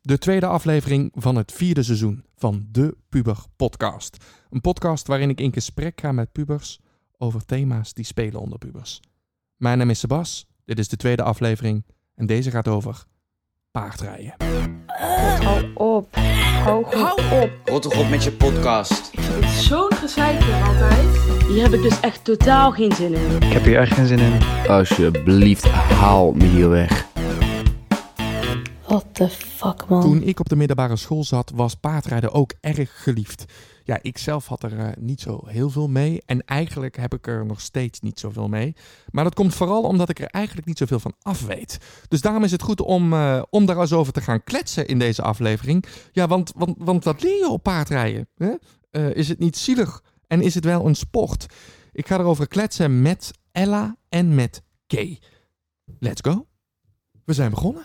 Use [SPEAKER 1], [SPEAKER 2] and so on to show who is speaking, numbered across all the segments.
[SPEAKER 1] De tweede aflevering van het vierde seizoen van de Puber Podcast. Een podcast waarin ik in gesprek ga met pubers over thema's die spelen onder pubers. Mijn naam is Sebas, dit is de tweede aflevering en deze gaat over paardrijden.
[SPEAKER 2] Hou op. Hou goed op.
[SPEAKER 3] Rot toch op met je podcast.
[SPEAKER 4] Ik vind het zo'n gezeik hier altijd.
[SPEAKER 5] Hier heb ik dus echt totaal geen zin in.
[SPEAKER 6] Ik heb hier echt geen zin in.
[SPEAKER 7] Alsjeblieft, haal me hier weg.
[SPEAKER 5] What the fuck, man.
[SPEAKER 1] Toen ik op de middelbare school zat, was paardrijden ook erg geliefd. Ja, ik zelf had er eh, niet zo heel veel mee. En eigenlijk heb ik er nog steeds niet zoveel mee. Maar dat komt vooral omdat ik er eigenlijk niet zoveel van af weet. Dus daarom is het goed om, eh, om daar eens over te gaan kletsen in deze aflevering. Ja, want, want, want wat leer je op paardrijden? Hè? Eh, is het niet zielig? En is het wel een sport? Ik ga erover kletsen met Ella en met Kay. Let's go. We zijn begonnen.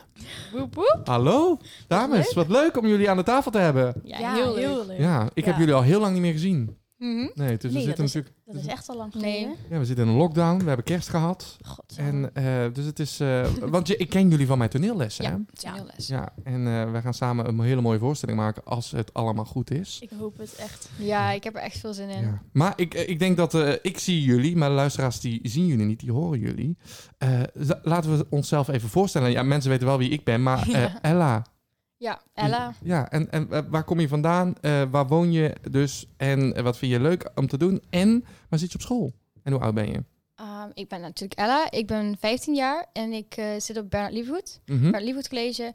[SPEAKER 8] Woep woep.
[SPEAKER 1] Hallo, dames. Wat leuk om jullie aan de tafel te hebben.
[SPEAKER 8] Ja, heel, leuk.
[SPEAKER 1] Ja, ik heb
[SPEAKER 8] Ja.
[SPEAKER 1] jullie al heel lang niet meer gezien.
[SPEAKER 8] Mhm.
[SPEAKER 1] Nee, dus
[SPEAKER 9] Nee,
[SPEAKER 1] we zitten
[SPEAKER 9] dat is-
[SPEAKER 1] natuurlijk...
[SPEAKER 9] Dat is echt al lang
[SPEAKER 8] Nee.
[SPEAKER 9] geleden.
[SPEAKER 1] Ja, we zitten in een lockdown. We hebben kerst gehad.
[SPEAKER 9] God.
[SPEAKER 1] En, eh, dus het is... eh, want je, ik ken jullie van mijn toneellessen, hè?
[SPEAKER 8] Ja, toneelles. Ja.
[SPEAKER 1] Ja, en eh, we gaan samen een hele mooie voorstelling maken als het allemaal goed is.
[SPEAKER 9] Ik hoop het echt.
[SPEAKER 8] ik heb er echt veel zin in.
[SPEAKER 1] Ja. Maar ik, eh, ik denk dat eh, ik zie jullie, maar de luisteraars die zien jullie niet, die horen jullie. Eh, za- laten we onszelf even voorstellen. Ja, mensen weten wel wie ik ben, maar eh,
[SPEAKER 8] Ja.
[SPEAKER 1] Ella,
[SPEAKER 8] Ja, Ella.
[SPEAKER 1] Ja, en, en eh, waar kom je vandaan? Eh, waar woon je dus? En eh, wat vind je leuk om te doen? En waar zit je op school? En hoe oud ben je?
[SPEAKER 8] Ehm, ik ben natuurlijk Ella. Ik ben 15 jaar en ik eh, zit op Bernard Liefhoed.
[SPEAKER 1] Mhm.
[SPEAKER 8] Bernard Liefhoed College.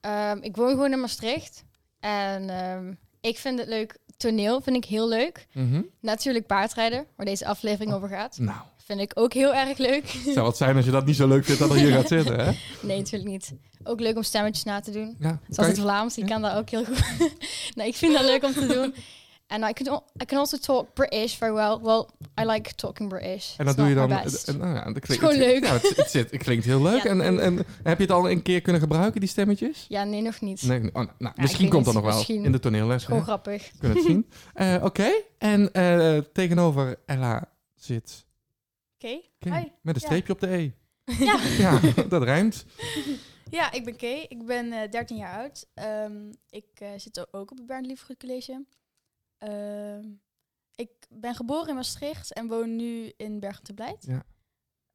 [SPEAKER 8] Ehm, ik woon gewoon in Maastricht. En ehm, ik vind het leuk. Toneel vind ik heel leuk.
[SPEAKER 1] Mhm.
[SPEAKER 8] Natuurlijk paardrijden, waar deze aflevering over gaat.
[SPEAKER 1] Nou,
[SPEAKER 8] Vind ik ook heel erg leuk.
[SPEAKER 1] het zou wat zijn als je dat niet zo leuk vindt dat er hier gaat zitten, hè?
[SPEAKER 8] Nee, natuurlijk niet. Ook leuk om stemmetjes na te doen.
[SPEAKER 1] Ja,
[SPEAKER 8] Zoals
[SPEAKER 1] kan
[SPEAKER 8] het
[SPEAKER 1] je-
[SPEAKER 8] Vlaams, ik
[SPEAKER 1] Ja.
[SPEAKER 8] kan dat ook heel goed. nou, ik vind dat leuk om te doen. En uh, I can, al- I can also talk British very well. Well, I like talking British.
[SPEAKER 1] en dat
[SPEAKER 8] It's
[SPEAKER 1] doe je
[SPEAKER 8] not
[SPEAKER 1] dan...
[SPEAKER 8] my best.
[SPEAKER 1] en- nou ja, dat klinkt,
[SPEAKER 8] gewoon
[SPEAKER 1] het-
[SPEAKER 8] leuk.
[SPEAKER 1] Ja, het, het zit, het klinkt heel leuk.
[SPEAKER 9] Ja.
[SPEAKER 1] En, en, en heb je het al een keer kunnen gebruiken, die stemmetjes?
[SPEAKER 8] Ja, nee, nog niet.
[SPEAKER 1] Nee, nee. Oh, nou, nou,
[SPEAKER 8] ik
[SPEAKER 1] misschien
[SPEAKER 8] weet
[SPEAKER 1] komt dat
[SPEAKER 8] niet.
[SPEAKER 1] nog wel
[SPEAKER 8] Misschien.
[SPEAKER 1] in de toneelles. hè?
[SPEAKER 8] Gewoon grappig.
[SPEAKER 1] We kunnen het zien. Eh, Oké, en eh, tegenover Ella zit...
[SPEAKER 9] Oké.
[SPEAKER 1] Kim,
[SPEAKER 9] Hi.
[SPEAKER 1] met een
[SPEAKER 9] Ja.
[SPEAKER 1] streepje op de E.
[SPEAKER 9] Ja.
[SPEAKER 1] Ja, dat rijmt.
[SPEAKER 9] ja, ik ben Kay. Ik ben eh 13 jaar oud. Ehm, ik eh, zit o- ook op het Bernd Liefgoed College. Ehm, ik ben geboren in Maastricht en woon nu in Bergen te Blijt.
[SPEAKER 1] Ja.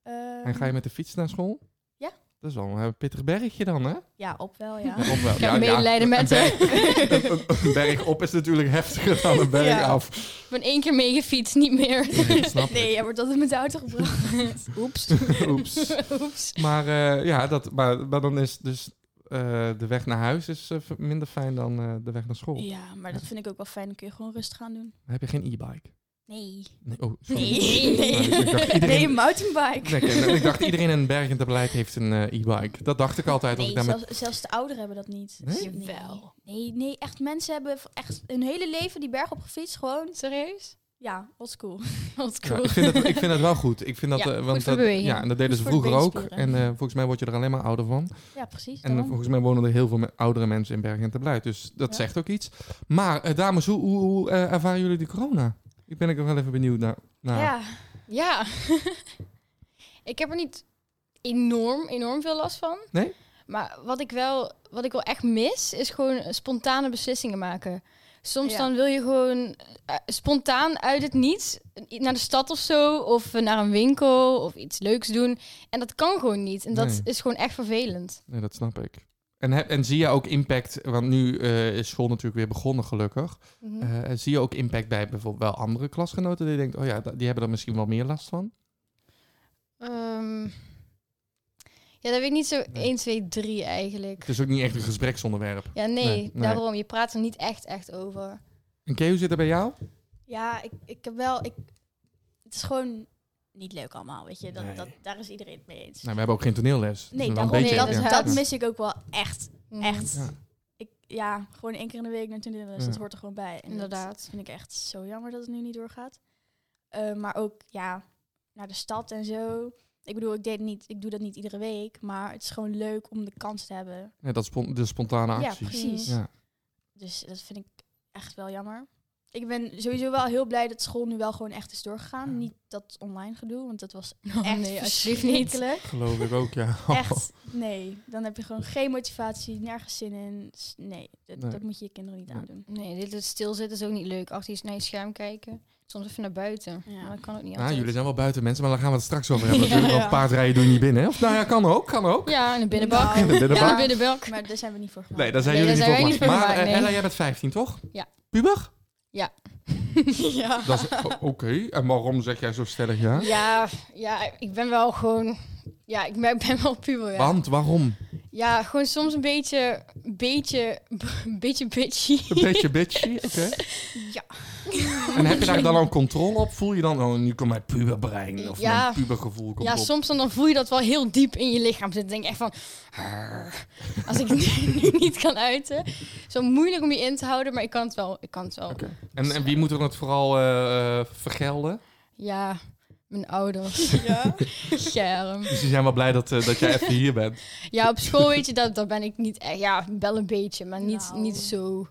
[SPEAKER 9] Ehm,
[SPEAKER 1] En ga je met de fiets naar school?
[SPEAKER 9] Ja. Ah.
[SPEAKER 1] Dat is wel een eh, pittig bergje dan, hè?
[SPEAKER 9] Ja, op wel, ja.
[SPEAKER 1] Op wel.
[SPEAKER 8] heb medelijden met
[SPEAKER 1] een
[SPEAKER 8] hem.
[SPEAKER 1] berg- een- een- een berg op is natuurlijk heftiger dan een berg
[SPEAKER 9] Ja.
[SPEAKER 1] af.
[SPEAKER 8] Ik ben één keer meegefietst, niet meer.
[SPEAKER 1] Nee, snap ik.
[SPEAKER 9] nee, jij wordt altijd met de auto gebracht.
[SPEAKER 8] Oeps.
[SPEAKER 1] Oeps.
[SPEAKER 8] Oeps.
[SPEAKER 1] Maar, eh, ja, dat, maar, maar dan is dus eh, de weg naar huis is, eh, v- minder fijn dan eh, de weg naar school.
[SPEAKER 9] ja, maar dat vind ik ook wel fijn. Dan kun je gewoon rustig gaan doen.
[SPEAKER 1] Dan heb je geen e-bike.
[SPEAKER 9] Nee.
[SPEAKER 1] Nee, oh, sorry.
[SPEAKER 9] Nee.
[SPEAKER 1] Nee,
[SPEAKER 9] Nee,
[SPEAKER 1] Nou, dus ik dacht iedereen-
[SPEAKER 9] mountainbike.
[SPEAKER 1] Nee, ik- ik dacht iedereen in Bergen te beleid heeft een eh, e-bike. Dat dacht ik altijd. als
[SPEAKER 9] Nee,
[SPEAKER 1] ik daar met...
[SPEAKER 9] zelfs, zelfs de ouderen hebben dat niet.
[SPEAKER 1] Nee?
[SPEAKER 9] Nee.
[SPEAKER 8] Jawel.
[SPEAKER 9] Nee, nee, echt mensen hebben v- echt hun hele leven die berg op gefietst. Gewoon,
[SPEAKER 8] Serieus?
[SPEAKER 9] ja, oldschool.
[SPEAKER 8] Wat
[SPEAKER 1] Ja,
[SPEAKER 8] cool.
[SPEAKER 1] ik, vind het, ik vind het wel goed. Ik vind dat,
[SPEAKER 8] Ja,
[SPEAKER 1] eh,
[SPEAKER 8] goed
[SPEAKER 1] want
[SPEAKER 8] voor
[SPEAKER 1] dat-
[SPEAKER 8] beweging.
[SPEAKER 1] ja, en dat deden ze
[SPEAKER 9] Goed voor de
[SPEAKER 1] vroeger ook. En
[SPEAKER 9] beenspieren.
[SPEAKER 1] eh, volgens mij word je er alleen maar ouder van.
[SPEAKER 9] Ja, precies.
[SPEAKER 1] En eh,
[SPEAKER 9] daarom.
[SPEAKER 1] volgens mij wonen er heel veel me- oudere mensen in Bergen en Terbluid. Dus dat
[SPEAKER 9] Ja.
[SPEAKER 1] zegt ook iets. Maar eh, dames, hoe, hoe, hoe, eh, ervaren jullie de corona? Ik ben ik wel even benieuwd naar. naar.
[SPEAKER 9] Ja,
[SPEAKER 8] Ja. ik heb er niet enorm, enorm veel last van.
[SPEAKER 1] Nee?
[SPEAKER 8] Maar wat ik wel, wat ik wel echt mis, is gewoon spontane beslissingen maken. Soms
[SPEAKER 9] Ja.
[SPEAKER 8] dan wil je gewoon eh, spontaan uit het niets naar de stad of zo, of eh, naar een winkel of iets leuks doen. En dat kan gewoon niet. En dat
[SPEAKER 1] Nee.
[SPEAKER 8] is gewoon echt vervelend.
[SPEAKER 1] Nee, dat snap ik. En, heb- en zie je ook impact, want nu eh, is school natuurlijk weer begonnen gelukkig.
[SPEAKER 8] Mhm.
[SPEAKER 9] Mm.
[SPEAKER 1] Eh, zie je ook impact bij bijvoorbeeld wel andere klasgenoten die denkt, oh ja, da- die hebben er misschien wel meer last van?
[SPEAKER 8] Ehm, ja, dat weet ik niet zo
[SPEAKER 1] Nee.
[SPEAKER 8] 1, 2, 3 eigenlijk.
[SPEAKER 1] Het is ook niet echt een gespreksonderwerp.
[SPEAKER 8] Ja, nee,
[SPEAKER 1] Nee, nee.
[SPEAKER 8] daarom. Je praat er niet echt, echt over.
[SPEAKER 1] En Kay, hoe zit het bij jou?
[SPEAKER 9] ja ik, ik heb wel... Ik, het is gewoon niet leuk allemaal, weet je. Dat,
[SPEAKER 1] Nee.
[SPEAKER 9] dat, daar is iedereen het mee eens.
[SPEAKER 1] Nou, we hebben ook geen toneelles.
[SPEAKER 9] Nee,
[SPEAKER 1] Wel
[SPEAKER 9] daarom,
[SPEAKER 8] beetje,
[SPEAKER 9] nee, dat,
[SPEAKER 8] ja.
[SPEAKER 9] dat
[SPEAKER 8] Ja.
[SPEAKER 9] mis ik ook wel echt.
[SPEAKER 8] Mhm.
[SPEAKER 9] Echt.
[SPEAKER 1] Ja.
[SPEAKER 9] Ik, ja, gewoon één keer in de week naar toneel, dus
[SPEAKER 1] Ja.
[SPEAKER 9] dat hoort er gewoon bij. En dat
[SPEAKER 8] Inderdaad.
[SPEAKER 9] vind ik echt zo jammer dat het nu niet doorgaat. Eh, maar ook, ja, naar de stad en zo. Ik bedoel, ik, deed niet, ik doe dat niet iedere week, maar het is gewoon leuk om de kans te hebben.
[SPEAKER 1] Ja, dat spon- de spontane
[SPEAKER 9] Ja,
[SPEAKER 1] acties.
[SPEAKER 9] precies.
[SPEAKER 1] Ja.
[SPEAKER 9] Dus dat vind ik echt wel jammer. ik ben sowieso wel heel blij dat school nu wel gewoon echt is doorgegaan. Niet dat online gedoe, want dat was echt
[SPEAKER 8] Oh, nee, alsjeblieft niet.
[SPEAKER 9] verschrikkelijk.
[SPEAKER 1] Geloof ik ook, ja.
[SPEAKER 9] Echt, nee. Dan heb je gewoon geen motivatie, nergens zin in. S- Nee, dat,
[SPEAKER 1] Nee.
[SPEAKER 9] dat moet je je kinderen niet
[SPEAKER 1] Nee.
[SPEAKER 9] aandoen.
[SPEAKER 8] Nee, dit is stilzitten is ook niet leuk. Achter je naar je scherm kijken. Soms even naar buiten.
[SPEAKER 9] Ja.
[SPEAKER 8] Maar dat kan ook niet
[SPEAKER 1] Nou,
[SPEAKER 8] altijd.
[SPEAKER 1] jullie zijn wel buiten mensen, maar daar gaan we het straks over hebben
[SPEAKER 9] Ja.
[SPEAKER 1] natuurlijk.
[SPEAKER 9] Ja.
[SPEAKER 1] Want paardrijden doe je niet binnen. hè? Of nou ja, kan ook, kan ook.
[SPEAKER 8] Ja, in de binnenbak.
[SPEAKER 9] Nou,
[SPEAKER 1] In de binnenbak.
[SPEAKER 8] Ja, in de binnenbak.
[SPEAKER 9] Maar daar zijn we niet voor gemaakt.
[SPEAKER 1] Nee, daar zijn
[SPEAKER 8] Nee,
[SPEAKER 1] jullie
[SPEAKER 8] daar zijn wij
[SPEAKER 1] niet
[SPEAKER 8] niet
[SPEAKER 1] voor.
[SPEAKER 8] voor
[SPEAKER 1] gemaakt. Maar
[SPEAKER 8] gemaakt,
[SPEAKER 1] eh,
[SPEAKER 8] nee.
[SPEAKER 1] Ella, jij bent 15, toch?
[SPEAKER 8] Ja.
[SPEAKER 1] Puber?
[SPEAKER 9] Ja.
[SPEAKER 1] Dat is o- oké. En waarom zeg jij zo stellig ja?
[SPEAKER 8] Ja, ja, ik ben wel gewoon... Ja, ik ben, ik ben wel puber, ja.
[SPEAKER 1] Want waarom?
[SPEAKER 8] Ja, gewoon soms een beetje... Beetje... Beetje bitchy.
[SPEAKER 1] Een beetje bitchy, oké.
[SPEAKER 9] Ja.
[SPEAKER 1] En heb je daar dan al controle op? Voel je dan, oh, nu komt mijn puberbrein of
[SPEAKER 8] Ja.
[SPEAKER 1] mijn pubergevoel komt
[SPEAKER 8] ja,
[SPEAKER 1] op?
[SPEAKER 8] soms dan, dan voel je dat wel heel diep in je lichaam zitten. Dan denk je echt van... "Arr." Als ik nu, nu niet kan uiten. Zo moeilijk om je in te houden, maar ik kan het wel. Ik kan het wel.
[SPEAKER 1] Oké. En, en wie moet er het vooral eh, eh, vergelden?
[SPEAKER 8] Ja, mijn ouders.
[SPEAKER 9] Ja.
[SPEAKER 8] Scherm.
[SPEAKER 1] Dus die zijn wel blij dat, eh, dat jij even hier bent.
[SPEAKER 8] Ja, op school weet je, dat, dat ben ik niet echt. Ja, wel een beetje, maar niet,
[SPEAKER 9] Nou.
[SPEAKER 8] niet zo.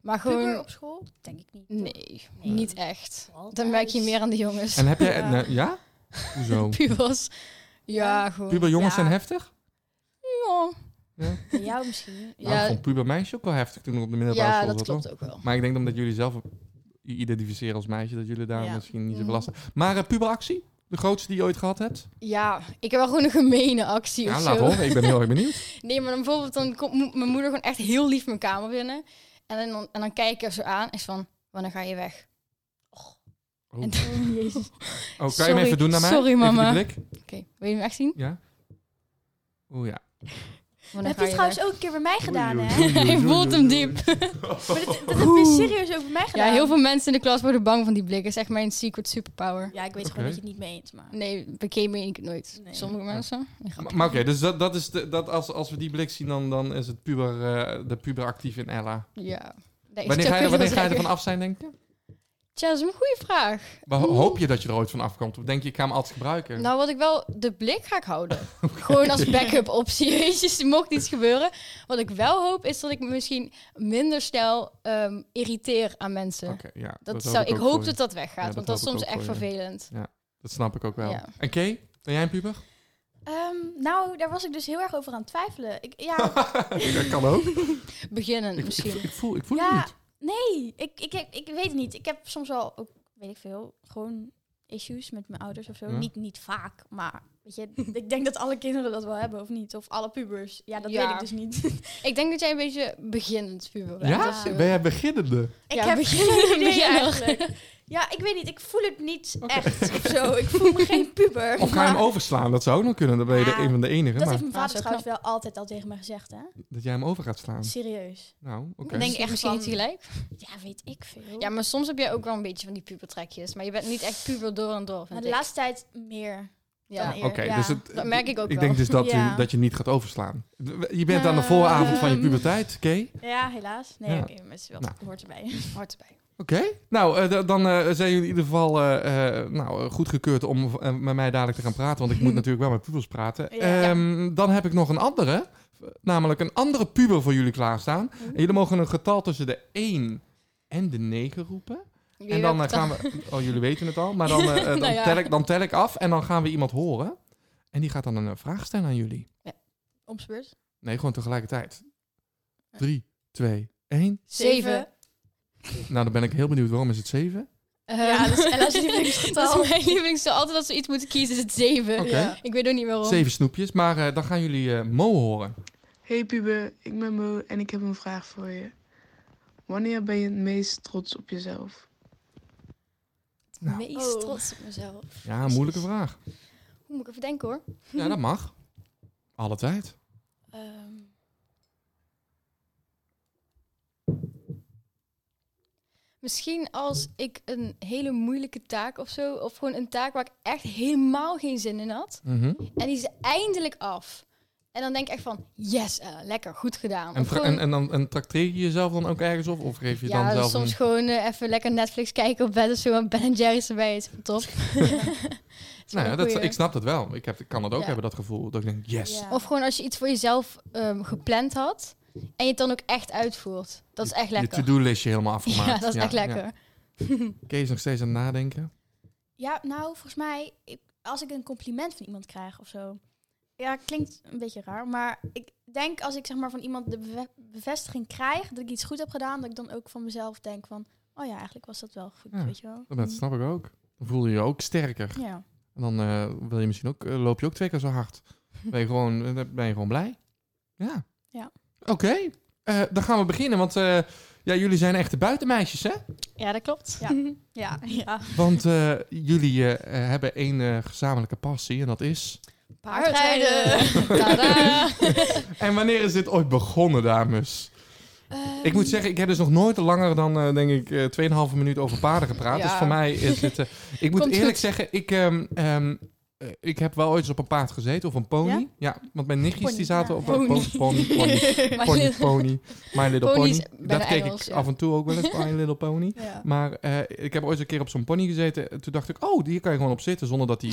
[SPEAKER 8] Maar
[SPEAKER 9] Puber
[SPEAKER 8] gewoon...
[SPEAKER 9] op school? Denk ik niet.
[SPEAKER 8] Nee,
[SPEAKER 9] Nee.
[SPEAKER 8] niet echt.
[SPEAKER 9] Wel
[SPEAKER 8] Dan merk je
[SPEAKER 9] thuis.
[SPEAKER 8] meer aan de jongens.
[SPEAKER 1] En heb jij...
[SPEAKER 9] Ja.
[SPEAKER 1] nou, ja? Hoezo?
[SPEAKER 8] Pubers. Ja, gewoon.
[SPEAKER 1] Puberjongens
[SPEAKER 9] Ja.
[SPEAKER 1] zijn heftig?
[SPEAKER 8] Ja.
[SPEAKER 9] Bij jou misschien.
[SPEAKER 1] Ja. Nou,
[SPEAKER 8] Ja.
[SPEAKER 1] ik vond pubermeisje ook wel heftig toen ik op de middelbare
[SPEAKER 8] Ja,
[SPEAKER 1] school
[SPEAKER 8] dat
[SPEAKER 1] zat, hoor.
[SPEAKER 8] klopt ook wel.
[SPEAKER 1] Maar ik denk omdat jullie zelf i- identificeren als meisje, dat jullie daar
[SPEAKER 9] Ja.
[SPEAKER 1] misschien niet zoveel
[SPEAKER 8] Mhm.
[SPEAKER 1] last van Maar eh, puberactie? De grootste die je ooit gehad hebt?
[SPEAKER 8] Ja, ik heb wel gewoon een gemene actie
[SPEAKER 1] Ja,
[SPEAKER 8] of
[SPEAKER 1] laat
[SPEAKER 8] zo.
[SPEAKER 1] horen. Ik ben heel erg benieuwd.
[SPEAKER 8] Nee, maar dan bijvoorbeeld dan komt mo- mijn moeder gewoon echt heel lief mijn kamer binnen. En dan, en dan kijk ik er zo aan en is van, wanneer ga je weg?
[SPEAKER 1] Oh,
[SPEAKER 8] En-
[SPEAKER 9] Oh, jezus.
[SPEAKER 1] Oh, kan je hem
[SPEAKER 8] Sorry.
[SPEAKER 1] even doen naar mij?
[SPEAKER 8] Sorry,
[SPEAKER 1] Even die
[SPEAKER 8] mama.
[SPEAKER 1] blik?
[SPEAKER 8] Oké, wil je hem echt zien?
[SPEAKER 1] Ja. Oeh ja.
[SPEAKER 8] Wanneer
[SPEAKER 9] Dat heb je trouwens ook een keer bij mij gedaan, hè?
[SPEAKER 1] Oei, oei, oei,
[SPEAKER 8] Je
[SPEAKER 1] oei,
[SPEAKER 8] voelt
[SPEAKER 1] oei,
[SPEAKER 8] hem
[SPEAKER 1] oei.
[SPEAKER 8] diep.
[SPEAKER 9] Maar dat, dat heb je serieus ook bij mij gedaan.
[SPEAKER 8] Ja, heel veel mensen in de klas worden bang van die blik. Dat is echt mijn secret superpower.
[SPEAKER 9] Ja, ik weet
[SPEAKER 1] Oké.
[SPEAKER 9] gewoon dat je het niet mee eens maar
[SPEAKER 8] Nee, bekeken meen ik het nooit.
[SPEAKER 9] Nee.
[SPEAKER 8] Sommige mensen.
[SPEAKER 1] Maar, maar oké, dus dat, dat is de, dat als, als we die blik zien, dan, dan is het puber, eh, de puber actief in Ella.
[SPEAKER 8] Ja. Nee,
[SPEAKER 1] Wanneer
[SPEAKER 8] ik zou
[SPEAKER 1] ga je,
[SPEAKER 8] kunnen
[SPEAKER 1] wanneer ga je
[SPEAKER 8] zeggen.
[SPEAKER 1] ervan af zijn, denk je?
[SPEAKER 8] Tja, dat is een goede vraag.
[SPEAKER 1] Maar ho- hoop je dat je er ooit van afkomt? Of denk je, ik ga hem altijd gebruiken?
[SPEAKER 8] Nou, wat ik wel, de blik ga ik houden. Gewoon als backup optie, weet je, mocht iets gebeuren. Wat ik wel hoop, is dat ik me misschien minder snel ehm, irriteer aan mensen.
[SPEAKER 1] Oké, ja,
[SPEAKER 8] Dat
[SPEAKER 1] dat
[SPEAKER 8] zou, ik
[SPEAKER 1] ook
[SPEAKER 8] hoop
[SPEAKER 1] voor je.
[SPEAKER 8] dat dat weggaat,
[SPEAKER 1] dat
[SPEAKER 8] want dat is
[SPEAKER 1] hoop ik
[SPEAKER 8] soms
[SPEAKER 1] ook
[SPEAKER 8] echt
[SPEAKER 1] voor je.
[SPEAKER 8] vervelend.
[SPEAKER 1] Dat snap ik ook wel.
[SPEAKER 8] Ja.
[SPEAKER 1] En Kay, ben jij een puber?
[SPEAKER 9] Ehm, nou, daar was ik dus heel erg over aan het twijfelen. Ik, ja,
[SPEAKER 1] dat kan ook.
[SPEAKER 8] Beginnen
[SPEAKER 1] Ik, ik,
[SPEAKER 8] misschien.
[SPEAKER 1] ik voel, ik voel
[SPEAKER 9] Ja.
[SPEAKER 1] het niet.
[SPEAKER 9] nee, ik, ik, ik, ik weet het niet. Ik heb soms wel ook, weet ik veel, gewoon issues met mijn ouders of zo.
[SPEAKER 1] Ja.
[SPEAKER 9] Niet, niet vaak, maar weet je, ik denk dat alle kinderen dat wel hebben of niet. Of alle pubers. Ja, dat
[SPEAKER 8] Ja.
[SPEAKER 9] weet ik dus niet. ik
[SPEAKER 8] Ik denk dat jij een beetje beginnend puber bent.
[SPEAKER 1] Ja?
[SPEAKER 8] of zo.
[SPEAKER 1] Ben jij beginnende?
[SPEAKER 8] Ja,
[SPEAKER 9] heb
[SPEAKER 8] begin-
[SPEAKER 9] geen idee
[SPEAKER 8] beginner.
[SPEAKER 9] eigenlijk. Ja, ik weet niet. Ik voel het niet echt of zo. Ik voel me geen puber.
[SPEAKER 1] Of ga je hem
[SPEAKER 9] maar
[SPEAKER 1] overslaan? Dat zou ook nog kunnen. Dan ben je
[SPEAKER 9] Ja,
[SPEAKER 1] de een van de enige.
[SPEAKER 9] Dat
[SPEAKER 1] maar
[SPEAKER 9] heeft mijn
[SPEAKER 8] Maar
[SPEAKER 9] vader
[SPEAKER 8] zo
[SPEAKER 9] trouwens wel altijd al tegen mij gezegd, hè?
[SPEAKER 1] dat jij hem over gaat slaan.
[SPEAKER 9] Serieus.
[SPEAKER 1] Nou, oké.
[SPEAKER 8] Ik denk echt misschien
[SPEAKER 9] Van-
[SPEAKER 8] niet gelijk.
[SPEAKER 9] Ja, weet ik veel.
[SPEAKER 8] Ja, maar soms heb jij ook wel een beetje van die pubertrekjes. Maar je bent niet echt puber door en door,
[SPEAKER 9] Maar
[SPEAKER 8] vind
[SPEAKER 9] de
[SPEAKER 8] ik.
[SPEAKER 9] laatste tijd meer.
[SPEAKER 8] Ja.
[SPEAKER 9] dan
[SPEAKER 1] Oké,
[SPEAKER 9] eer-
[SPEAKER 1] dus
[SPEAKER 9] ja.
[SPEAKER 1] het,
[SPEAKER 8] Dat merk ik ook
[SPEAKER 1] Ik
[SPEAKER 8] wel.
[SPEAKER 1] denk dus dat, je,
[SPEAKER 9] Ja.
[SPEAKER 1] dat je niet gaat overslaan. Je bent aan de vooravond van je
[SPEAKER 9] Ehm.
[SPEAKER 1] puberteit, Kay.
[SPEAKER 9] Ja, helaas. Nee,
[SPEAKER 1] Ja.
[SPEAKER 9] oké, maar het is wel,
[SPEAKER 1] Nou.
[SPEAKER 9] hoort erbij.
[SPEAKER 8] Hard erbij.
[SPEAKER 1] Oké. Nou, eh, d- dan eh, zijn jullie in ieder geval eh, eh, nou, eh, goedgekeurd om eh, met mij dadelijk te gaan praten. Want ik moet natuurlijk wel met pubers praten.
[SPEAKER 9] Ja.
[SPEAKER 1] Ehm, dan heb ik nog een andere. eh, Namelijk een andere puber voor jullie klaarstaan. En jullie mogen een getal tussen de 1 en de 9 roepen. En dan eh, gaan we... Oh, jullie weten het al. Maar dan, eh, eh, dan,
[SPEAKER 8] Nou ja.
[SPEAKER 1] tel ik, dan tel ik af en dan gaan we iemand horen. En die gaat dan een eh, vraag stellen aan jullie.
[SPEAKER 9] Omsbeurt.
[SPEAKER 1] Nee, gewoon tegelijkertijd. 3, 2, 1.
[SPEAKER 8] Zeven.
[SPEAKER 1] Nou, dan ben ik heel benieuwd. Waarom is het 7?
[SPEAKER 9] Ja, dat is Ella's
[SPEAKER 8] Dat
[SPEAKER 9] lievelingsgetal.
[SPEAKER 8] is mijn lievelingsgetal. Altijd als we iets moeten kiezen is het zeven.
[SPEAKER 1] Oké.
[SPEAKER 9] Ja.
[SPEAKER 8] Ik weet ook niet waarom.
[SPEAKER 1] Zeven snoepjes. Maar eh, dan gaan jullie eh, Mo horen.
[SPEAKER 6] Hey Pube, ik ben Mo en ik heb een vraag voor je. Wanneer ben je het meest trots op jezelf?
[SPEAKER 1] Nou.
[SPEAKER 8] Meest
[SPEAKER 9] Oh.
[SPEAKER 8] trots op mezelf.
[SPEAKER 1] Ja, een moeilijke vraag.
[SPEAKER 8] Hoe moet ik even denken hoor.
[SPEAKER 1] Ja, dat mag. Alle tijd.
[SPEAKER 9] Ehm,
[SPEAKER 8] Misschien als ik een hele moeilijke taak of zo. Of gewoon een taak waar ik echt helemaal geen zin in had.
[SPEAKER 1] Mhm.
[SPEAKER 8] En die is eindelijk af. En dan denk ik echt van, yes, eh, lekker, goed gedaan.
[SPEAKER 1] en,
[SPEAKER 8] Of
[SPEAKER 1] vra-
[SPEAKER 8] gewoon-
[SPEAKER 1] en, en, dan, en tracteer je jezelf dan ook ergens op? Of geef je
[SPEAKER 8] ja,
[SPEAKER 1] dan zelf
[SPEAKER 8] soms
[SPEAKER 1] een...
[SPEAKER 8] gewoon eh, even lekker Netflix kijken op bed of zo. En Ben en Jerry's erbij is top. Is wel
[SPEAKER 1] Nou, ja,
[SPEAKER 8] een
[SPEAKER 1] dat,
[SPEAKER 8] goeie.
[SPEAKER 1] ik snap dat wel. Ik, heb, ik kan dat ook
[SPEAKER 8] Ja.
[SPEAKER 1] hebben, dat gevoel. Dat ik denk, yes.
[SPEAKER 9] ja.
[SPEAKER 8] Of gewoon als je iets voor jezelf ehm, gepland had. En je het dan ook echt uitvoert. Dat is echt lekker.
[SPEAKER 1] Je to-do-listje helemaal afgemaakt.
[SPEAKER 8] Ja, dat is echt
[SPEAKER 1] ja.
[SPEAKER 8] lekker.
[SPEAKER 1] Kees is nog steeds aan het nadenken.
[SPEAKER 9] Ja, nou, volgens mij, ik, als ik een compliment van iemand krijg of zo. Ja, klinkt een beetje raar, maar ik denk als ik zeg maar van iemand de beve- bevestiging krijg dat ik iets goed heb gedaan, dat ik dan ook van mezelf denk van, oh ja, eigenlijk was dat wel goed,
[SPEAKER 1] Ja,
[SPEAKER 9] weet je wel.
[SPEAKER 8] Mhm.
[SPEAKER 1] Dat snap ik ook. Dan voel je je ook sterker.
[SPEAKER 9] Ja.
[SPEAKER 1] En dan eh, wil je misschien ook, eh, loop je ook twee keer zo hard. Ben je gewoon, eh, dan ben je gewoon blij? Ja.
[SPEAKER 9] Ja.
[SPEAKER 1] Oké, Eh, dan gaan we beginnen. Want eh, ja, jullie zijn echte buitenmeisjes, hè?
[SPEAKER 8] Ja, dat klopt. Hm.
[SPEAKER 9] Ja. Ja, ja.
[SPEAKER 1] Want eh, jullie eh, eh, hebben één eh, gezamenlijke passie en dat is...
[SPEAKER 8] Paardrijden. Tadaa.
[SPEAKER 1] En wanneer is dit ooit begonnen, dames?
[SPEAKER 8] Ehm,
[SPEAKER 1] Ik moet zeggen, ik heb dus nog nooit langer dan, eh, denk ik, eh 2,5 minuut over paarden gepraat.
[SPEAKER 8] Ja.
[SPEAKER 1] Dus voor mij is het... eh, ik moet
[SPEAKER 8] Komt
[SPEAKER 1] eerlijk
[SPEAKER 8] goed.
[SPEAKER 1] zeggen, ik, ehm, ehm, eh, ik heb wel ooit eens op een paard gezeten of een pony. Ja,
[SPEAKER 9] Ja?
[SPEAKER 1] want mijn nichtjes
[SPEAKER 9] Pony,
[SPEAKER 1] die zaten
[SPEAKER 9] ja.
[SPEAKER 1] op een pony, pony, pony,
[SPEAKER 8] Maar-
[SPEAKER 1] pony, pony, My Little
[SPEAKER 8] Pony is
[SPEAKER 1] Pony.
[SPEAKER 8] bijna
[SPEAKER 1] Dat keek
[SPEAKER 8] Engels,
[SPEAKER 1] ik
[SPEAKER 8] ja.
[SPEAKER 1] af en toe ook wel eens, My Little Pony.
[SPEAKER 9] Ja.
[SPEAKER 1] Maar eh, ik heb ooit een keer op zo'n pony gezeten. En Toen dacht ik, oh, hier kan je gewoon op zitten zonder dat hij,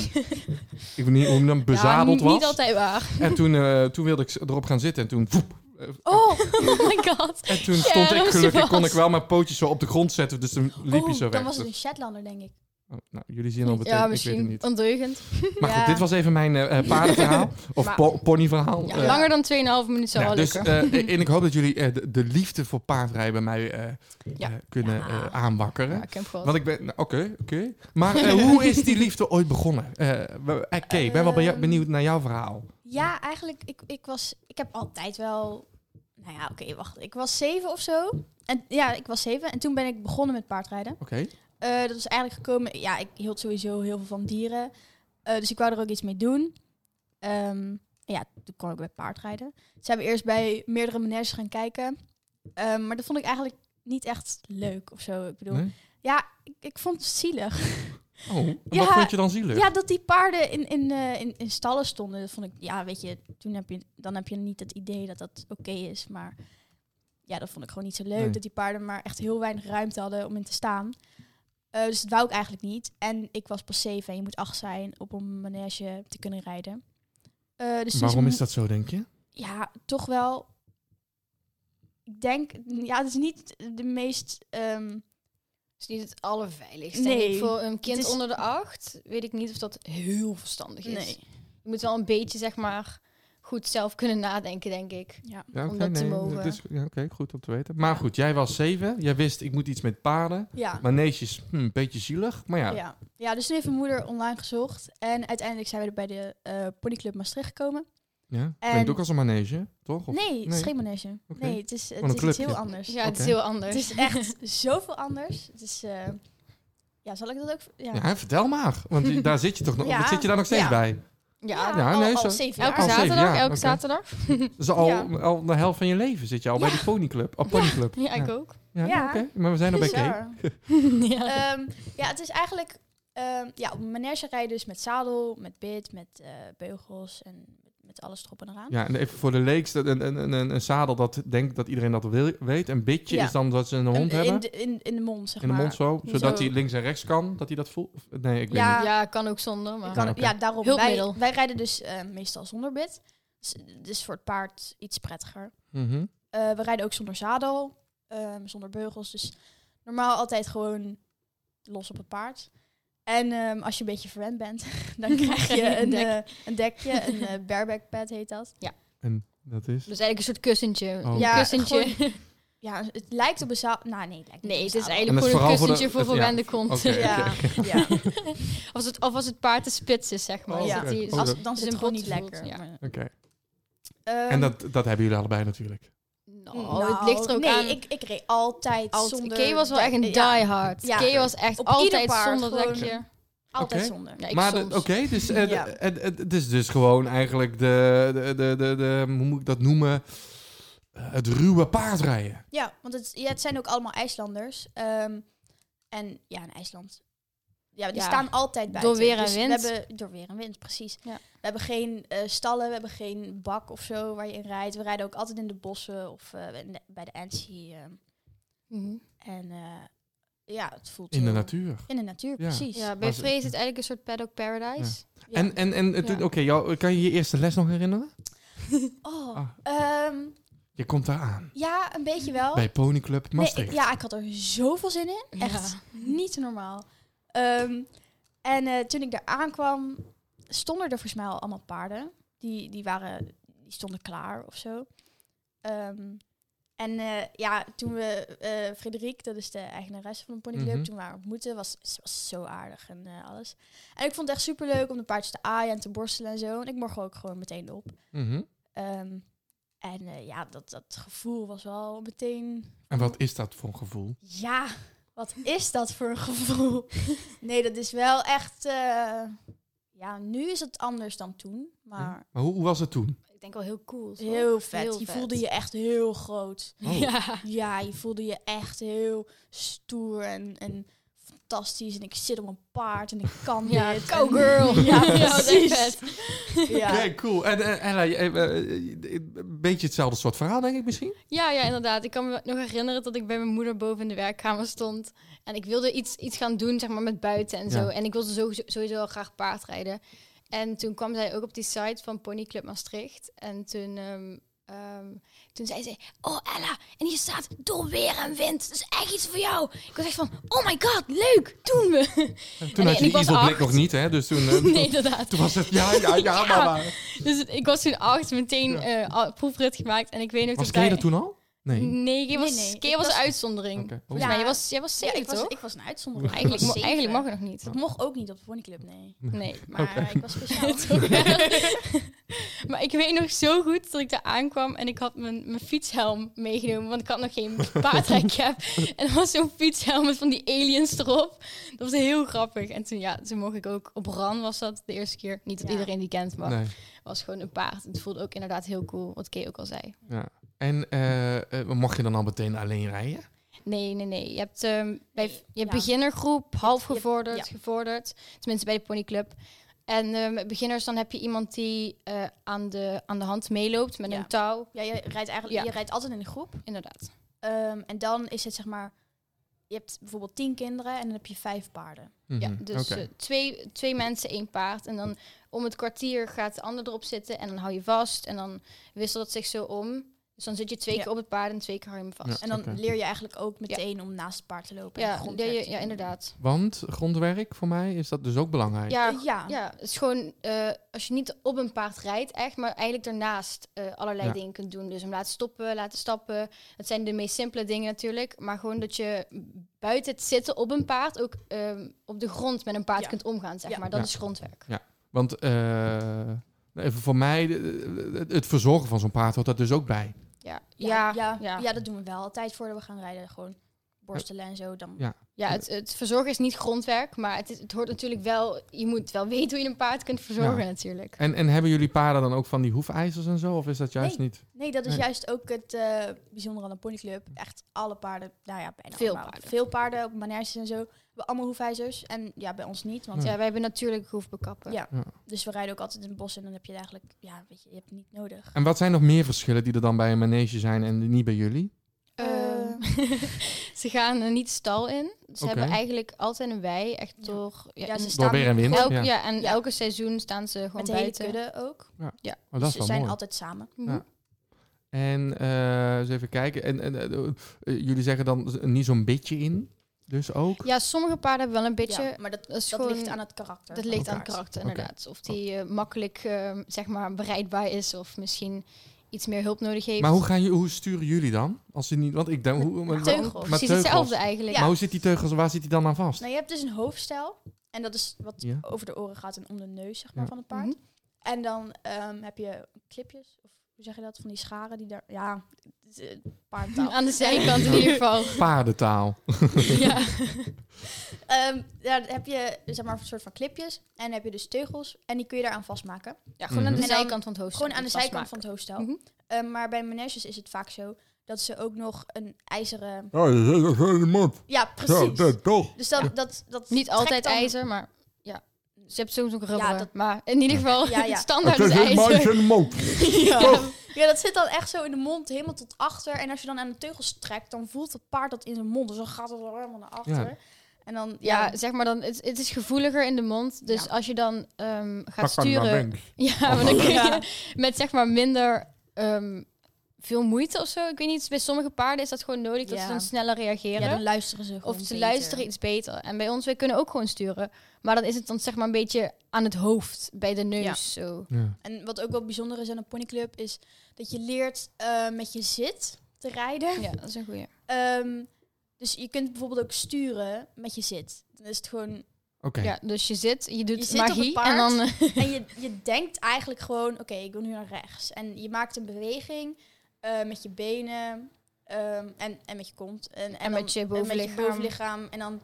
[SPEAKER 1] ik weet niet hoe hij dan
[SPEAKER 8] ja,
[SPEAKER 1] bezadeld
[SPEAKER 8] niet,
[SPEAKER 1] was.
[SPEAKER 8] Niet altijd waar.
[SPEAKER 1] En toen, eh, toen wilde ik erop gaan zitten en toen... voep, eh,
[SPEAKER 8] Oh, oh my god.
[SPEAKER 1] en toen stond ik
[SPEAKER 8] Sharon
[SPEAKER 1] gelukkig,
[SPEAKER 8] Sebas.
[SPEAKER 1] kon ik wel mijn pootjes zo op de grond zetten, dus toen liep hij
[SPEAKER 9] Oh,
[SPEAKER 1] zo
[SPEAKER 9] dan
[SPEAKER 1] weg.
[SPEAKER 9] was het
[SPEAKER 1] Dus-
[SPEAKER 9] een Shetlander, denk ik.
[SPEAKER 1] oh, nou, jullie zien al meteen, ik weet
[SPEAKER 8] ja,
[SPEAKER 1] het
[SPEAKER 8] misschien Oh,
[SPEAKER 1] niet.
[SPEAKER 8] ondeugend.
[SPEAKER 1] Maar goed,
[SPEAKER 9] Ja.
[SPEAKER 1] dit was even mijn eh, eh, paardenverhaal, of
[SPEAKER 9] Maar-
[SPEAKER 1] po- ponyverhaal.
[SPEAKER 8] Ja,
[SPEAKER 1] Eh,
[SPEAKER 8] Langer dan 2,5 minuten zou
[SPEAKER 1] nou,
[SPEAKER 8] wel
[SPEAKER 1] dus,
[SPEAKER 8] lukken.
[SPEAKER 1] eh, en ik hoop dat jullie eh, de, de liefde voor paardrijden bij mij eh,
[SPEAKER 8] Ja.
[SPEAKER 1] eh, kunnen
[SPEAKER 8] Ja.
[SPEAKER 1] eh, aanwakkeren.
[SPEAKER 8] ja, ik heb hem gehad.
[SPEAKER 1] Want ik ben... nou, Oké, oké. Maar eh, hoe is die liefde ooit begonnen? Eh, we- eh, Kay, ik ben wel beja-
[SPEAKER 9] Ehm.
[SPEAKER 1] benieuwd naar jouw verhaal.
[SPEAKER 9] Ja, eigenlijk, ik, ik was, ik heb altijd wel, nou ja, oké, wacht, ik was zeven of zo. En ja, ik was zeven en toen ben ik begonnen met paardrijden.
[SPEAKER 1] Oké.
[SPEAKER 9] Eh, dat is eigenlijk gekomen. Ja, ik hield sowieso heel veel van dieren. Eh, dus ik wou er ook iets mee doen. Ehm, ja, toen kon ik bij paardrijden. Ze hebben eerst bij meerdere meneers gaan kijken. Ehm, maar dat vond ik eigenlijk niet echt leuk of zo. Ik bedoel,
[SPEAKER 1] Nee?
[SPEAKER 9] ja, ik, ik vond het zielig.
[SPEAKER 1] Oh, en
[SPEAKER 9] Ja,
[SPEAKER 1] wat vond je dan zielig?
[SPEAKER 9] Ja, dat die paarden in, in, eh, in, in stallen stonden. Dat vond ik, ja, weet je, toen heb je, dan heb je niet het idee dat dat oké is. Maar ja, dat vond ik gewoon niet zo leuk.
[SPEAKER 1] Nee.
[SPEAKER 9] Dat die paarden maar echt heel weinig ruimte hadden om in te staan. Eh, dus dat wou ik eigenlijk niet. En ik was pas zeven en je moet acht zijn op een manege te kunnen rijden. Eh, dus toen
[SPEAKER 1] Waarom is dat zo, denk je?
[SPEAKER 9] Ja, toch wel. Ik denk, ja, het is niet de meest. ehm,
[SPEAKER 8] Het is niet het allerveiligste.
[SPEAKER 9] Nee.
[SPEAKER 8] Nee. Voor een kind
[SPEAKER 9] Het is-
[SPEAKER 8] onder de acht weet ik niet of dat heel verstandig is.
[SPEAKER 9] Nee.
[SPEAKER 8] Je moet wel een beetje, zeg maar, goed zelf kunnen nadenken, denk ik.
[SPEAKER 9] ja.
[SPEAKER 1] Ja,
[SPEAKER 8] Om
[SPEAKER 1] oké,
[SPEAKER 8] dat te mogen.
[SPEAKER 1] het is- ja, oké, goed om te weten. Maar goed, jij was zeven. Jij wist, ik moet iets met paarden.
[SPEAKER 9] ja.
[SPEAKER 1] Maneesjes, hm, een beetje zielig. Maar ja,
[SPEAKER 9] Ja. ja, dus toen heeft mijn moeder online gezocht. En uiteindelijk zijn we er bij de eh, ponyclub Maastricht gekomen.
[SPEAKER 1] ja.
[SPEAKER 9] En-
[SPEAKER 1] klinkt ook als een manege, toch? Of-
[SPEAKER 9] nee, het
[SPEAKER 1] nee.
[SPEAKER 9] is geen manege.
[SPEAKER 1] Oké.
[SPEAKER 9] Nee, het is, het
[SPEAKER 1] Gewoon
[SPEAKER 9] is
[SPEAKER 1] een
[SPEAKER 9] iets
[SPEAKER 1] clubje.
[SPEAKER 9] heel anders.
[SPEAKER 8] Dus Ja, het is
[SPEAKER 1] Oké.
[SPEAKER 8] heel anders.
[SPEAKER 9] Het is echt zoveel anders. Het is, eh, ja, zal ik dat ook... Ja,
[SPEAKER 1] Ja, vertel maar. Want die- daar zit je toch nog,
[SPEAKER 9] Ja,
[SPEAKER 1] zit je daar nog steeds
[SPEAKER 9] ja.
[SPEAKER 1] bij?
[SPEAKER 8] ja,
[SPEAKER 1] Ja,
[SPEAKER 9] al,
[SPEAKER 1] nee,
[SPEAKER 9] al
[SPEAKER 1] zo-
[SPEAKER 9] zeven
[SPEAKER 8] Elke
[SPEAKER 1] Al
[SPEAKER 9] jaar.
[SPEAKER 1] zeven
[SPEAKER 8] zaterdag,
[SPEAKER 1] jaar,
[SPEAKER 8] elke
[SPEAKER 1] oké.
[SPEAKER 8] zaterdag.
[SPEAKER 1] Dus al,
[SPEAKER 9] Ja.
[SPEAKER 1] al de helft van je leven zit je al bij
[SPEAKER 8] Ja.
[SPEAKER 1] de ponyclub. Oh, ponyclub.
[SPEAKER 8] Ja, ik ook.
[SPEAKER 1] Ja,
[SPEAKER 8] Eh,
[SPEAKER 9] Ja.
[SPEAKER 1] oké. Maar we zijn er bij Kay.
[SPEAKER 9] Bizar.
[SPEAKER 8] Ja.
[SPEAKER 9] Ehm, ja, het is eigenlijk... ehm, ja, op een manege rijden dus met zadel, met bit, met eh, beugels en met alles erop en eraan.
[SPEAKER 1] Ja, en even voor de leeks, dat- een, een, een, een, een zadel dat denkt dat iedereen dat wil, weet. Een bitje
[SPEAKER 9] Ja.
[SPEAKER 1] is dan dat ze een
[SPEAKER 9] En
[SPEAKER 1] hond hebben.
[SPEAKER 9] in, de, in, in de mond, zeg
[SPEAKER 1] in de
[SPEAKER 9] maar.
[SPEAKER 1] mond zo, zodat
[SPEAKER 8] Zo.
[SPEAKER 1] hij links en rechts kan, dat hij dat voelt. Of- Nee, ik weet
[SPEAKER 9] Ja.
[SPEAKER 1] niet.
[SPEAKER 8] ja, kan ook zonder,
[SPEAKER 9] Je
[SPEAKER 8] maar...
[SPEAKER 9] kan-
[SPEAKER 1] oké.
[SPEAKER 9] Ja, daarom.
[SPEAKER 8] Hulpmiddel.
[SPEAKER 9] Wij, wij rijden dus eh, meestal zonder bit. Dus, dus voor het paard iets prettiger.
[SPEAKER 1] Mhm.
[SPEAKER 9] Eh, we rijden ook zonder zadel, ehm, zonder beugels. Dus normaal altijd gewoon los op het paard. En ehm, als je een beetje verwend bent, dan krijg je een,
[SPEAKER 8] Dek.
[SPEAKER 9] eh, een dekje, een eh, bareback pad heet dat.
[SPEAKER 1] En dat is?
[SPEAKER 8] Dus eigenlijk een soort kussentje.
[SPEAKER 1] Oh.
[SPEAKER 8] Een
[SPEAKER 9] Ja,
[SPEAKER 8] kussentje.
[SPEAKER 9] Ja, het lijkt op een zadel. Nou, nee, het lijkt niet
[SPEAKER 8] Nee,
[SPEAKER 9] op
[SPEAKER 8] het
[SPEAKER 9] een
[SPEAKER 8] is
[SPEAKER 9] zadel.
[SPEAKER 8] eigenlijk
[SPEAKER 1] En dat is
[SPEAKER 8] gewoon
[SPEAKER 1] vooral
[SPEAKER 8] een
[SPEAKER 1] voor de-
[SPEAKER 8] kussentje voor,
[SPEAKER 1] het- ja.
[SPEAKER 8] verwende
[SPEAKER 1] Oké.
[SPEAKER 8] kont.
[SPEAKER 9] Ja, ja.
[SPEAKER 8] Of, als het, of als het paard de spits is, zeg maar.
[SPEAKER 1] Oh,
[SPEAKER 8] Is
[SPEAKER 9] ja.
[SPEAKER 8] dat die-
[SPEAKER 1] Oh,
[SPEAKER 9] Als,
[SPEAKER 1] dat-
[SPEAKER 9] dan
[SPEAKER 8] is
[SPEAKER 9] zit
[SPEAKER 8] een
[SPEAKER 9] het gewoon niet
[SPEAKER 8] rotgevoel,
[SPEAKER 9] lekker.
[SPEAKER 8] ja.
[SPEAKER 9] maar-
[SPEAKER 1] Oké.
[SPEAKER 9] Ehm,
[SPEAKER 1] En dat, dat hebben jullie allebei natuurlijk.
[SPEAKER 8] Nou, het ligt er ook
[SPEAKER 9] nee,
[SPEAKER 8] aan.
[SPEAKER 9] Ik, ik reed altijd
[SPEAKER 8] Altijd-
[SPEAKER 9] zonder...
[SPEAKER 8] Kay was wel echt een
[SPEAKER 9] dek- ja,
[SPEAKER 8] diehard.
[SPEAKER 9] Ja.
[SPEAKER 8] Kay was echt
[SPEAKER 9] Op ieder
[SPEAKER 8] altijd
[SPEAKER 9] paard
[SPEAKER 8] zonder
[SPEAKER 9] gewoon.
[SPEAKER 8] dekje.
[SPEAKER 9] altijd
[SPEAKER 1] Oké.
[SPEAKER 9] zonder.
[SPEAKER 8] Ja, ik
[SPEAKER 1] maar de-
[SPEAKER 8] soms.
[SPEAKER 1] oké, dus eh, de-
[SPEAKER 9] Ja.
[SPEAKER 1] het- het- het is dus gewoon eigenlijk de, de, de, de, de- hoe moet ik dat noemen? Eh, Het ruwe paardrijden.
[SPEAKER 9] Ja, want het, ja, het zijn ook allemaal IJslanders. Ehm, en ja, in IJsland. Ja, die
[SPEAKER 8] Ja.
[SPEAKER 9] staan altijd buiten.
[SPEAKER 8] Door weer en
[SPEAKER 9] Dus
[SPEAKER 8] wind.
[SPEAKER 9] We hebben, door weer en wind, precies.
[SPEAKER 8] Ja.
[SPEAKER 9] We hebben geen eh, stallen, we hebben geen bak of zo waar je in rijdt. We rijden ook altijd in de bossen of eh, in de- bij de Annecy. ehm,
[SPEAKER 8] Mhm.
[SPEAKER 9] en eh, ja, het voelt
[SPEAKER 1] In de
[SPEAKER 9] heel-
[SPEAKER 1] natuur.
[SPEAKER 9] In de natuur, precies.
[SPEAKER 8] Ja, bij
[SPEAKER 1] Maar ze-
[SPEAKER 8] Vrees is het eigenlijk een soort paddock paradise.
[SPEAKER 9] Ja.
[SPEAKER 1] En, en, en eh, toen-
[SPEAKER 9] Ja.
[SPEAKER 1] oké, jou- kan je je eerste les nog herinneren?
[SPEAKER 9] Oh,
[SPEAKER 1] Ah.
[SPEAKER 9] ehm,
[SPEAKER 1] Je komt daar aan.
[SPEAKER 9] Ja, een beetje
[SPEAKER 8] Oh.
[SPEAKER 9] wel.
[SPEAKER 1] Bij Ponyclub
[SPEAKER 9] Nee, ik-
[SPEAKER 1] Maastricht.
[SPEAKER 9] ja, ik had er zoveel zin in. Echt niet normaal. Ehm, en eh, toen ik daar aankwam, stonden er volgens mij al allemaal paarden. Die, die, waren, die stonden klaar of zo. Ehm, en eh, ja, toen we eh Frederik, dat is de eigenaresse van de ponyclub,
[SPEAKER 1] Mhm.
[SPEAKER 9] toen we haar ontmoetten, was, ze was zo aardig en eh, alles. En ik vond het echt superleuk om de paardjes te aaien en te borstelen en zo. En ik morgen ook gewoon meteen op.
[SPEAKER 1] Mhm.
[SPEAKER 9] Ehm, en eh, ja, dat, dat gevoel was wel meteen
[SPEAKER 1] En wat is dat voor een gevoel?
[SPEAKER 9] ja, wat is dat voor een gevoel? nee, dat is wel echt. eh, ja, nu is het anders dan toen. Maar
[SPEAKER 1] Maar hoe, hoe was het toen?
[SPEAKER 8] Ik denk wel heel cool. toch?
[SPEAKER 9] heel vet.
[SPEAKER 8] Heel
[SPEAKER 9] je
[SPEAKER 8] Hm, vet.
[SPEAKER 9] voelde je echt heel groot.
[SPEAKER 1] Oh.
[SPEAKER 8] Ja.
[SPEAKER 9] Ja, je voelde je echt heel stoer en, en fantastisch. En ik zit op een paard en ik kan
[SPEAKER 8] Ja,
[SPEAKER 9] dit.
[SPEAKER 8] go girl.
[SPEAKER 9] Ja,
[SPEAKER 8] Ja, dat is echt
[SPEAKER 9] precies. Ja.
[SPEAKER 1] Oké, cool. En eh, Ella, je- eh, eh, een beetje hetzelfde soort verhaal, denk ik misschien?
[SPEAKER 8] Ja, ja, inderdaad. Ik kan me nog herinneren dat ik bij mijn moeder boven in de werkkamer stond. En ik wilde iets, iets gaan doen, zeg maar, met buiten en zo.
[SPEAKER 1] Ja.
[SPEAKER 8] En ik wilde sowieso, sowieso al graag paardrijden. En toen kwam zij ook op die site van Pony Club Maastricht. En toen, ehm, ehm, toen zei ze, oh Ella, en hier staat door weer en wind. Dat is echt iets voor jou. Ik was echt van, oh my god, leuk, doen we.
[SPEAKER 1] Toen
[SPEAKER 8] en
[SPEAKER 1] had
[SPEAKER 8] ik
[SPEAKER 1] je die
[SPEAKER 8] was
[SPEAKER 1] evil blik
[SPEAKER 8] acht.
[SPEAKER 1] nog niet, hè? Dus toen, eh,
[SPEAKER 8] nee, inderdaad.
[SPEAKER 1] toen was het, ja, ja, ja,
[SPEAKER 8] Ja.
[SPEAKER 1] mama.
[SPEAKER 8] Dus ik was toen acht, meteen
[SPEAKER 1] Ja.
[SPEAKER 8] eh, al- proefrit gemaakt. En ik weet nog
[SPEAKER 1] Was
[SPEAKER 8] dat
[SPEAKER 1] Kay er toen al? Nee.
[SPEAKER 8] Nee, je was,
[SPEAKER 9] Nee, nee,
[SPEAKER 8] Kay
[SPEAKER 9] ik
[SPEAKER 8] was,
[SPEAKER 9] was-
[SPEAKER 8] een uitzondering.
[SPEAKER 1] Oké. Oh.
[SPEAKER 8] Volgens mij,
[SPEAKER 9] Ja.
[SPEAKER 8] jij was, jij was
[SPEAKER 9] Ja,
[SPEAKER 8] zeker,
[SPEAKER 9] ik, was,
[SPEAKER 8] toch?
[SPEAKER 9] ik was een uitzondering.
[SPEAKER 8] Eigenlijk, mo-
[SPEAKER 9] Zeven.
[SPEAKER 8] eigenlijk mag het nog niet.
[SPEAKER 9] Dat mocht ook niet op de ponyclub, nee.
[SPEAKER 8] Nee.
[SPEAKER 9] Maar eh, ik was speciaal.
[SPEAKER 8] maar ik weet nog zo goed dat ik daar aankwam en ik had mijn, mijn fietshelm meegenomen, want ik had nog geen paardrijcap. en er was zo'n fietshelm met van die aliens erop. Dat was heel grappig. En toen, ja, toen mocht ik ook op RAN was dat de eerste keer. Niet dat
[SPEAKER 9] Ja.
[SPEAKER 8] iedereen die kent, maar
[SPEAKER 1] Nee.
[SPEAKER 8] was gewoon een paard. Het voelde ook inderdaad heel cool, wat Kay ook al zei.
[SPEAKER 1] En eh, eh, mocht je dan al meteen alleen rijden?
[SPEAKER 8] Nee, nee, nee. Je hebt, ehm, bij,
[SPEAKER 9] Nee,
[SPEAKER 8] je hebt
[SPEAKER 9] ja.
[SPEAKER 8] beginnergroep, half
[SPEAKER 9] je hebt-
[SPEAKER 8] gevorderd,
[SPEAKER 9] ja.
[SPEAKER 8] gevorderd. Tenminste bij de ponyclub. En ehm, beginners, dan heb je iemand die eh, aan, de, aan de hand meeloopt met
[SPEAKER 9] Ja.
[SPEAKER 8] een touw.
[SPEAKER 9] Ja, je rijdt, eigenlijk,
[SPEAKER 8] Ja.
[SPEAKER 9] je rijdt altijd in een groep.
[SPEAKER 8] Inderdaad.
[SPEAKER 9] Ehm, en dan is het zeg maar, je hebt bijvoorbeeld tien kinderen en dan heb je vijf paarden.
[SPEAKER 1] Mhm.
[SPEAKER 8] Ja, dus
[SPEAKER 1] Oké.
[SPEAKER 8] eh, twee, twee mensen, één paard. En dan om het kwartier gaat de ander erop zitten en dan hou je vast. En dan wisselt het zich zo om. Dus dan zit je twee
[SPEAKER 9] Ja.
[SPEAKER 8] keer op het paard en twee keer hou je hem vast.
[SPEAKER 9] En dan
[SPEAKER 1] Oké.
[SPEAKER 9] leer je eigenlijk ook meteen om naast het paard te lopen. en
[SPEAKER 8] Ja, ja,
[SPEAKER 9] grondwerk
[SPEAKER 8] ja,
[SPEAKER 9] te doen.
[SPEAKER 8] inderdaad.
[SPEAKER 1] Want grondwerk voor mij is dat dus ook belangrijk.
[SPEAKER 8] Ja,
[SPEAKER 9] Eh, Ja,
[SPEAKER 8] Ja, het is gewoon eh, als je niet op een paard rijdt, echt, maar eigenlijk daarnaast eh, allerlei
[SPEAKER 1] Ja.
[SPEAKER 8] dingen kunt doen. Dus hem laten stoppen, laten stappen. Dat zijn de meest simpele dingen natuurlijk. Maar gewoon dat je buiten het zitten op een paard ook ehm, op de grond met een paard
[SPEAKER 9] Ja.
[SPEAKER 8] kunt omgaan, zeg
[SPEAKER 9] Ja.
[SPEAKER 8] maar. Dat
[SPEAKER 1] Ja.
[SPEAKER 8] is grondwerk.
[SPEAKER 1] Want eh, even voor mij, eh, het verzorgen van zo'n paard hoort dat dus ook bij.
[SPEAKER 8] Ja,
[SPEAKER 9] ja,
[SPEAKER 8] ja,
[SPEAKER 9] ja,
[SPEAKER 8] ja.
[SPEAKER 9] ja, dat doen we wel altijd voordat we gaan rijden. Gewoon borstelen en zo. Dan,
[SPEAKER 1] Ja.
[SPEAKER 8] Ja, het, het verzorgen is niet grondwerk, maar het, is, het hoort natuurlijk wel... Je moet wel weten hoe je een paard kunt verzorgen natuurlijk.
[SPEAKER 1] En, en hebben jullie paarden dan ook van die hoefijzers en zo? Of is dat juist
[SPEAKER 9] Nee.
[SPEAKER 1] niet?
[SPEAKER 9] Nee, dat is
[SPEAKER 1] Nee.
[SPEAKER 9] juist ook het eh bijzondere aan de ponyclub. Echt alle paarden, nou ja, bijna
[SPEAKER 8] Veel
[SPEAKER 9] allemaal.
[SPEAKER 8] paarden.
[SPEAKER 9] Veel paarden op maniertjes en zo. We allemaal hoefijzers. En ja, bij ons niet. Want
[SPEAKER 8] Ja, wij hebben natuurlijk hoefbekappen.
[SPEAKER 9] Ja.
[SPEAKER 1] Ja.
[SPEAKER 9] Dus we rijden ook altijd in het bos en dan heb je het eigenlijk, ja, weet je, je hebt het niet nodig.
[SPEAKER 1] En wat zijn nog meer verschillen die er dan bij een manege zijn en die niet bij jullie?
[SPEAKER 8] Ehm, ze gaan er niet stal in. Ze
[SPEAKER 1] Oké.
[SPEAKER 8] hebben eigenlijk altijd een wei, echt
[SPEAKER 9] Ja.
[SPEAKER 8] door... Ja,
[SPEAKER 9] Ja, ze
[SPEAKER 8] en-
[SPEAKER 9] staan
[SPEAKER 1] Door weer en wind.
[SPEAKER 8] Elk, ja.
[SPEAKER 1] ja.
[SPEAKER 8] en
[SPEAKER 9] Ja.
[SPEAKER 8] elke seizoen staan ze gewoon
[SPEAKER 9] met de hele
[SPEAKER 8] buiten.
[SPEAKER 9] kudde ook.
[SPEAKER 1] Oh, dat
[SPEAKER 9] Dus
[SPEAKER 1] is
[SPEAKER 9] ze
[SPEAKER 1] wel
[SPEAKER 9] zijn
[SPEAKER 1] mooi.
[SPEAKER 9] altijd samen.
[SPEAKER 8] Mhm.
[SPEAKER 1] Ja. En eh, eens even kijken. En, en eh, eh, jullie zeggen dan z- niet zo'n beetje in, dus ook?
[SPEAKER 8] Ja, sommige paarden hebben wel een beetje...
[SPEAKER 9] Ja, maar dat,
[SPEAKER 8] dat is
[SPEAKER 9] dat
[SPEAKER 8] gewoon,
[SPEAKER 9] ligt aan het karakter.
[SPEAKER 8] dat
[SPEAKER 9] van
[SPEAKER 8] ligt aan
[SPEAKER 9] het
[SPEAKER 8] het
[SPEAKER 9] paard.
[SPEAKER 8] karakter,
[SPEAKER 1] Oké.
[SPEAKER 8] inderdaad. Of die eh, makkelijk eh, zeg maar bereidbaar is of misschien iets meer hulp nodig heeft.
[SPEAKER 1] Maar hoe, gaan jullie, hoe sturen jullie dan? Als ze niet, want ik denk... Hoe, maar-
[SPEAKER 9] teugels.
[SPEAKER 1] maar
[SPEAKER 8] Precies
[SPEAKER 1] teugels.
[SPEAKER 8] hetzelfde eigenlijk.
[SPEAKER 1] Maar hoe zit die teugels, waar zit die dan aan vast?
[SPEAKER 9] Nou, je hebt dus een hoofdstijl. En dat is wat
[SPEAKER 1] Ja.
[SPEAKER 9] over de oren gaat en om de neus, zeg maar,
[SPEAKER 1] Ja. Mhm.
[SPEAKER 9] van het paard. En dan ehm, heb je clipjes, of hoe zeg je dat, van die scharen die daar... Ja, het is, eh, paardentaal.
[SPEAKER 8] Aan de zijkant in ieder geval.
[SPEAKER 1] Paardentaal.
[SPEAKER 8] ja.
[SPEAKER 9] Ehm, ja, dan heb je, zeg maar, een soort van clipjes. En dan heb je dus teugels. En die kun je daaraan vastmaken.
[SPEAKER 8] ja, gewoon aan de
[SPEAKER 9] Mhm.
[SPEAKER 8] zijkant van het hoofd.
[SPEAKER 9] Gewoon aan de zijkant van het hoofdstel.
[SPEAKER 8] Mhm.
[SPEAKER 9] Ehm, maar bij meneges is het vaak zo dat ze ook nog een ijzeren...
[SPEAKER 1] Ja, dat is
[SPEAKER 9] Ja, precies.
[SPEAKER 1] toch.
[SPEAKER 9] Dus dat, dat, dat
[SPEAKER 8] Niet
[SPEAKER 9] trekt
[SPEAKER 8] altijd
[SPEAKER 9] dan-
[SPEAKER 8] ijzer, maar ja. Ze hebben soms ook rubber.
[SPEAKER 9] dat-
[SPEAKER 8] Maar in ieder geval,
[SPEAKER 9] Ja, ja.
[SPEAKER 8] standaard is ijzer.
[SPEAKER 1] de mond.
[SPEAKER 9] Ja. ja, dat zit dan echt zo in de mond, helemaal tot achter. En als je dan aan de teugels trekt, dan voelt het paard dat in zijn mond. Dus dan gaat het wel helemaal naar achter.
[SPEAKER 1] Ja.
[SPEAKER 9] En dan, ja,
[SPEAKER 8] Ja, zeg maar dan, het, het is gevoeliger in de mond. Dus
[SPEAKER 9] Ja.
[SPEAKER 8] als je dan ehm, gaat sturen... Ja, maar dan kun je
[SPEAKER 9] Ja.
[SPEAKER 8] met zeg maar minder ehm, veel moeite of zo. Ik weet niet, bij sommige paarden is dat gewoon nodig dat ze
[SPEAKER 9] Ja.
[SPEAKER 8] dan sneller reageren.
[SPEAKER 9] Ja, dan luisteren ze gewoon
[SPEAKER 8] of ze
[SPEAKER 9] beter.
[SPEAKER 8] luisteren iets beter. En bij ons, wij kunnen ook gewoon sturen. Maar dan is het dan zeg maar een beetje aan het hoofd, bij de neus.
[SPEAKER 9] Ja.
[SPEAKER 8] Zo.
[SPEAKER 1] Ja.
[SPEAKER 9] En wat ook wel bijzonder is aan een ponyclub is dat je leert eh, met je zit te rijden.
[SPEAKER 8] ja, dat is een goeie.
[SPEAKER 9] Ehm, dus je kunt bijvoorbeeld ook sturen met je zit. Dan is het gewoon
[SPEAKER 1] Oké.
[SPEAKER 8] Ja, dus je zit, je doet
[SPEAKER 9] Je zit op
[SPEAKER 8] magie
[SPEAKER 9] het paard.
[SPEAKER 8] en dan... eh,
[SPEAKER 9] En je, je denkt eigenlijk gewoon, oké, ik wil nu naar rechts. En je maakt een beweging eh, met je benen ehm, en, en met je kont. En, en, dan-
[SPEAKER 8] met je
[SPEAKER 9] en
[SPEAKER 8] bovenlichaam.
[SPEAKER 9] bovenlichaam. En dan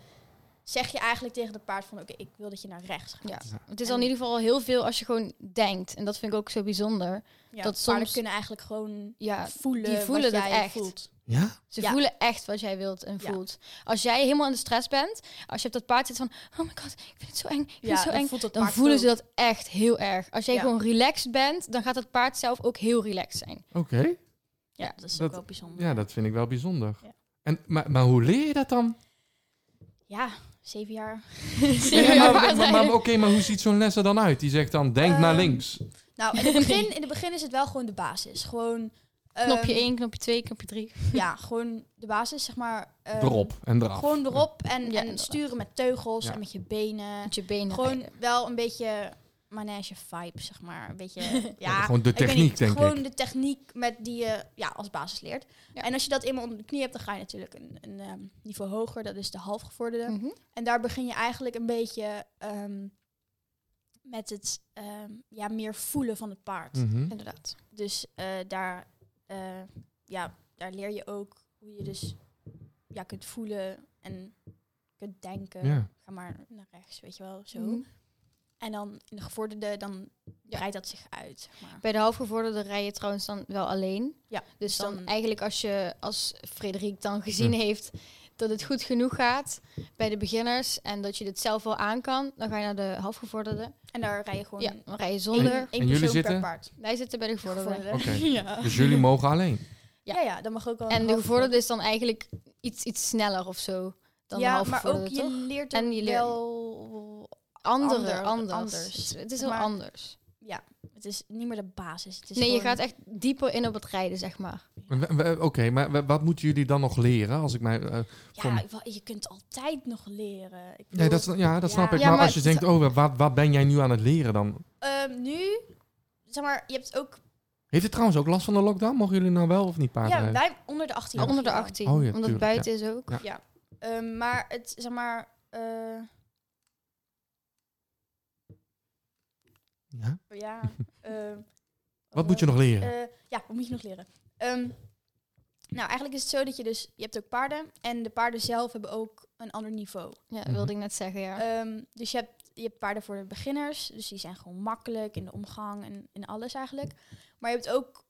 [SPEAKER 9] zeg je eigenlijk tegen de paard van, oké, ik wil dat je naar rechts gaat.
[SPEAKER 8] Ja. Het is al in ieder geval heel veel als je gewoon denkt. En dat vind ik ook zo bijzonder.
[SPEAKER 9] Ja,
[SPEAKER 8] Dat
[SPEAKER 9] paarden
[SPEAKER 8] soms-
[SPEAKER 9] kunnen eigenlijk gewoon
[SPEAKER 8] Ja,
[SPEAKER 9] voelen
[SPEAKER 8] die voelen
[SPEAKER 9] wat
[SPEAKER 8] dat
[SPEAKER 9] jij
[SPEAKER 8] echt.
[SPEAKER 9] voelt.
[SPEAKER 1] Ja?
[SPEAKER 8] Ze
[SPEAKER 9] Ja.
[SPEAKER 8] voelen echt wat jij wilt en
[SPEAKER 9] Ja.
[SPEAKER 8] voelt. Als jij helemaal in de stress bent, als je op dat paard zit van, oh my god, ik vind het zo eng, ik vind
[SPEAKER 9] Ja,
[SPEAKER 8] het zo
[SPEAKER 9] dan
[SPEAKER 8] eng,
[SPEAKER 9] voelt dat
[SPEAKER 8] dan
[SPEAKER 9] paard
[SPEAKER 8] voelen
[SPEAKER 9] ook.
[SPEAKER 8] ze dat echt heel erg. Als jij
[SPEAKER 9] Ja.
[SPEAKER 8] gewoon relaxed bent, dan gaat het paard zelf ook heel relaxed zijn.
[SPEAKER 1] Oké.
[SPEAKER 9] Ja, dat is
[SPEAKER 1] Dat-
[SPEAKER 9] ook wel bijzonder.
[SPEAKER 1] Ja, dat vind ik wel bijzonder.
[SPEAKER 9] Ja.
[SPEAKER 1] En, maar, maar hoe leer je dat dan?
[SPEAKER 9] Ja, zeven jaar.
[SPEAKER 1] Ja, maar, maar,
[SPEAKER 8] paardrijden.
[SPEAKER 1] maar- maar- Oké, maar hoe ziet zo'n les er dan uit? Die zegt dan, denk naar
[SPEAKER 9] Ehm,
[SPEAKER 1] links.
[SPEAKER 9] Nou, in het, begin, in het begin is het wel gewoon de basis. Gewoon... ehm,
[SPEAKER 8] Knopje 1, knopje 2, knopje 3.
[SPEAKER 9] Ja, gewoon de basis, zeg maar. ehm,
[SPEAKER 1] Erop en eraf.
[SPEAKER 9] Gewoon erop en,
[SPEAKER 8] Ja,
[SPEAKER 9] en
[SPEAKER 8] inderdaad.
[SPEAKER 9] sturen met teugels
[SPEAKER 1] Ja.
[SPEAKER 9] en met je benen.
[SPEAKER 8] Met je benen.
[SPEAKER 9] Gewoon
[SPEAKER 8] rijden.
[SPEAKER 9] wel een beetje manege vibe, zeg maar. Een beetje,
[SPEAKER 1] Ja,
[SPEAKER 9] ja,
[SPEAKER 1] gewoon de
[SPEAKER 9] ik weet
[SPEAKER 1] techniek,
[SPEAKER 9] niet,
[SPEAKER 1] denk
[SPEAKER 9] gewoon
[SPEAKER 1] ik.
[SPEAKER 9] de techniek met die je ja, als basis leert.
[SPEAKER 8] Ja.
[SPEAKER 9] En als je dat eenmaal onder de knie hebt, dan ga je natuurlijk een, een ehm, niveau hoger. Dat is de halfgevorderde.
[SPEAKER 8] Mhm.
[SPEAKER 9] En daar begin je eigenlijk een beetje ehm, met het ehm, ja, meer voelen van het paard.
[SPEAKER 1] Mhm.
[SPEAKER 8] Inderdaad.
[SPEAKER 9] Dus eh, daar, eh, ja, daar leer je ook hoe je dus ja, kunt voelen en kunt denken.
[SPEAKER 1] Ja.
[SPEAKER 9] Ga maar naar rechts, weet je wel, zo.
[SPEAKER 8] Mhm.
[SPEAKER 9] En dan in de gevorderde, dan breidt dat zich uit, zeg maar.
[SPEAKER 8] Bij de halfgevorderde rij je trouwens dan wel alleen.
[SPEAKER 9] Ja,
[SPEAKER 8] Dus dan,
[SPEAKER 9] dan-
[SPEAKER 8] eigenlijk als je als Frederik dan gezien heeft dat het goed genoeg gaat bij de beginners en dat je dit zelf wel aan kan, dan ga je naar de halfgevorderde.
[SPEAKER 9] En daar rij je gewoon
[SPEAKER 8] Ja, dan rij je
[SPEAKER 1] En-
[SPEAKER 8] zonder.
[SPEAKER 1] en
[SPEAKER 9] één
[SPEAKER 1] jullie
[SPEAKER 9] persoon per
[SPEAKER 1] zitten?
[SPEAKER 9] paard.
[SPEAKER 8] Wij zitten bij de gevorderde.
[SPEAKER 9] Gevorderde.
[SPEAKER 1] Oké.
[SPEAKER 9] ja.
[SPEAKER 1] Dus jullie mogen alleen.
[SPEAKER 9] Ja, ja, dan mag ook wel.
[SPEAKER 8] En
[SPEAKER 9] een
[SPEAKER 8] de
[SPEAKER 9] halve
[SPEAKER 8] gevorderde is dan eigenlijk iets, iets sneller of zo dan de
[SPEAKER 9] Ja, maar ook
[SPEAKER 8] halfgevorderde,
[SPEAKER 9] je
[SPEAKER 8] toch?
[SPEAKER 9] leert
[SPEAKER 8] En
[SPEAKER 9] ook
[SPEAKER 8] je leert-
[SPEAKER 9] wel...
[SPEAKER 8] Andere,
[SPEAKER 9] ander-
[SPEAKER 8] anders.
[SPEAKER 9] anders.
[SPEAKER 8] Het is- Het is
[SPEAKER 9] Zeg
[SPEAKER 8] heel
[SPEAKER 9] maar,
[SPEAKER 8] anders.
[SPEAKER 9] Het is niet meer de basis. Het is
[SPEAKER 8] Nee, je
[SPEAKER 9] gewoon-
[SPEAKER 8] gaat echt dieper in op het rijden, zeg maar.
[SPEAKER 1] W- w- Oké, maar w- wat moeten jullie dan nog leren? Als ik mij, eh,
[SPEAKER 9] Ja,
[SPEAKER 1] Kom.
[SPEAKER 9] ik wou- je kunt altijd nog leren. Ik
[SPEAKER 1] nee,
[SPEAKER 9] bedoel,
[SPEAKER 1] dat, sna- ja, dat
[SPEAKER 9] Ja.
[SPEAKER 1] snap ik.
[SPEAKER 8] Ja,
[SPEAKER 1] maar,
[SPEAKER 8] maar
[SPEAKER 1] als je
[SPEAKER 8] het-
[SPEAKER 1] denkt, oh, wat, wat ben jij nu aan het leren dan?
[SPEAKER 9] ehm, nu, zeg maar, je hebt ook...
[SPEAKER 1] Heeft het trouwens ook last van de lockdown? Mogen jullie nou wel of niet
[SPEAKER 9] Ja,
[SPEAKER 1] paardrijden?
[SPEAKER 9] wij onder de 18.
[SPEAKER 8] Onder de
[SPEAKER 9] ja.
[SPEAKER 8] 18.
[SPEAKER 1] Oh ja,
[SPEAKER 8] omdat
[SPEAKER 1] tuurlijk,
[SPEAKER 8] buiten is ook.
[SPEAKER 1] Ja.
[SPEAKER 9] Ja. Ehm, maar het, zeg maar... eh,
[SPEAKER 1] Ja?
[SPEAKER 9] oh ja, ehm,
[SPEAKER 1] Wat moet je nog leren?
[SPEAKER 9] Eh, ja, wat moet je nog leren? Ehm, nou, eigenlijk is het zo dat je dus... Je hebt ook paarden. En de paarden zelf hebben ook een ander niveau.
[SPEAKER 8] Ja,
[SPEAKER 1] Mhm.
[SPEAKER 8] wilde ik net zeggen, ja.
[SPEAKER 9] Ehm, dus je hebt, je hebt paarden voor de beginners. Dus die zijn gewoon makkelijk in de omgang en in alles eigenlijk. Maar je hebt ook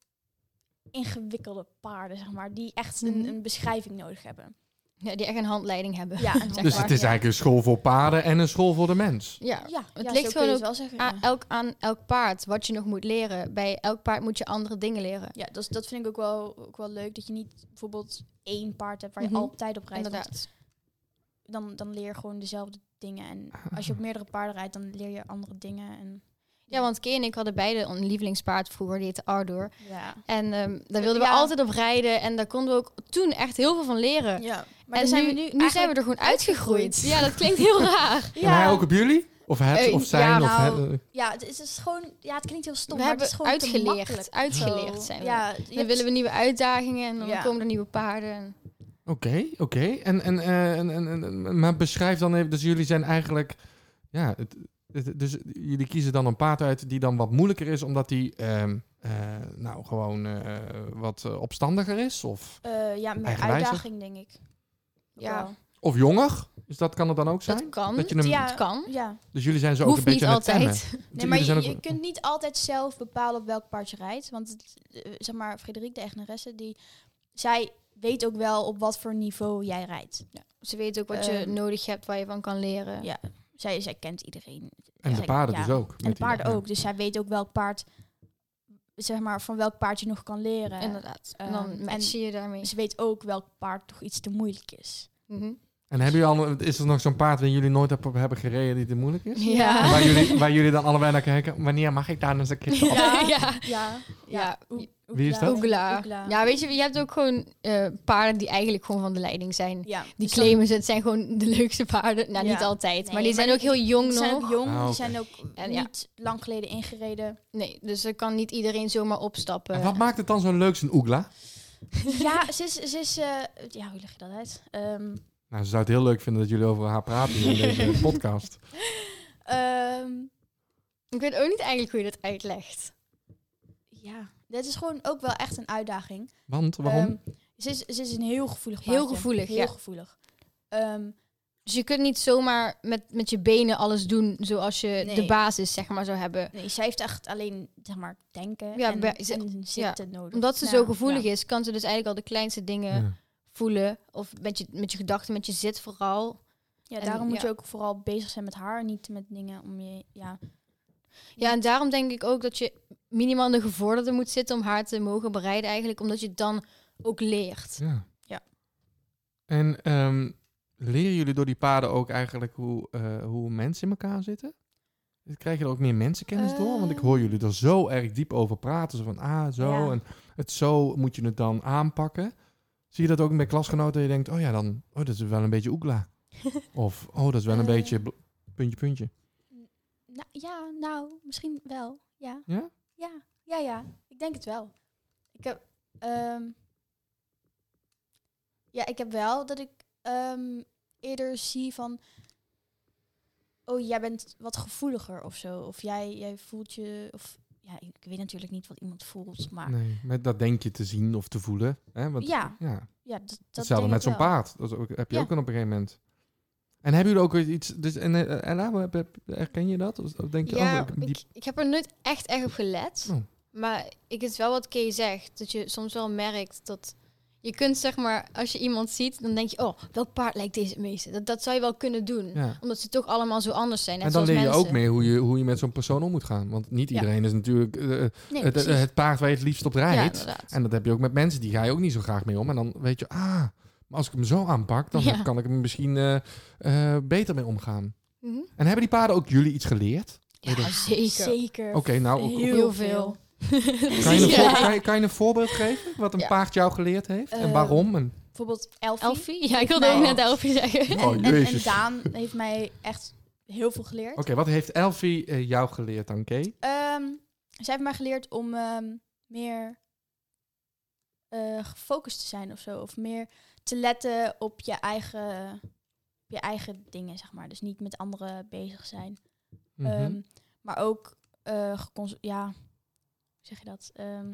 [SPEAKER 9] ingewikkelde paarden, zeg maar. Die echt een,
[SPEAKER 8] Mhm.
[SPEAKER 9] een beschrijving nodig hebben.
[SPEAKER 8] Ja, die echt een handleiding hebben.
[SPEAKER 9] Ja, en zeg
[SPEAKER 1] dus
[SPEAKER 9] maar-
[SPEAKER 1] het is
[SPEAKER 9] ja.
[SPEAKER 1] eigenlijk een school voor paarden en een school voor de mens.
[SPEAKER 8] Ja,
[SPEAKER 9] Ja,
[SPEAKER 8] het
[SPEAKER 9] ja, zo kun je
[SPEAKER 8] ligt gewoon
[SPEAKER 9] het
[SPEAKER 8] ook
[SPEAKER 9] wel zeggen,
[SPEAKER 8] aan
[SPEAKER 9] ja.
[SPEAKER 8] elk, aan elk paard wat je nog moet leren. Bij elk paard moet je andere dingen leren.
[SPEAKER 9] Ja, dat, is- dat vind ik ook wel, ook wel leuk. Dat je niet bijvoorbeeld één paard hebt waar je
[SPEAKER 8] Mhm.
[SPEAKER 9] altijd op rijdt. want
[SPEAKER 8] Inderdaad.
[SPEAKER 9] Dan, dan leer je gewoon dezelfde dingen. En als je op meerdere paarden rijdt, dan leer je andere dingen. En,
[SPEAKER 8] Ja, want Kay en ik hadden beide een lievelingspaard vroeger, die heette Ardor.
[SPEAKER 9] ja.
[SPEAKER 8] En ehm, daar wilden we
[SPEAKER 9] Ja.
[SPEAKER 8] altijd op rijden en daar konden we ook toen echt heel veel van leren.
[SPEAKER 9] ja. Maar
[SPEAKER 8] en
[SPEAKER 9] dan zijn we
[SPEAKER 8] nu,
[SPEAKER 9] nu,
[SPEAKER 8] nu zijn we
[SPEAKER 9] eigenlijk-
[SPEAKER 8] er gewoon uitgegroeid.
[SPEAKER 9] uitgegroeid.
[SPEAKER 8] Ja, dat klinkt heel raar.
[SPEAKER 1] En hij ook op jullie? Of het,
[SPEAKER 8] Eh,
[SPEAKER 1] of
[SPEAKER 8] ja,
[SPEAKER 1] zijn? of
[SPEAKER 9] nou,
[SPEAKER 1] het, eh,
[SPEAKER 9] Ja, het is, het is gewoon, ja, het klinkt heel stom.
[SPEAKER 8] we
[SPEAKER 9] maar
[SPEAKER 8] hebben
[SPEAKER 9] het is gewoon te
[SPEAKER 8] uitgeleerd.
[SPEAKER 9] makkelijk. Zo.
[SPEAKER 8] Uitgeleerd zijn we.
[SPEAKER 9] Ja,
[SPEAKER 8] En dan willen we nieuwe uitdagingen en dan
[SPEAKER 9] Ja.
[SPEAKER 8] komen er nieuwe paarden. en-
[SPEAKER 1] Oké, oké. En, en, eh, en, en, en- en- maar beschrijf dan even, dus jullie zijn eigenlijk, ja, het, het- dus jullie kiezen dan een paard uit die dan wat moeilijker is, omdat die, ehm, eh, nou, gewoon eh, wat eh, opstandiger is, of,
[SPEAKER 9] Eh, ja, meer
[SPEAKER 1] Eigenwijzer.
[SPEAKER 9] uitdaging, denk ik.
[SPEAKER 8] Ja.
[SPEAKER 9] Wel.
[SPEAKER 1] of jonger. Dus dat kan het dan ook zijn.
[SPEAKER 8] Dat kan.
[SPEAKER 1] Dat je hem-
[SPEAKER 9] Ja.
[SPEAKER 8] Dat kan.
[SPEAKER 9] ja.
[SPEAKER 1] Dus jullie zijn zo ook een
[SPEAKER 8] Hoeft
[SPEAKER 1] beetje
[SPEAKER 8] niet
[SPEAKER 1] aan het temmen. Dus
[SPEAKER 8] altijd.
[SPEAKER 9] Nee,
[SPEAKER 1] Jullie
[SPEAKER 9] maar
[SPEAKER 1] zijn
[SPEAKER 9] je,
[SPEAKER 1] ook-
[SPEAKER 9] je kunt niet altijd zelf bepalen op welk paard je rijdt. Want het, eh, zeg maar, Frederik, de eigenaresse, die, zij weet ook wel op wat voor niveau jij rijdt.
[SPEAKER 8] Ze weten ook wat je
[SPEAKER 9] Ehm,
[SPEAKER 8] nodig hebt, waar je van kan leren.
[SPEAKER 9] ja. Zij, zij kent iedereen.
[SPEAKER 1] En de
[SPEAKER 9] Zij-
[SPEAKER 1] paarden
[SPEAKER 9] ja.
[SPEAKER 1] dus ook.
[SPEAKER 9] En de
[SPEAKER 1] met die-
[SPEAKER 9] paarden
[SPEAKER 1] ja.
[SPEAKER 9] ook. Dus zij weet ook welk paard, zeg maar, van welk paard je nog kan leren.
[SPEAKER 8] Inderdaad. en
[SPEAKER 9] Ehm,
[SPEAKER 8] dan match je je daarmee.
[SPEAKER 9] ze weet ook welk paard toch iets te moeilijk is.
[SPEAKER 8] Mhm.
[SPEAKER 1] En hebben jullie al, is er nog zo'n paard waar jullie nooit op hebben gereden die te moeilijk is?
[SPEAKER 8] Ja.
[SPEAKER 1] En Waar jullie, waar jullie dan allebei naar kijken, wanneer mag ik daar eens een keer op?
[SPEAKER 8] Ja. ja.
[SPEAKER 9] Ja, ja.
[SPEAKER 8] Ja.
[SPEAKER 9] Hoe,
[SPEAKER 1] Wie is dat?
[SPEAKER 8] Oegla.
[SPEAKER 9] Oegla.
[SPEAKER 8] Ja, weet je, je hebt ook gewoon eh, paarden die eigenlijk gewoon van de leiding zijn.
[SPEAKER 9] Ja,
[SPEAKER 8] Die
[SPEAKER 9] dus dan-
[SPEAKER 8] claimen ze, het zijn gewoon de leukste paarden. Nou,
[SPEAKER 9] Ja.
[SPEAKER 8] niet altijd. maar
[SPEAKER 9] Nee,
[SPEAKER 8] die
[SPEAKER 9] maar
[SPEAKER 8] zijn ook heel jong
[SPEAKER 9] Die zijn
[SPEAKER 8] nog.
[SPEAKER 9] ook jong,
[SPEAKER 1] Ah, oké.
[SPEAKER 9] die zijn ook
[SPEAKER 8] En ja.
[SPEAKER 9] niet lang geleden ingereden.
[SPEAKER 8] Nee, dus er kan niet iedereen zomaar opstappen.
[SPEAKER 1] En wat maakt het dan zo leuk, zo'n oegla?
[SPEAKER 9] ja, ze is... Ze is eh, ja, hoe leg je dat uit? Ehm,
[SPEAKER 1] Nou, ze zou het heel leuk vinden dat jullie over haar praten hier in deze podcast.
[SPEAKER 9] ehm,
[SPEAKER 8] Ik weet ook niet eigenlijk hoe je dat uitlegt.
[SPEAKER 9] ja, dit is gewoon ook wel echt een uitdaging.
[SPEAKER 1] Want, waarom?
[SPEAKER 9] Ehm, ze, is, ze is een heel gevoelig
[SPEAKER 8] Heel
[SPEAKER 9] paardje.
[SPEAKER 8] gevoelig,
[SPEAKER 9] Heel
[SPEAKER 8] ja.
[SPEAKER 9] gevoelig. Ehm,
[SPEAKER 8] Dus je kunt niet zomaar met, met je benen alles doen zoals je
[SPEAKER 9] Nee.
[SPEAKER 8] de basis zeg maar zou hebben.
[SPEAKER 9] nee, zij heeft echt alleen, zeg maar, denken
[SPEAKER 8] Ja,
[SPEAKER 9] en,
[SPEAKER 8] bij- ze-
[SPEAKER 9] en zitten nodig.
[SPEAKER 8] Omdat ze
[SPEAKER 9] Ja,
[SPEAKER 8] zo gevoelig
[SPEAKER 9] ja.
[SPEAKER 8] is, kan ze dus eigenlijk al de kleinste dingen
[SPEAKER 1] Ja.
[SPEAKER 8] voelen. Of met je, met je gedachten, met je zit vooral.
[SPEAKER 9] Ja,
[SPEAKER 8] En-
[SPEAKER 9] daarom moet
[SPEAKER 8] ja.
[SPEAKER 9] je ook vooral bezig zijn met haar, niet met dingen om je... Ja,
[SPEAKER 8] Ja, en daarom denk ik ook dat je minimaal in de gevorderde moet zitten om haar te mogen bereiden eigenlijk. Omdat je het dan ook leert.
[SPEAKER 1] Ja.
[SPEAKER 9] Ja.
[SPEAKER 1] En ehm, leren jullie door die paden ook eigenlijk hoe, eh, hoe mensen in elkaar zitten? Krijg je er ook meer mensenkennis door? Want ik hoor jullie er zo erg diep over praten. Zo van, ah, zo.
[SPEAKER 9] Ehm. Ja.
[SPEAKER 1] En het zo moet je het dan aanpakken. Zie je dat ook met klasgenoten? Dat je denkt, oh ja, dan, oh, dat is wel een beetje oekla. of, oh, dat is wel een
[SPEAKER 9] Eh.
[SPEAKER 1] beetje bl- puntje, puntje.
[SPEAKER 9] Nou, ja, nou, misschien wel. Ja.
[SPEAKER 1] Ja?
[SPEAKER 9] Ja, ja, ja. Ik denk het wel. Ik heb... ehm, ja, ik heb wel dat ik ehm, eerder zie van... Oh, jij bent wat gevoeliger of zo. Of jij, jij voelt je... Of, ja, ik weet natuurlijk niet wat iemand voelt, maar...
[SPEAKER 1] Nee, maar dat denk je te zien of te voelen. Hè? Want,
[SPEAKER 9] Ja,
[SPEAKER 1] ja,
[SPEAKER 9] ja, dat, dat
[SPEAKER 1] Hetzelfde
[SPEAKER 9] denk
[SPEAKER 1] met
[SPEAKER 9] ik
[SPEAKER 1] zo'n
[SPEAKER 9] wel.
[SPEAKER 1] paard. Dat is ook, heb je
[SPEAKER 9] Ja.
[SPEAKER 1] ook dan op een gegeven moment. En hebben jullie ook weer iets... Dus, en, eh, Ella, hoe heb, heb- herken je dat? Of of denk je,
[SPEAKER 8] Ja,
[SPEAKER 1] oh, ik- die-
[SPEAKER 8] ik, ik heb er nooit echt echt op gelet.
[SPEAKER 1] Oh.
[SPEAKER 8] Maar ik het is wel wat Kay zegt. Dat je soms wel merkt dat... Je kunt zeg maar, als je iemand ziet, dan denk je... Oh, welk paard lijkt deze het meeste? Dat, dat zou je wel kunnen doen.
[SPEAKER 1] ja.
[SPEAKER 8] Omdat ze toch allemaal zo anders zijn. Net
[SPEAKER 1] En dan
[SPEAKER 8] zoals
[SPEAKER 1] leer je
[SPEAKER 8] mensen.
[SPEAKER 1] ook meer hoe je, hoe je met zo'n persoon om moet gaan. Want niet
[SPEAKER 9] Ja.
[SPEAKER 1] iedereen is natuurlijk eh,
[SPEAKER 9] Nee,
[SPEAKER 1] het,
[SPEAKER 9] precies.
[SPEAKER 1] het paard waar je het liefst op
[SPEAKER 8] Ja,
[SPEAKER 1] rijdt.
[SPEAKER 8] inderdaad.
[SPEAKER 1] en dat heb je ook met mensen. Die ga je ook niet zo graag mee om. En dan weet je, ah, maar als ik hem zo aanpak... dan
[SPEAKER 8] Ja.
[SPEAKER 1] kan ik hem misschien eh, eh, beter mee omgaan.
[SPEAKER 8] Mhm.
[SPEAKER 1] En hebben die paarden ook jullie iets geleerd?
[SPEAKER 8] Ja,
[SPEAKER 1] Oh, dat-
[SPEAKER 8] zeker.
[SPEAKER 9] Zeker.
[SPEAKER 1] Oké, nou...
[SPEAKER 8] Heel,
[SPEAKER 9] Heel
[SPEAKER 8] veel.
[SPEAKER 1] Kan je, een
[SPEAKER 8] Ja.
[SPEAKER 1] voor- kan, je, kan je een voorbeeld geven? Wat een
[SPEAKER 8] Ja.
[SPEAKER 1] paard jou geleerd heeft? en
[SPEAKER 9] Eh,
[SPEAKER 1] waarom? En,
[SPEAKER 9] Bijvoorbeeld Elfie.
[SPEAKER 8] Elfie? Ja, ik wilde ook
[SPEAKER 9] Nee.
[SPEAKER 8] net Elfie zeggen.
[SPEAKER 1] Oh,
[SPEAKER 9] En, en, en Daan heeft mij echt heel veel geleerd.
[SPEAKER 1] Oké, wat heeft Elfie eh, jou geleerd dan, Kay?
[SPEAKER 9] Ehm, zij heeft mij geleerd om ehm, meer eh, gefocust te zijn of zo. Of meer te letten op je eigen, op je eigen dingen, zeg maar. Dus niet met anderen bezig zijn.
[SPEAKER 1] Mhm.
[SPEAKER 9] Ehm, maar ook eh gecons- Ja, hoe zeg je dat? Ehm,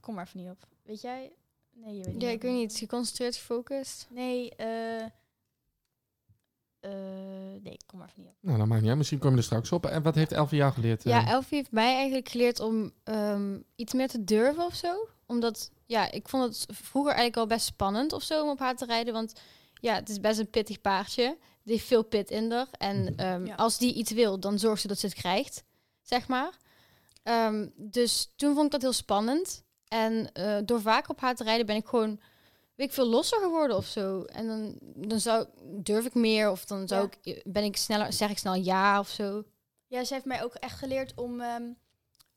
[SPEAKER 9] kom maar even niet op. Weet jij? Nee, je weet niet.
[SPEAKER 8] Ja,
[SPEAKER 9] wat
[SPEAKER 8] ik weet niet. Geconcentreerd, gefocust.
[SPEAKER 9] Nee, eh... eh, nee, kom maar even niet op.
[SPEAKER 1] Nou, dat maakt niet uit. Misschien kom je er straks op. En wat heeft Elfie jou geleerd? eh?
[SPEAKER 8] Ja, Elfie heeft mij eigenlijk geleerd om ehm, iets meer te durven of zo. Omdat, ja, ik vond het vroeger eigenlijk al best spannend of zo om op haar te rijden. Want ja, het is best een pittig paardje. Die heeft veel pit in haar. En ehm,
[SPEAKER 9] Ja.
[SPEAKER 8] als die iets wil, dan zorgt ze dat ze het krijgt, zeg maar. Ehm, dus toen vond ik dat heel spannend. En eh, door vaak op haar te rijden ben ik gewoon, weet ik veel, losser geworden of zo. En dan, dan zou, durf ik meer of dan zou
[SPEAKER 9] Ja.
[SPEAKER 8] ik, eh, ben ik sneller, zeg ik snel ja of zo.
[SPEAKER 9] Ja, ze heeft mij ook echt geleerd om ehm,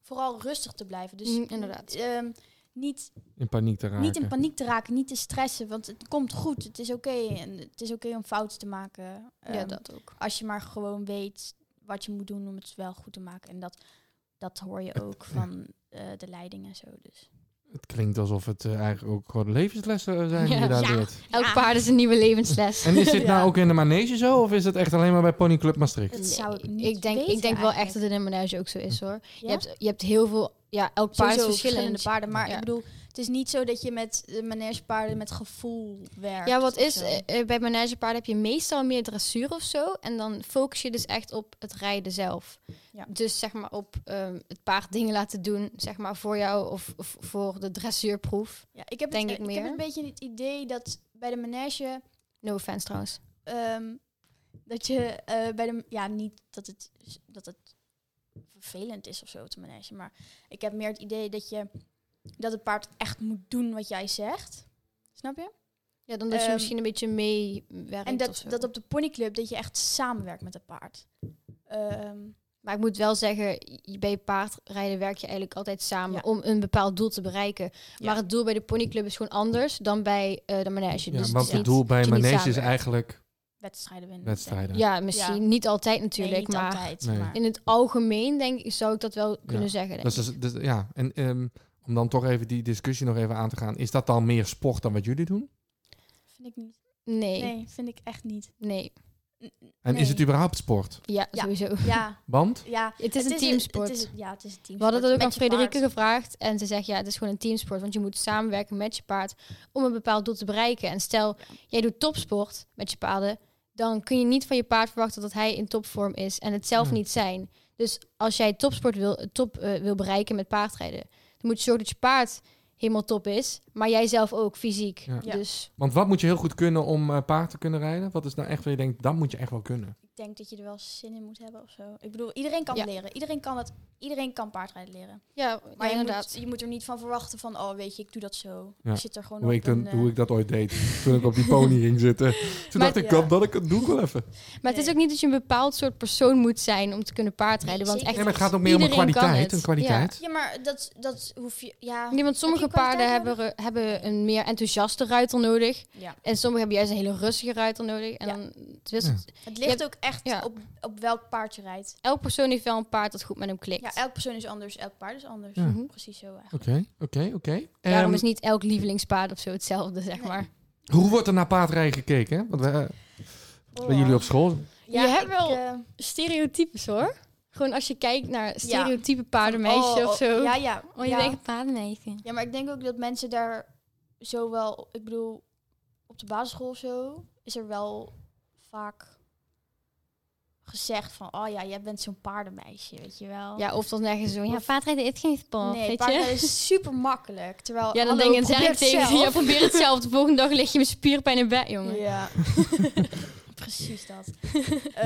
[SPEAKER 9] vooral rustig te blijven. Dus
[SPEAKER 8] Mm, inderdaad.
[SPEAKER 9] ehm, niet,
[SPEAKER 1] In paniek te raken.
[SPEAKER 9] niet in paniek te raken, niet te stressen. Want het komt goed, het is oké. En het is oké om fouten te maken.
[SPEAKER 8] ja,
[SPEAKER 9] Ehm,
[SPEAKER 8] dat ook.
[SPEAKER 9] Als je maar gewoon weet wat je moet doen om het wel goed te maken. En dat, dat hoor je
[SPEAKER 1] Het-
[SPEAKER 9] ook
[SPEAKER 1] ja.
[SPEAKER 9] van eh, de leiding en zo. Dus.
[SPEAKER 1] Het klinkt alsof het eh, eigenlijk ook gewoon levenslessen eh, zijn die
[SPEAKER 8] Ja.
[SPEAKER 1] je daar
[SPEAKER 9] Ja.
[SPEAKER 1] leert.
[SPEAKER 8] Elk paard is een nieuwe levensles.
[SPEAKER 1] En is dit
[SPEAKER 9] Ja.
[SPEAKER 1] nou ook in de manege zo? Of is het echt alleen maar bij Pony Club Maastricht?
[SPEAKER 9] Dat zou ik niet
[SPEAKER 8] denk,
[SPEAKER 9] weten
[SPEAKER 8] ik denk wel echt
[SPEAKER 9] eigenlijk.
[SPEAKER 8] dat het in manege ook zo is hoor. Je,
[SPEAKER 9] Ja?
[SPEAKER 8] hebt, je hebt heel veel, ja, elk paard is
[SPEAKER 9] Sowieso
[SPEAKER 8] verschillend.
[SPEAKER 9] paarden. Maar
[SPEAKER 8] Ja.
[SPEAKER 9] ik bedoel, het is niet zo dat je met eh, manegepaarden met gevoel werkt.
[SPEAKER 8] Ja, wat
[SPEAKER 9] of
[SPEAKER 8] is,
[SPEAKER 9] zo.
[SPEAKER 8] eh, eh, bij managepaarden heb je meestal meer dressuur of zo. En dan focus je dus echt op het rijden zelf.
[SPEAKER 9] Ja.
[SPEAKER 8] Dus zeg maar op ehm, het paard dingen laten doen, zeg maar voor jou of, of voor de dressuurproef.
[SPEAKER 9] Ja, ik heb,
[SPEAKER 8] denk
[SPEAKER 9] het,
[SPEAKER 8] ik
[SPEAKER 9] eh, ik heb
[SPEAKER 8] meer.
[SPEAKER 9] een beetje het idee dat bij de manege
[SPEAKER 8] No offense trouwens.
[SPEAKER 9] ehm, dat je eh, bij de ja niet dat het dat het vervelend is of zo te manege, maar ik heb meer het idee dat je dat het paard echt moet doen wat jij zegt, snap je?
[SPEAKER 8] Ja, dan dat je
[SPEAKER 9] Ehm,
[SPEAKER 8] misschien een beetje meewerkt
[SPEAKER 9] en
[SPEAKER 8] of
[SPEAKER 9] dat
[SPEAKER 8] zo.
[SPEAKER 9] dat op de ponyclub dat je echt samenwerkt met het paard. Ehm,
[SPEAKER 8] Maar ik moet wel zeggen, je- bij paardrijden werk je eigenlijk altijd samen
[SPEAKER 10] Ja.
[SPEAKER 8] om een bepaald doel te bereiken.
[SPEAKER 10] Ja.
[SPEAKER 8] Maar het doel bij de ponyclub is gewoon anders dan bij eh, de manege.
[SPEAKER 1] Ja,
[SPEAKER 8] dus
[SPEAKER 1] want
[SPEAKER 8] is
[SPEAKER 1] het
[SPEAKER 8] niet-
[SPEAKER 1] doel bij
[SPEAKER 8] dat
[SPEAKER 1] een
[SPEAKER 8] je niet
[SPEAKER 1] manege is
[SPEAKER 8] samenwerkt.
[SPEAKER 1] eigenlijk
[SPEAKER 9] Wedstrijden winnen.
[SPEAKER 1] wedstrijden.
[SPEAKER 8] Ja, misschien niet altijd
[SPEAKER 9] Nee,
[SPEAKER 8] natuurlijk,
[SPEAKER 9] niet
[SPEAKER 8] maar
[SPEAKER 9] altijd,
[SPEAKER 1] Nee.
[SPEAKER 9] maar-
[SPEAKER 8] in het algemeen denk ik zou ik dat wel kunnen zeggen. Denk
[SPEAKER 1] Dus, dat is- dus- ja. En ehm, om dan toch even die discussie nog even aan te gaan. Is dat dan meer sport dan wat jullie doen?
[SPEAKER 9] Vind ik niet.
[SPEAKER 8] ik. Nee, nee,
[SPEAKER 9] Nee, vind ik echt niet.
[SPEAKER 1] En is
[SPEAKER 9] Nee.
[SPEAKER 1] het überhaupt sport?
[SPEAKER 8] Ja,
[SPEAKER 9] Ja.
[SPEAKER 8] sowieso.
[SPEAKER 9] Ja,
[SPEAKER 1] Want?
[SPEAKER 9] ja.
[SPEAKER 8] Het is een teamsport.
[SPEAKER 9] het is- ja, het Dus is een teamsport.
[SPEAKER 8] We hadden dat ook
[SPEAKER 9] Met
[SPEAKER 8] aan
[SPEAKER 9] je
[SPEAKER 8] Frederike
[SPEAKER 9] paard.
[SPEAKER 8] gevraagd. En ze zegt, ja, het is gewoon een teamsport. Want je moet samenwerken met je paard om een bepaald doel te bereiken. En stel, jij doet topsport met je paarden. Dan kun je niet van je paard verwachten dat hij in topvorm is. En het zelf
[SPEAKER 1] Ja.
[SPEAKER 8] niet zijn. Dus als jij topsport wil, top, eh, wil bereiken met paardrijden. Dan moet je zorgen dat je paard helemaal top is. Maar jij zelf ook, fysiek.
[SPEAKER 1] Ja.
[SPEAKER 10] Ja.
[SPEAKER 8] Dus
[SPEAKER 1] Want wat moet je heel goed kunnen om eh, paard te kunnen rijden? Wat is nou echt waar je denkt, dat moet je echt wel kunnen?
[SPEAKER 9] Ik denk dat je er wel zin in moet hebben of zo. Ik bedoel, iedereen kan
[SPEAKER 8] Ja.
[SPEAKER 9] het leren. Iedereen kan, het, iedereen kan paardrijden leren.
[SPEAKER 8] ja,
[SPEAKER 9] Maar je,
[SPEAKER 8] inderdaad.
[SPEAKER 9] Moet, je moet er niet van verwachten van, oh weet je, ik doe dat zo.
[SPEAKER 1] Ja.
[SPEAKER 9] Je zit er gewoon
[SPEAKER 1] Hoe
[SPEAKER 9] op
[SPEAKER 1] ik, dan,
[SPEAKER 9] en, eh,
[SPEAKER 1] hoe ik dat ooit deed, toen ik op die pony ging zitten. Toen
[SPEAKER 8] Maar-
[SPEAKER 1] dacht ik,
[SPEAKER 9] ja.
[SPEAKER 1] dat, dat ik het doe ik wel even.
[SPEAKER 8] Maar het is
[SPEAKER 9] Nee.
[SPEAKER 8] ook niet dat je een bepaald soort persoon moet zijn om te kunnen paardrijden.
[SPEAKER 9] Nee,
[SPEAKER 8] Want
[SPEAKER 9] zeker
[SPEAKER 8] echt,
[SPEAKER 1] Nee, maar het gaat ook meer om een
[SPEAKER 8] Iedereen kan
[SPEAKER 1] kwaliteit.
[SPEAKER 8] het.
[SPEAKER 1] Een kwaliteit.
[SPEAKER 9] Ja, maar dat, dat hoef je... Ja,
[SPEAKER 8] Nee, want sommige
[SPEAKER 9] Heb je kwaliteit
[SPEAKER 8] paarden hebben, hebben een meer enthousiaste ruiter nodig.
[SPEAKER 9] Ja.
[SPEAKER 8] En sommige hebben juist een hele rustige ruiter nodig. En
[SPEAKER 9] Ja.
[SPEAKER 8] dan, het is-
[SPEAKER 1] Ja.
[SPEAKER 9] het
[SPEAKER 8] je
[SPEAKER 9] ligt
[SPEAKER 8] hebt-
[SPEAKER 9] ook echt
[SPEAKER 8] ja.
[SPEAKER 9] op, op welk paard je rijdt.
[SPEAKER 8] Elk persoon heeft wel een paard dat goed met hem klikt.
[SPEAKER 9] Ja, elk persoon is anders, elk paard is anders.
[SPEAKER 1] Ja.
[SPEAKER 8] Mhm.
[SPEAKER 9] Precies zo eigenlijk.
[SPEAKER 1] Oké, oké, oké.
[SPEAKER 8] Daarom
[SPEAKER 1] Ehm,
[SPEAKER 8] is niet elk lievelingspaard of zo hetzelfde, zeg
[SPEAKER 9] Nee.
[SPEAKER 8] maar.
[SPEAKER 1] Hoe wordt er naar paardrijden gekeken? Hè? Want we, eh, bij jullie op school.
[SPEAKER 8] Je hebt wel
[SPEAKER 9] eh,
[SPEAKER 8] Stereotypes hoor. Gewoon als je kijkt naar stereotype
[SPEAKER 9] stereotype
[SPEAKER 8] paardenmeisje
[SPEAKER 9] oh,
[SPEAKER 8] of zo.
[SPEAKER 9] Ja, ja. ja.
[SPEAKER 8] paardenmeisje.
[SPEAKER 9] ja, maar ik denk ook dat mensen daar zo wel... Ik bedoel, op de basisschool of zo is er wel vaak gezegd van... Oh ja, jij bent zo'n paardenmeisje, weet je wel.
[SPEAKER 8] Ja, of dan nergens zo. Ja, paardrijden is geen sport,
[SPEAKER 9] nee, dus
[SPEAKER 8] weet je.
[SPEAKER 9] paarden is super makkelijk. Terwijl,
[SPEAKER 8] Ja, dan
[SPEAKER 9] hallo,
[SPEAKER 8] denk je
[SPEAKER 9] probeer
[SPEAKER 8] zeg ik
[SPEAKER 9] het
[SPEAKER 8] tegen je,
[SPEAKER 9] zelf.
[SPEAKER 8] probeer het zelf. De volgende dag lig je met spierpijn in bed, jongen.
[SPEAKER 9] Ja, precies dat.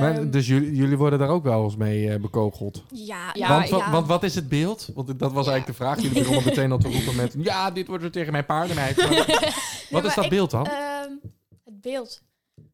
[SPEAKER 1] Maar,
[SPEAKER 9] Ehm,
[SPEAKER 1] dus jullie, jullie worden daar ook wel eens mee eh, bekogeld.
[SPEAKER 9] ja,
[SPEAKER 8] Ja,
[SPEAKER 1] want, wa-
[SPEAKER 9] ja.
[SPEAKER 1] want wat is het beeld? Want dat was
[SPEAKER 9] Ja.
[SPEAKER 1] eigenlijk de vraag. Jullie begonnen meteen al te roepen met... Ja, dit wordt er tegen mijn paardenmeid. Maar wat is
[SPEAKER 9] maar
[SPEAKER 1] dat
[SPEAKER 9] ik-
[SPEAKER 1] beeld dan?
[SPEAKER 9] Ehm, het beeld.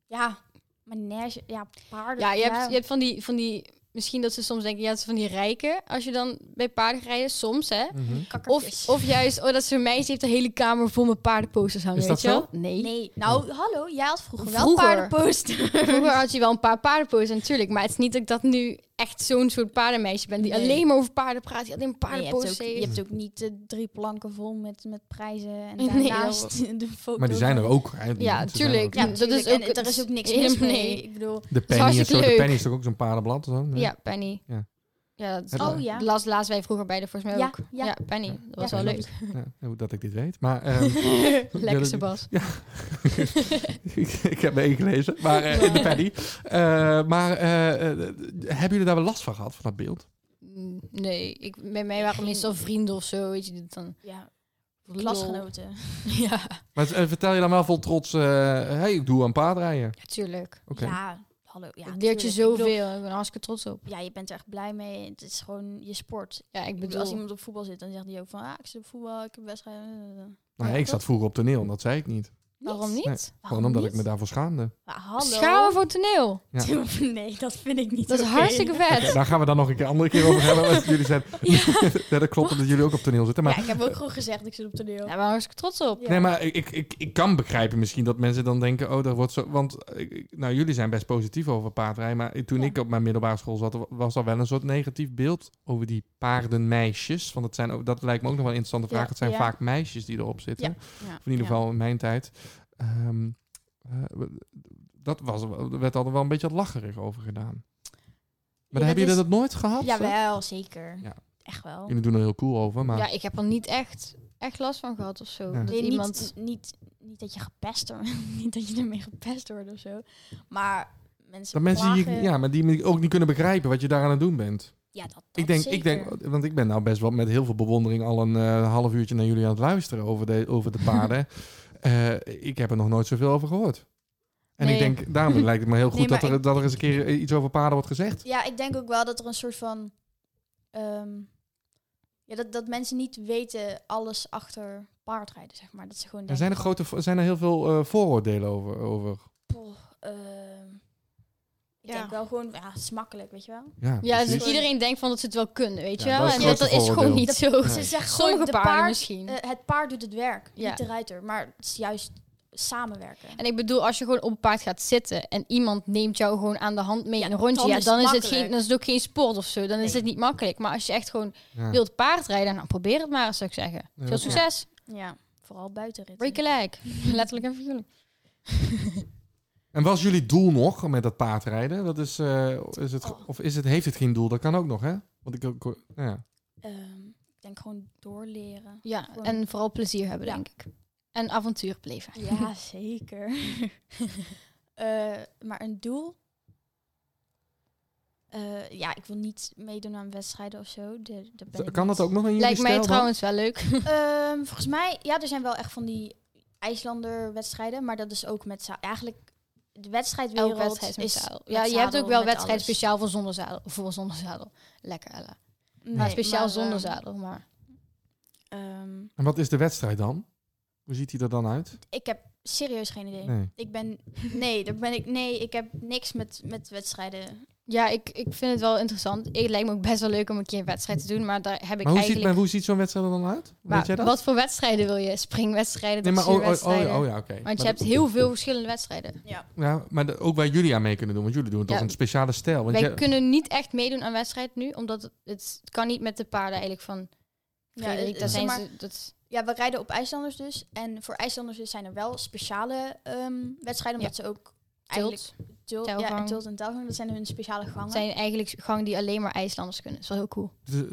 [SPEAKER 9] Ja, manege, ja, paarden.
[SPEAKER 8] Ja, je hebt, je hebt van, die, van die... Misschien dat ze soms denken, ja, het is van die rijken. Als je dan bij paarden rijden, soms hè.
[SPEAKER 1] Mhm.
[SPEAKER 8] Of,
[SPEAKER 9] kakkertjes.
[SPEAKER 8] of juist, oh, dat zo'n meisje heeft de hele kamer vol met paardenposters hangen,
[SPEAKER 1] Is
[SPEAKER 8] weet
[SPEAKER 1] dat
[SPEAKER 8] je wel?
[SPEAKER 1] zo?
[SPEAKER 8] Nee.
[SPEAKER 9] Nee, nou, hallo, jij had vroeger, wel
[SPEAKER 8] Oh. Vroeger.
[SPEAKER 9] paardenposter.
[SPEAKER 8] Vroeger had je wel een paar paardenposters natuurlijk. Maar het is niet dat ik dat nu echt zo'n soort paardenmeisje ben... die
[SPEAKER 9] Nee.
[SPEAKER 8] alleen maar over paarden praat, die alleen maar
[SPEAKER 9] Nee, je, hebt ook,
[SPEAKER 8] paardenposters
[SPEAKER 9] je
[SPEAKER 8] heeft.
[SPEAKER 9] hebt ook niet eh, drie planken vol met, met prijzen en
[SPEAKER 8] Nee,
[SPEAKER 9] daarnaast de foto's.
[SPEAKER 1] Maar die zijn er ook. Hè? Die
[SPEAKER 8] Ja,
[SPEAKER 1] mensen zijn
[SPEAKER 8] tuurlijk.
[SPEAKER 1] er
[SPEAKER 9] Ja,
[SPEAKER 1] ook.
[SPEAKER 8] Dat is
[SPEAKER 9] natuurlijk. En
[SPEAKER 8] ook-
[SPEAKER 9] er is ook niks
[SPEAKER 8] helemaal
[SPEAKER 9] mis mee.
[SPEAKER 8] nee.
[SPEAKER 9] Ik bedoel,
[SPEAKER 1] De penny, is
[SPEAKER 8] hartstikke
[SPEAKER 1] zo, de
[SPEAKER 8] leuk.
[SPEAKER 1] penny is toch ook zo'n paardenblad? of zo? Nee.
[SPEAKER 8] Ja, Penny.
[SPEAKER 1] Ja.
[SPEAKER 8] Ja, dat
[SPEAKER 1] Heb
[SPEAKER 9] je- Oh, ja.
[SPEAKER 8] Las, laatst wij vroeger bij de volgens mij
[SPEAKER 9] Ja,
[SPEAKER 8] ook. Ja,
[SPEAKER 9] ja.
[SPEAKER 8] Penny. Dat was
[SPEAKER 1] Ja,
[SPEAKER 8] wel
[SPEAKER 1] dat
[SPEAKER 8] leuk.
[SPEAKER 1] Ja, hoe dat ik dit weet. Maar, ehm,
[SPEAKER 8] Lekker, Sebas.
[SPEAKER 1] ik, ik heb meegelezen. Maar eh, in de penny. Eh, maar eh, eh, hebben jullie daar wel last van gehad, van dat beeld?
[SPEAKER 8] Mm, Nee, ik, bij mij waren
[SPEAKER 9] Geen-
[SPEAKER 8] meestal vrienden of zo. Weet je, die dan...
[SPEAKER 9] ja,
[SPEAKER 8] lol.
[SPEAKER 9] klasgenoten.
[SPEAKER 8] Ja,
[SPEAKER 1] Maar eh, vertel je dan wel vol trots, eh hey, ik doe aan paardrijden.
[SPEAKER 8] natuurlijk.
[SPEAKER 1] Oké.
[SPEAKER 9] Ja, hallo. Ja,
[SPEAKER 8] het leert je
[SPEAKER 9] tuurlijk. Ik bedoel,
[SPEAKER 8] zoveel. Ik ben er hartstikke trots op.
[SPEAKER 9] ja, je bent er echt blij mee. Het is gewoon je sport. Ik
[SPEAKER 8] Ja, ik
[SPEAKER 9] bedoel, als
[SPEAKER 8] bedoel...
[SPEAKER 9] iemand op voetbal zit, dan zegt hij ook van... Ah, ik zit op voetbal, ik heb wedstrijden.
[SPEAKER 1] Nou,
[SPEAKER 9] Ja,
[SPEAKER 1] ik
[SPEAKER 9] dat-
[SPEAKER 1] zat vroeger op toneel en dat zei ik niet.
[SPEAKER 8] Waarom niet?
[SPEAKER 1] Nee, Gewoon omdat ik me daarvoor schaamde.
[SPEAKER 9] Maar hallo.
[SPEAKER 8] Schamen Dus voor toneel.
[SPEAKER 9] nee, dat vind ik niet
[SPEAKER 8] Dat is
[SPEAKER 9] oké.
[SPEAKER 8] hartstikke vet.
[SPEAKER 1] Oké, daar gaan we dan nog een keer andere keer over hebben. Want jullie zijn...
[SPEAKER 9] Ja.
[SPEAKER 1] Ja, dat klopt omdat jullie ook op toneel zitten. Maar,
[SPEAKER 9] Ja, ik heb ook gewoon gezegd, ik zit op toneel.
[SPEAKER 8] Daar ben ik hartstikke trots op.
[SPEAKER 9] Ja.
[SPEAKER 1] Nee, maar ik, ik, ik kan begrijpen misschien dat mensen dan denken... Oh, dat wordt zo... Want eh, ik- nou, jullie zijn best positief over paardrijden. Maar toen
[SPEAKER 9] Ja.
[SPEAKER 1] ik op mijn middelbare school zat... was er wel een soort negatief beeld over die paardenmeisjes. Want dat, zijn, ook- dat lijkt me ook nog wel een interessante vraag.
[SPEAKER 9] Ja,
[SPEAKER 1] het zijn
[SPEAKER 9] ja.
[SPEAKER 1] vaak meisjes die erop zitten.
[SPEAKER 9] Ja.
[SPEAKER 1] Of in ieder geval in mijn tijd. Ehm, eh, we- dat was, er werd altijd wel een beetje lacherig over gedaan. Maar
[SPEAKER 9] Ja,
[SPEAKER 1] dan
[SPEAKER 9] dat
[SPEAKER 1] hebben jullie dat
[SPEAKER 9] is-
[SPEAKER 1] nooit gehad? hè?
[SPEAKER 9] Jawel, zeker.
[SPEAKER 1] Ja.
[SPEAKER 9] Echt wel.
[SPEAKER 1] Jullie doen er heel cool over, maar...
[SPEAKER 8] Ja, ik heb er niet echt, echt last van gehad of zo.
[SPEAKER 1] eh, Ja.
[SPEAKER 8] Dat
[SPEAKER 9] Nee, niet,
[SPEAKER 8] iemand...
[SPEAKER 9] niet, niet dat je gepest wordt. niet dat je ermee gepest wordt of zo. Maar mensen
[SPEAKER 1] dat mensen
[SPEAKER 9] plagen...
[SPEAKER 1] die, ja, maar die me ook niet kunnen begrijpen wat je daar aan het doen bent.
[SPEAKER 9] Ja, dat,
[SPEAKER 1] ik,
[SPEAKER 9] dat
[SPEAKER 1] denk,
[SPEAKER 9] zeker.
[SPEAKER 1] ik denk, want ik ben nou best wel met heel veel bewondering al een eh, half uurtje naar jullie aan het luisteren over de, over de paarden. Eh, ik heb er nog nooit zoveel over gehoord. En ik
[SPEAKER 8] Nee.
[SPEAKER 1] denk, daarom lijkt het me heel goed
[SPEAKER 9] Nee,
[SPEAKER 1] dat,
[SPEAKER 9] maar
[SPEAKER 1] er, dat er eens een keer eh, iets over paarden wordt gezegd.
[SPEAKER 9] Ja, ik denk ook wel dat er een soort van... ehm, ja, dat, dat mensen niet weten alles achter paardrijden, zeg maar. Dat ze gewoon
[SPEAKER 1] Er
[SPEAKER 9] denken...
[SPEAKER 1] zijn er, grote, vo- zijn er heel veel eh, vooroordelen over, over.
[SPEAKER 9] Poh, ehm, Ik denk wel gewoon, ja, het is makkelijk, weet je wel.
[SPEAKER 1] Ja,
[SPEAKER 8] Ja, dus
[SPEAKER 1] precies.
[SPEAKER 8] iedereen denkt van dat ze het wel kunnen, weet je
[SPEAKER 7] Ja,
[SPEAKER 8] wel?
[SPEAKER 7] dat
[SPEAKER 8] En
[SPEAKER 7] is het
[SPEAKER 8] dat, dat is
[SPEAKER 7] grootste
[SPEAKER 8] gewoon
[SPEAKER 7] voordeel.
[SPEAKER 8] niet zo.
[SPEAKER 9] Ze zegt
[SPEAKER 8] Sommige
[SPEAKER 9] gewoon, de
[SPEAKER 8] paarden
[SPEAKER 9] paard,
[SPEAKER 8] misschien.
[SPEAKER 9] eh, het paard doet het werk,
[SPEAKER 8] Ja.
[SPEAKER 9] niet de ruiter. Maar het is juist samenwerken.
[SPEAKER 8] En ik bedoel, als je gewoon op een paard gaat zitten en iemand neemt jou gewoon aan de hand mee
[SPEAKER 9] Ja,
[SPEAKER 8] in een rondje,
[SPEAKER 9] dan
[SPEAKER 8] ja,
[SPEAKER 9] is
[SPEAKER 8] dan,
[SPEAKER 9] het
[SPEAKER 8] is het
[SPEAKER 9] makkelijk.
[SPEAKER 8] geen, dan is het ook geen sport of zo. Dan is
[SPEAKER 9] Nee.
[SPEAKER 8] het niet makkelijk. Maar als je echt gewoon
[SPEAKER 1] Ja.
[SPEAKER 8] wilt paardrijden, dan probeer het maar, zou ik zeggen.
[SPEAKER 1] Ja,
[SPEAKER 8] Veel
[SPEAKER 1] dat-
[SPEAKER 8] succes.
[SPEAKER 9] Ja, vooral buitenritten.
[SPEAKER 8] Break a leg. Letterlijk en figuurlijk.
[SPEAKER 1] En was jullie doel nog met dat paardrijden? Dat is, eh, is het, ge- Of is het, heeft het geen doel? Dat kan ook nog, hè? Want ik ook, ja.
[SPEAKER 9] Ehm, ik denk gewoon doorleren.
[SPEAKER 8] Ja,
[SPEAKER 9] Gewoon-
[SPEAKER 8] en vooral plezier hebben,
[SPEAKER 9] Ja.
[SPEAKER 8] denk ik. En avontuur beleven.
[SPEAKER 9] Ja, zeker. Eh, maar een doel? Eh, ja, ik wil niet meedoen aan wedstrijden of zo. De, de ben ik
[SPEAKER 1] Kan
[SPEAKER 9] niet.
[SPEAKER 1] dat ook nog in jullie
[SPEAKER 8] Lijkt mij
[SPEAKER 1] stijl dan?
[SPEAKER 8] trouwens wel leuk.
[SPEAKER 9] Ehm, volgens mij, ja, er zijn wel echt van die IJslander-wedstrijden. Maar dat is ook met za- Eigenlijk, de wedstrijdwereld
[SPEAKER 8] Elke wedstrijd is
[SPEAKER 9] is
[SPEAKER 8] speciaal.
[SPEAKER 9] met
[SPEAKER 8] Ja, je hebt
[SPEAKER 9] zadel,
[SPEAKER 8] ook wel
[SPEAKER 9] met
[SPEAKER 8] wedstrijden
[SPEAKER 9] alles.
[SPEAKER 8] speciaal voor zonder zadel. Voor zonder zadel. Lekker, Ella.
[SPEAKER 9] Nee,
[SPEAKER 8] maar speciaal
[SPEAKER 9] maar,
[SPEAKER 8] zonder
[SPEAKER 9] ehm,
[SPEAKER 8] zadel, maar...
[SPEAKER 9] ehm,
[SPEAKER 1] En wat is de wedstrijd dan? Hoe ziet die er dan uit?
[SPEAKER 9] ik heb serieus geen idee.
[SPEAKER 1] Nee.
[SPEAKER 9] Ik ben... Nee, daar ben ik... Nee, ik heb niks met, met wedstrijden.
[SPEAKER 8] Ja, ik, ik vind het wel interessant. Het lijkt me ook best wel leuk om een keer een wedstrijd te doen, maar daar heb
[SPEAKER 1] Maar
[SPEAKER 8] ik
[SPEAKER 1] hoe, ziet, maar
[SPEAKER 8] eigenlijk...
[SPEAKER 1] hoe ziet zo'n wedstrijd er dan uit? Weet jij
[SPEAKER 8] maar
[SPEAKER 1] dat?
[SPEAKER 8] wat voor wedstrijden wil je? Springwedstrijden,
[SPEAKER 1] nee, maar oh, oh, oh,
[SPEAKER 8] dressuurwedstrijden?
[SPEAKER 1] oh ja, oké. Maar
[SPEAKER 8] Want je
[SPEAKER 1] dat-
[SPEAKER 8] hebt heel veel verschillende wedstrijden.
[SPEAKER 1] Ja, maar de- ook waar jullie aan mee kunnen doen. Want jullie doen het
[SPEAKER 8] Ja.
[SPEAKER 1] als een speciale stijl. Want
[SPEAKER 8] Wij
[SPEAKER 1] jij-
[SPEAKER 8] kunnen niet echt meedoen aan wedstrijd nu, omdat het, het kan niet met de paarden eigenlijk van Frederik.
[SPEAKER 9] eh,
[SPEAKER 8] daar
[SPEAKER 9] zeg
[SPEAKER 8] zijn
[SPEAKER 9] maar-
[SPEAKER 8] ze... Dat,
[SPEAKER 9] Ja, we rijden op IJslanders dus. En voor IJslanders dus zijn er wel speciale ehm, wedstrijden. Omdat ze ook eigenlijk...
[SPEAKER 8] tilt
[SPEAKER 9] Tilt, ja, en
[SPEAKER 8] telgang.
[SPEAKER 9] tilt en telgang. Dat zijn hun speciale gangen.
[SPEAKER 8] zijn eigenlijk gang die alleen maar IJslanders kunnen. Dat is wel heel cool.
[SPEAKER 1] dus,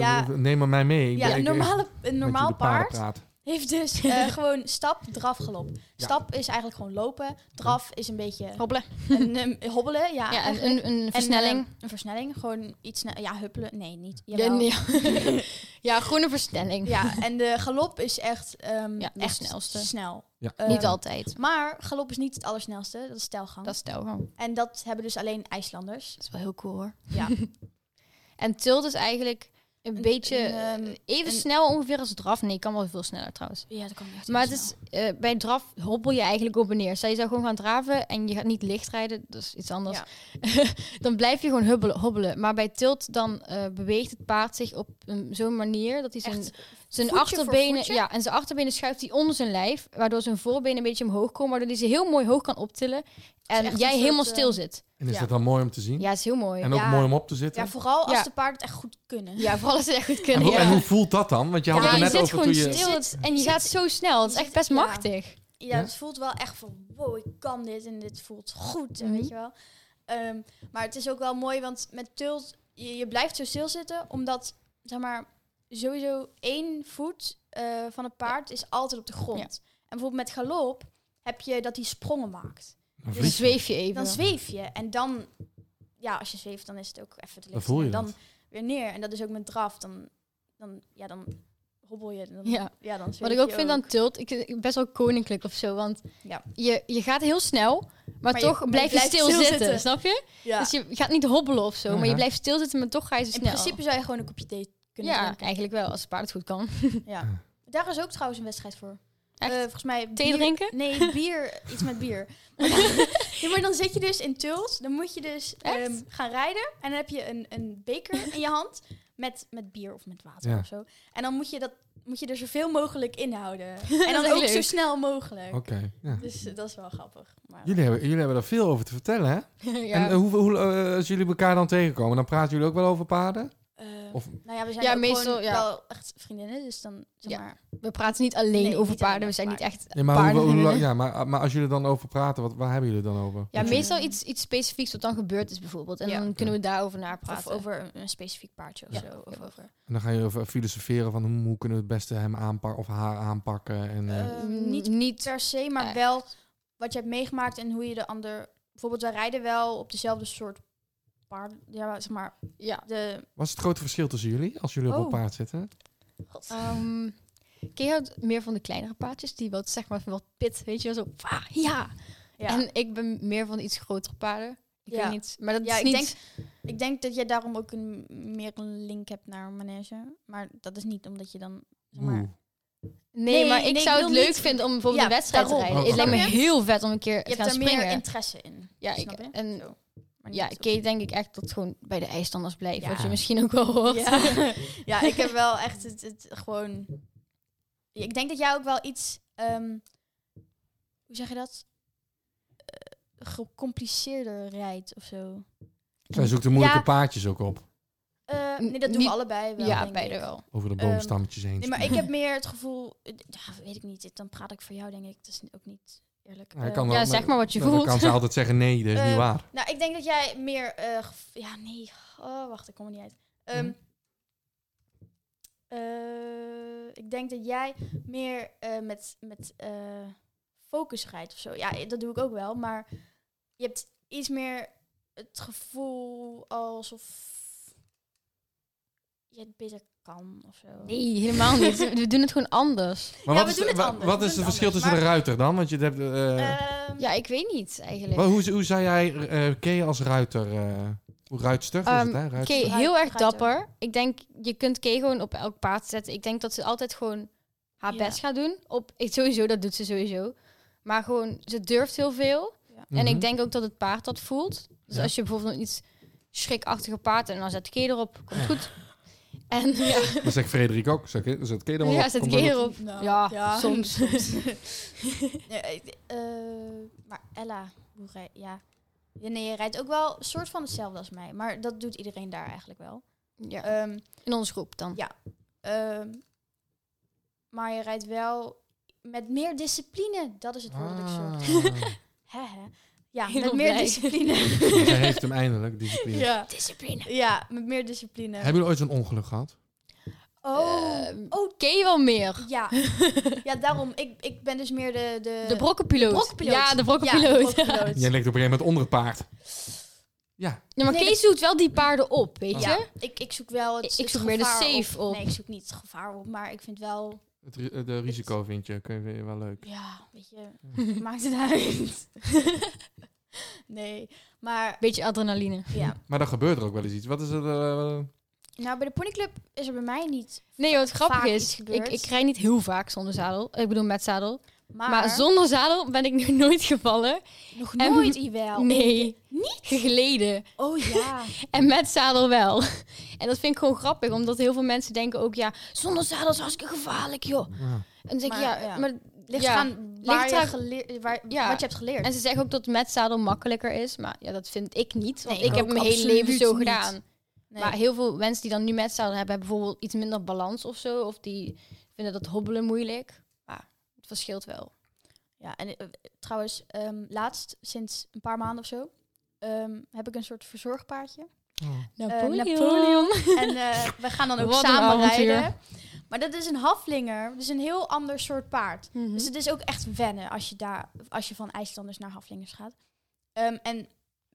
[SPEAKER 9] Ja.
[SPEAKER 1] eh, Neem maar mij mee. Ik
[SPEAKER 9] ja,
[SPEAKER 1] ben-
[SPEAKER 9] een
[SPEAKER 1] ik-
[SPEAKER 9] normale, een
[SPEAKER 1] met
[SPEAKER 9] normaal
[SPEAKER 1] jullie paarden
[SPEAKER 9] paard
[SPEAKER 1] praat.
[SPEAKER 9] heeft dus eh, gewoon stap, draf, galop.
[SPEAKER 1] Ja.
[SPEAKER 9] Stap is eigenlijk gewoon lopen. Draf is een beetje
[SPEAKER 8] Hoppelen.
[SPEAKER 9] een, een eh, hobbelen. Ja,
[SPEAKER 8] Ja,
[SPEAKER 9] eigenlijk.
[SPEAKER 8] een, een, een
[SPEAKER 9] En,
[SPEAKER 8] versnelling.
[SPEAKER 9] eh, een versnelling. Gewoon iets sne- Ja, huppelen. Nee, niet.
[SPEAKER 8] ja,
[SPEAKER 9] Jawel. Ja,
[SPEAKER 8] nee. Ja, groene versnelling.
[SPEAKER 9] en de galop is echt, ehm,
[SPEAKER 8] Ja, de
[SPEAKER 9] echt
[SPEAKER 8] snelste.
[SPEAKER 9] snel.
[SPEAKER 1] Ja.
[SPEAKER 9] Ehm,
[SPEAKER 8] Niet altijd.
[SPEAKER 9] Maar galop is niet het allersnelste. Dat is telgang.
[SPEAKER 8] Dat is telgang.
[SPEAKER 9] En dat hebben dus alleen IJslanders.
[SPEAKER 8] Dat is wel heel cool hoor.
[SPEAKER 9] Ja.
[SPEAKER 8] En tilt is eigenlijk een,
[SPEAKER 9] Een-
[SPEAKER 8] beetje
[SPEAKER 9] een, ehm,
[SPEAKER 8] eh, even
[SPEAKER 9] een-
[SPEAKER 8] snel ongeveer als draf. Nee, kan wel veel sneller trouwens.
[SPEAKER 9] Ja, dat kan echt
[SPEAKER 8] Maar het
[SPEAKER 9] heel
[SPEAKER 8] is,
[SPEAKER 9] snel.
[SPEAKER 8] eh, bij draf hobbel je eigenlijk op en neer. Stel je zou gewoon gaan draven en je gaat niet licht rijden, dat is iets anders. dan blijf je gewoon hubbelen, hobbelen. Maar bij tilt dan eh, beweegt het paard zich op een- zo'n manier dat hij zijn,
[SPEAKER 9] Echt
[SPEAKER 8] zijn
[SPEAKER 9] voetje voor
[SPEAKER 8] achterbenen...
[SPEAKER 9] voetje?
[SPEAKER 8] Ja, en zijn achterbenen schuift hij onder zijn lijf, waardoor zijn voorbenen een beetje omhoog komen, waardoor hij ze heel mooi hoog kan optillen.
[SPEAKER 9] echt
[SPEAKER 8] En
[SPEAKER 9] een
[SPEAKER 8] jij
[SPEAKER 9] soort,
[SPEAKER 8] helemaal
[SPEAKER 9] eh,
[SPEAKER 8] stil zit.
[SPEAKER 1] En is
[SPEAKER 9] Ja.
[SPEAKER 1] dat dan mooi om te zien?
[SPEAKER 8] Ja, is heel mooi.
[SPEAKER 1] En ook
[SPEAKER 9] Ja.
[SPEAKER 1] mooi om op te zitten?
[SPEAKER 9] Ja, vooral als
[SPEAKER 8] Ja.
[SPEAKER 9] de paarden het echt goed kunnen.
[SPEAKER 8] Ja, vooral als ze het echt goed
[SPEAKER 1] en,
[SPEAKER 8] kunnen.
[SPEAKER 1] hoe,
[SPEAKER 8] ja.
[SPEAKER 1] en hoe voelt dat dan? Want je had
[SPEAKER 9] Ja,
[SPEAKER 1] het er
[SPEAKER 8] je
[SPEAKER 1] net
[SPEAKER 8] zit
[SPEAKER 1] over
[SPEAKER 8] gewoon
[SPEAKER 1] toen je...
[SPEAKER 8] stil
[SPEAKER 9] zit-
[SPEAKER 8] en je
[SPEAKER 9] zit-
[SPEAKER 8] gaat zo snel. Het is
[SPEAKER 9] je
[SPEAKER 8] echt
[SPEAKER 9] zit-
[SPEAKER 8] best
[SPEAKER 9] ja.
[SPEAKER 8] machtig.
[SPEAKER 9] Ja,
[SPEAKER 1] Ja?
[SPEAKER 9] het voelt wel echt van wow, ik kan dit en dit voelt goed, en
[SPEAKER 8] Mhm.
[SPEAKER 9] weet je wel. Ehm, maar het is ook wel mooi, want met tilt, je, je blijft zo stilzitten, omdat, zeg maar, sowieso één voet eh, van het paard is altijd op de grond.
[SPEAKER 8] Ja.
[SPEAKER 9] En bijvoorbeeld met galop heb je dat hij sprongen maakt.
[SPEAKER 1] Dan
[SPEAKER 8] Dan
[SPEAKER 1] vlieg je.
[SPEAKER 8] zweef je even.
[SPEAKER 9] Dan zweef je en dan, ja, als je zweeft, dan is het ook even de
[SPEAKER 1] Dan voel je
[SPEAKER 9] en dan
[SPEAKER 1] dat.
[SPEAKER 9] weer neer. En dat is ook met draf, dan, dan, ja, dan hobbel je. Dan,
[SPEAKER 8] Ja.
[SPEAKER 9] ja. dan zweef
[SPEAKER 8] Wat ik ook
[SPEAKER 9] je
[SPEAKER 8] vind aan tilt, ik, ik- best wel koninklijk of zo. Want
[SPEAKER 9] Ja.
[SPEAKER 8] je, je gaat heel snel, maar,
[SPEAKER 9] Maar je-
[SPEAKER 8] toch
[SPEAKER 9] maar je
[SPEAKER 8] blijf je,
[SPEAKER 9] blijft
[SPEAKER 8] stil
[SPEAKER 9] stil
[SPEAKER 8] zitten,
[SPEAKER 9] zitten.
[SPEAKER 8] Snap je?
[SPEAKER 9] Ja.
[SPEAKER 8] Dus je gaat niet hobbelen of zo, maar je
[SPEAKER 1] Ja.
[SPEAKER 8] blijft stilzitten, maar toch ga je zo
[SPEAKER 9] In
[SPEAKER 8] snel.
[SPEAKER 9] principe zou je gewoon een kopje thee kunnen
[SPEAKER 8] ja,
[SPEAKER 9] drinken.
[SPEAKER 8] eigenlijk wel, als het paard het goed kan.
[SPEAKER 9] Ja. Daar is ook trouwens een wedstrijd voor.
[SPEAKER 8] Echt?
[SPEAKER 9] Eh, volgens mij
[SPEAKER 8] Thee
[SPEAKER 9] bier-
[SPEAKER 8] drinken?
[SPEAKER 9] Nee, bier. iets met bier. Maar dan, Ja, maar dan zit je dus in Tuls. Dan moet je dus
[SPEAKER 8] Echt?
[SPEAKER 9] ehm, gaan rijden. En dan heb je een, een beker in je hand. Met, met bier of met water
[SPEAKER 1] Ja.
[SPEAKER 9] of zo. En dan moet je, dat, moet je er zoveel mogelijk inhouden. En
[SPEAKER 8] Dat
[SPEAKER 9] dan
[SPEAKER 8] is
[SPEAKER 9] ook
[SPEAKER 8] leuk.
[SPEAKER 9] zo snel mogelijk.
[SPEAKER 1] Oké, ja.
[SPEAKER 9] Dus eh, dat is wel grappig. Maar,
[SPEAKER 1] Jullie hebben, jullie hebben daar veel over te vertellen, hè? En
[SPEAKER 8] ja.
[SPEAKER 1] eh, hoe, hoe, eh, als jullie elkaar dan tegenkomen, dan praten jullie ook wel over paarden?
[SPEAKER 9] eh,
[SPEAKER 1] Of-
[SPEAKER 9] nou ja, we zijn
[SPEAKER 8] Ja,
[SPEAKER 9] ook
[SPEAKER 8] meestal,
[SPEAKER 9] gewoon
[SPEAKER 8] ja.
[SPEAKER 9] wel echt vriendinnen. Dus dan, zeg
[SPEAKER 8] Ja.
[SPEAKER 9] maar...
[SPEAKER 8] We praten niet alleen
[SPEAKER 9] Nee,
[SPEAKER 8] over
[SPEAKER 9] niet
[SPEAKER 8] paarden,
[SPEAKER 9] alleen
[SPEAKER 8] we zijn niet
[SPEAKER 9] over
[SPEAKER 8] echt
[SPEAKER 1] Ja, maar,
[SPEAKER 8] paarden.
[SPEAKER 1] hoe, hoe- ja, maar, maar als jullie dan over praten, wat, waar hebben jullie dan over?
[SPEAKER 8] ja,
[SPEAKER 9] Ja.
[SPEAKER 8] meestal iets, iets specifieks wat dan gebeurd is bijvoorbeeld. En
[SPEAKER 9] Ja.
[SPEAKER 8] dan kunnen we daarover napraten.
[SPEAKER 9] Of over een, een specifiek paardje of
[SPEAKER 8] Ja.
[SPEAKER 9] zo. Of over...
[SPEAKER 1] En dan ga je over filosoferen van hoe, hoe kunnen we het beste hem aanpakken of haar aanpakken. En, eh,
[SPEAKER 9] Eh, niet
[SPEAKER 8] Mm, niet
[SPEAKER 9] per se, maar
[SPEAKER 8] Echt.
[SPEAKER 9] wel wat je hebt meegemaakt en hoe je de ander. Bijvoorbeeld, wij rijden wel op dezelfde soort paard. Ja, zeg maar.
[SPEAKER 8] Ja.
[SPEAKER 9] De,
[SPEAKER 1] Wat is het grote verschil tussen jullie als jullie op een
[SPEAKER 9] Oh.
[SPEAKER 1] paard zitten?
[SPEAKER 8] Ehm ken je het meer van de kleinere paardjes? Die wat, zeg maar, van wat pit, weet je wel, zo, "Wa, ja.
[SPEAKER 9] ja.
[SPEAKER 8] En ik ben meer van de iets grotere paarden. Ik
[SPEAKER 9] Ja.
[SPEAKER 8] weet niet, maar dat
[SPEAKER 9] Ja,
[SPEAKER 8] is
[SPEAKER 9] ik
[SPEAKER 8] niet...
[SPEAKER 9] denk- ik denk dat je daarom ook een, meer een link hebt naar een manege. Maar dat is niet omdat je dan. Zeg
[SPEAKER 1] Oeh.
[SPEAKER 9] maar,
[SPEAKER 8] nee,
[SPEAKER 9] Nee,
[SPEAKER 8] maar ik
[SPEAKER 9] nee, ik
[SPEAKER 8] zou het
[SPEAKER 9] wil
[SPEAKER 8] leuk
[SPEAKER 9] niet-
[SPEAKER 8] vinden om bijvoorbeeld
[SPEAKER 9] Ja,
[SPEAKER 8] een wedstrijd te
[SPEAKER 9] daarom.
[SPEAKER 8] rijden.
[SPEAKER 1] Oh,
[SPEAKER 8] het lijkt me
[SPEAKER 9] snap je?
[SPEAKER 8] heel vet om een keer
[SPEAKER 9] je
[SPEAKER 8] te
[SPEAKER 9] hebt
[SPEAKER 8] gaan
[SPEAKER 9] er
[SPEAKER 8] springen.
[SPEAKER 9] meer interesse in.
[SPEAKER 8] ja, ik,
[SPEAKER 9] snap je?
[SPEAKER 8] en
[SPEAKER 9] Zo. Maar niet
[SPEAKER 8] Ja,
[SPEAKER 9] zo-
[SPEAKER 8] Kate denk ik echt dat gewoon bij de ijsstanders blijft.
[SPEAKER 9] Ja.
[SPEAKER 8] Wat je misschien ook wel hoort.
[SPEAKER 9] Ja. ja, ik heb wel echt het, het gewoon. Ik denk dat jij ook wel iets. ehm, hoe zeg je dat? Eh, gecompliceerder rijdt of zo.
[SPEAKER 1] Zij zoekt de moeilijke
[SPEAKER 9] Ja.
[SPEAKER 1] paadjes ook op.
[SPEAKER 9] Eh, nee, dat doen
[SPEAKER 8] Niet-
[SPEAKER 9] we allebei wel.
[SPEAKER 8] Ja,
[SPEAKER 9] denk
[SPEAKER 8] beide
[SPEAKER 9] ik.
[SPEAKER 8] wel.
[SPEAKER 1] Over de
[SPEAKER 9] Ehm,
[SPEAKER 1] boomstammetjes heen.
[SPEAKER 9] Nee, maar ik heb meer het gevoel. eh, Ja, weet ik niet. dit- Dan praat ik voor jou, denk ik. Dat is ook niet eerlijk.
[SPEAKER 1] Hij
[SPEAKER 9] Eh,
[SPEAKER 1] kan wel-
[SPEAKER 8] ja, zeg maar wat je
[SPEAKER 1] Nou, dan
[SPEAKER 8] voelt.
[SPEAKER 1] kan ze altijd zeggen nee, dat is niet
[SPEAKER 9] Eh,
[SPEAKER 1] waar.
[SPEAKER 9] Nou, ik denk dat jij meer. eh, gev- ja, nee. Oh, wacht, ik kom er niet uit. Ehm,
[SPEAKER 1] Mhm.
[SPEAKER 8] Mhm.
[SPEAKER 9] eh, ik denk dat jij meer eh, met, met eh, focus rijdt of zo. Ja, eh, dat doe ik ook wel. Maar je hebt iets meer het gevoel alsof je het beter kan of zo.
[SPEAKER 8] Nee, helemaal niet. We doen het gewoon anders.
[SPEAKER 1] Maar wat
[SPEAKER 9] ja, we
[SPEAKER 1] is,
[SPEAKER 9] doen het
[SPEAKER 1] wa-
[SPEAKER 9] anders,
[SPEAKER 1] wat
[SPEAKER 9] we
[SPEAKER 1] is het
[SPEAKER 9] doen het
[SPEAKER 1] verschil
[SPEAKER 9] anders,
[SPEAKER 1] tussen de ruiter dan? Want je hebt... eh,
[SPEAKER 9] Ehm,
[SPEAKER 8] Ja, ik weet niet eigenlijk.
[SPEAKER 1] Wel, hoe, hoe zei jij eh Kay als ruiter? eh, hoe ruitster is
[SPEAKER 8] Ehm,
[SPEAKER 1] het, hè? Ruitster.
[SPEAKER 8] Kay,
[SPEAKER 9] Ruit-
[SPEAKER 8] heel erg
[SPEAKER 9] ruiter.
[SPEAKER 8] dapper. Ik denk, je kunt Kay gewoon op elk paard zetten. Ik denk dat ze altijd gewoon haar
[SPEAKER 9] Ja.
[SPEAKER 8] best gaat doen. Op, ik, sowieso, dat doet ze sowieso. Maar gewoon, ze durft heel veel. En
[SPEAKER 1] Mhm.
[SPEAKER 8] ik denk ook dat het paard dat voelt. Dus
[SPEAKER 1] Ja.
[SPEAKER 8] als je bijvoorbeeld een iets schrikachtige paard en dan zet Kay erop, komt goed. En ja,
[SPEAKER 1] Dat zegt Frederik ook. Zet Kay, zet Kay dan wel
[SPEAKER 8] ja
[SPEAKER 1] op.
[SPEAKER 8] zet
[SPEAKER 1] Komt
[SPEAKER 8] Kay
[SPEAKER 1] wel goed.
[SPEAKER 8] erop.
[SPEAKER 9] Nou,
[SPEAKER 8] ja,
[SPEAKER 9] ja.
[SPEAKER 8] soms.
[SPEAKER 9] Nee, ik- eh, maar Ella, hoe rij ja. Ja, Nee, je rijdt ook wel een soort van hetzelfde als mij. Maar dat doet iedereen daar eigenlijk wel.
[SPEAKER 8] ja.
[SPEAKER 9] Ehm,
[SPEAKER 8] In onze groep dan.
[SPEAKER 9] Ja. ehm, maar je rijdt wel met meer discipline. Dat is het woord dat ik
[SPEAKER 1] Ah.
[SPEAKER 9] zocht. Hè, hè. Ja,
[SPEAKER 8] Heel
[SPEAKER 9] met meer
[SPEAKER 8] blij.
[SPEAKER 9] discipline.
[SPEAKER 1] Zij heeft hem eindelijk, discipline.
[SPEAKER 9] ja.
[SPEAKER 8] Discipline.
[SPEAKER 9] ja, met meer discipline.
[SPEAKER 1] Hebben jullie ooit zo'n ongeluk gehad?
[SPEAKER 9] oh,
[SPEAKER 8] Ehm,
[SPEAKER 9] oh,
[SPEAKER 8] Kay wel meer.
[SPEAKER 9] ja. ja, daarom. Ik, ik ben dus meer de... De,
[SPEAKER 8] De brokkenpiloot.
[SPEAKER 9] brokkenpiloot.
[SPEAKER 8] Ja, de
[SPEAKER 9] Ja, de
[SPEAKER 8] brokkenpiloot. Ja,
[SPEAKER 9] brokkenpiloot.
[SPEAKER 1] Jij ligt op een gegeven moment onder het paard. Ja,
[SPEAKER 8] maar
[SPEAKER 9] Nee,
[SPEAKER 8] Kay
[SPEAKER 9] dat-
[SPEAKER 8] zoekt wel die paarden op, weet je?
[SPEAKER 9] Ja, ik, ik zoek wel het
[SPEAKER 8] Ik
[SPEAKER 9] het
[SPEAKER 8] zoek meer de
[SPEAKER 9] gevaar
[SPEAKER 8] safe op.
[SPEAKER 9] Nee, ik zoek niet het gevaar op, maar ik vind wel...
[SPEAKER 1] het, ri- eh, de risico vind je, kun je weer wel leuk.
[SPEAKER 9] Ja, weet je, maakt het uit. nee, maar
[SPEAKER 8] Beetje adrenaline.
[SPEAKER 9] ja.
[SPEAKER 1] Maar dan gebeurt er ook wel eens iets. Wat is het? eh,
[SPEAKER 9] Nou, bij de ponyclub is er bij mij niet.
[SPEAKER 8] Nee, wat grappig
[SPEAKER 9] Vaak iets
[SPEAKER 8] is, ik,
[SPEAKER 9] gebeurt.
[SPEAKER 8] ik rijd niet heel vaak zonder zadel. Ik bedoel met zadel.
[SPEAKER 9] Maar,
[SPEAKER 8] Maar zonder zadel ben ik nu nooit gevallen.
[SPEAKER 9] nog
[SPEAKER 8] en-
[SPEAKER 9] nooit IWL.
[SPEAKER 8] nee. Niet? Gegleden.
[SPEAKER 9] Oh ja.
[SPEAKER 8] En met zadel wel. En dat vind ik gewoon grappig, omdat heel veel mensen denken ook, ja, zonder zadel is hartstikke gevaarlijk, joh.
[SPEAKER 1] ja.
[SPEAKER 8] En dan denk ik, ja,
[SPEAKER 9] Maar, ja.
[SPEAKER 8] maar...
[SPEAKER 9] Ligt
[SPEAKER 8] ja.
[SPEAKER 9] aan waar
[SPEAKER 8] Ligt
[SPEAKER 9] je
[SPEAKER 8] eraan-
[SPEAKER 9] geleerd, waar,
[SPEAKER 8] Ja.
[SPEAKER 9] wat je hebt geleerd.
[SPEAKER 8] En ze zeggen ook dat met zadel makkelijker is, maar ja, dat vind ik niet. Want
[SPEAKER 9] Nee,
[SPEAKER 8] ik
[SPEAKER 9] ik
[SPEAKER 8] heb
[SPEAKER 9] ook
[SPEAKER 8] mijn hele leven
[SPEAKER 9] absoluut
[SPEAKER 8] zo
[SPEAKER 9] niet.
[SPEAKER 8] gedaan.
[SPEAKER 9] Nee.
[SPEAKER 8] Maar heel veel mensen die dan nu met zadel hebben, hebben bijvoorbeeld iets minder balans of zo. Of die vinden dat hobbelen moeilijk. Maar het verschilt wel.
[SPEAKER 9] Ja, en eh, trouwens, ehm, laatst, sinds een paar maanden of zo, ehm, heb ik een soort verzorgpaardje.
[SPEAKER 1] Oh.
[SPEAKER 9] Napoleon. en eh, we gaan dan ook
[SPEAKER 8] Wat een
[SPEAKER 9] samen
[SPEAKER 8] avontuur.
[SPEAKER 9] rijden. Maar dat is een haflinger, dus een heel ander soort paard.
[SPEAKER 8] Mhm.
[SPEAKER 9] Dus het is ook echt wennen als je, daar, als je van IJslanders naar Haflingers gaat. Ehm, en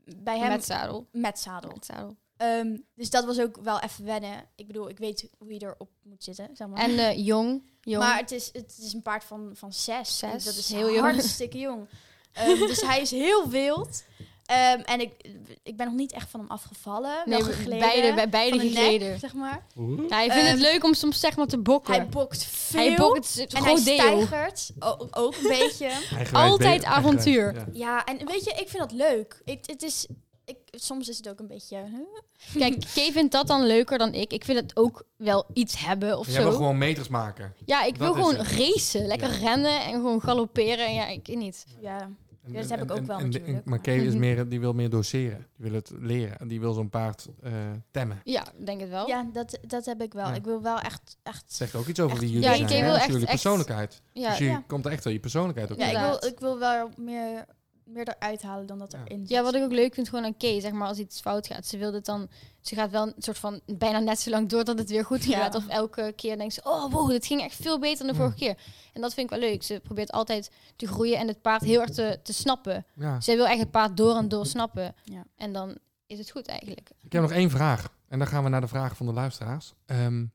[SPEAKER 9] bij hem
[SPEAKER 8] Met zadel.
[SPEAKER 9] met zadel.
[SPEAKER 8] Met zadel.
[SPEAKER 9] Ehm, dus dat was ook wel even wennen. Ik bedoel, ik weet hoe je erop moet zitten. Zeg maar.
[SPEAKER 8] En eh, jong. jong.
[SPEAKER 9] maar het is, het is een paard van, van zes.
[SPEAKER 8] Zes,
[SPEAKER 9] En Dat is
[SPEAKER 8] heel
[SPEAKER 9] heel
[SPEAKER 8] jong.
[SPEAKER 9] hartstikke jong. Ehm, dus hij is heel wild. Ehm, en ik, ik ben nog niet echt van hem afgevallen.
[SPEAKER 8] Nee,
[SPEAKER 9] wel
[SPEAKER 8] we-
[SPEAKER 9] gegleden.
[SPEAKER 8] beide, bij
[SPEAKER 9] van
[SPEAKER 8] beide
[SPEAKER 9] de nek,
[SPEAKER 8] gegleden.
[SPEAKER 9] zeg maar.
[SPEAKER 8] Ja, hij vindt het
[SPEAKER 9] Ehm,
[SPEAKER 8] leuk om soms zeg maar te bokken.
[SPEAKER 9] Hij bokt veel.
[SPEAKER 8] Hij bokt het, het
[SPEAKER 9] en hij
[SPEAKER 8] groot deel.
[SPEAKER 9] stijgert o- ook een beetje.
[SPEAKER 1] Eigenwijs
[SPEAKER 8] Altijd
[SPEAKER 1] beter-
[SPEAKER 8] avontuur.
[SPEAKER 1] eigenwijs, ja.
[SPEAKER 9] Ja, en weet je, ik vind dat leuk. Ik, het is, ik, soms is het ook een beetje... huh?
[SPEAKER 8] Kijk, Kay vindt dat dan leuker dan ik. Ik vind het ook wel iets hebben of
[SPEAKER 1] Jij
[SPEAKER 8] zo.
[SPEAKER 1] wil gewoon meters maken.
[SPEAKER 8] ja, ik
[SPEAKER 1] dat
[SPEAKER 8] wil
[SPEAKER 1] is
[SPEAKER 8] gewoon
[SPEAKER 1] het.
[SPEAKER 8] racen. Lekker
[SPEAKER 1] Ja.
[SPEAKER 8] rennen en gewoon galopperen. Ja, ik weet niet.
[SPEAKER 9] Ja.
[SPEAKER 1] En-
[SPEAKER 9] Ja, dat
[SPEAKER 1] en-
[SPEAKER 9] heb ik
[SPEAKER 1] en-
[SPEAKER 9] ook wel
[SPEAKER 1] en- en-
[SPEAKER 9] natuurlijk,
[SPEAKER 1] maar
[SPEAKER 9] maar-
[SPEAKER 1] Kay is
[SPEAKER 8] Mhm.
[SPEAKER 1] meer, die wil meer doseren. Die wil het leren. En die wil zo'n paard eh, temmen.
[SPEAKER 8] Ja, ik denk het wel. Ja,
[SPEAKER 9] Ja, dat, dat heb ik wel.
[SPEAKER 1] Ja.
[SPEAKER 9] Ik wil wel echt... echt
[SPEAKER 1] Zegt ook iets over
[SPEAKER 9] Echt.
[SPEAKER 1] wie jullie
[SPEAKER 8] Ja,
[SPEAKER 1] zijn.
[SPEAKER 8] Kay
[SPEAKER 1] hè?
[SPEAKER 8] wil
[SPEAKER 1] Dat is
[SPEAKER 8] echt-
[SPEAKER 1] jullie
[SPEAKER 8] echt-
[SPEAKER 1] persoonlijkheid.
[SPEAKER 8] ja,
[SPEAKER 1] dus je
[SPEAKER 9] ja.
[SPEAKER 1] komt echt wel je persoonlijkheid op.
[SPEAKER 9] ja, ik
[SPEAKER 8] inderdaad.
[SPEAKER 9] wil, ik wil wel meer, meer eruit halen dan dat
[SPEAKER 1] Ja.
[SPEAKER 9] erin zit.
[SPEAKER 8] wat ik ook leuk vind gewoon aan Kay, zeg maar, als iets fout gaat. Ze wil dit dan... Ze gaat wel een soort van bijna net zo lang door dat het weer goed
[SPEAKER 9] Ja.
[SPEAKER 8] gaat. Of elke keer denkt ze, oh wow, dit ging echt veel beter dan de
[SPEAKER 1] Ja.
[SPEAKER 8] vorige keer. En dat vind ik wel leuk. Ze probeert altijd te groeien en het paard heel erg te, te snappen.
[SPEAKER 1] Ja.
[SPEAKER 8] Zij wil echt het paard door en door snappen.
[SPEAKER 9] Ja.
[SPEAKER 8] En dan is het goed eigenlijk.
[SPEAKER 1] Ik heb nog één vraag. En dan gaan we naar de vraag van de luisteraars. Ehm,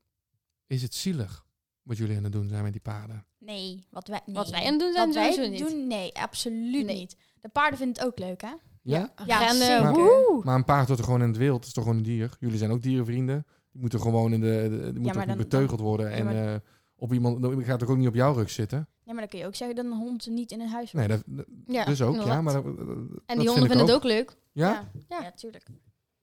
[SPEAKER 1] is het zielig wat jullie aan het doen zijn met die paarden?
[SPEAKER 9] Nee, wat wij, nee.
[SPEAKER 8] Wat wij aan het doen zijn,
[SPEAKER 9] Wat wij
[SPEAKER 8] sowieso niet.
[SPEAKER 9] doen, nee, absoluut
[SPEAKER 8] Nee.
[SPEAKER 9] niet. De paarden vinden het ook leuk, hè?
[SPEAKER 1] Ja?
[SPEAKER 9] Ja,
[SPEAKER 8] Rennen,
[SPEAKER 9] zeker.
[SPEAKER 8] woehoe.
[SPEAKER 1] Maar een paard wordt er gewoon in het wild. Het is toch gewoon een dier. Jullie zijn ook dierenvrienden. Die moeten gewoon in de, de- die moeten
[SPEAKER 9] maar
[SPEAKER 1] goed
[SPEAKER 9] dan-
[SPEAKER 1] beteugeld worden.
[SPEAKER 9] ja,
[SPEAKER 1] en
[SPEAKER 9] maar-
[SPEAKER 1] eh, op iemand, dan gaat toch ook niet op jouw rug zitten?
[SPEAKER 9] Nee, maar dan kun je ook zeggen dat een hond niet in een huis
[SPEAKER 1] Nee, dat,
[SPEAKER 8] Ja,
[SPEAKER 1] dus ook, ja.
[SPEAKER 8] inderdaad.
[SPEAKER 1] Maar dat,
[SPEAKER 8] en die honden vinden het ook leuk.
[SPEAKER 1] Ja?
[SPEAKER 9] Ja,
[SPEAKER 8] Ja.
[SPEAKER 9] tuurlijk.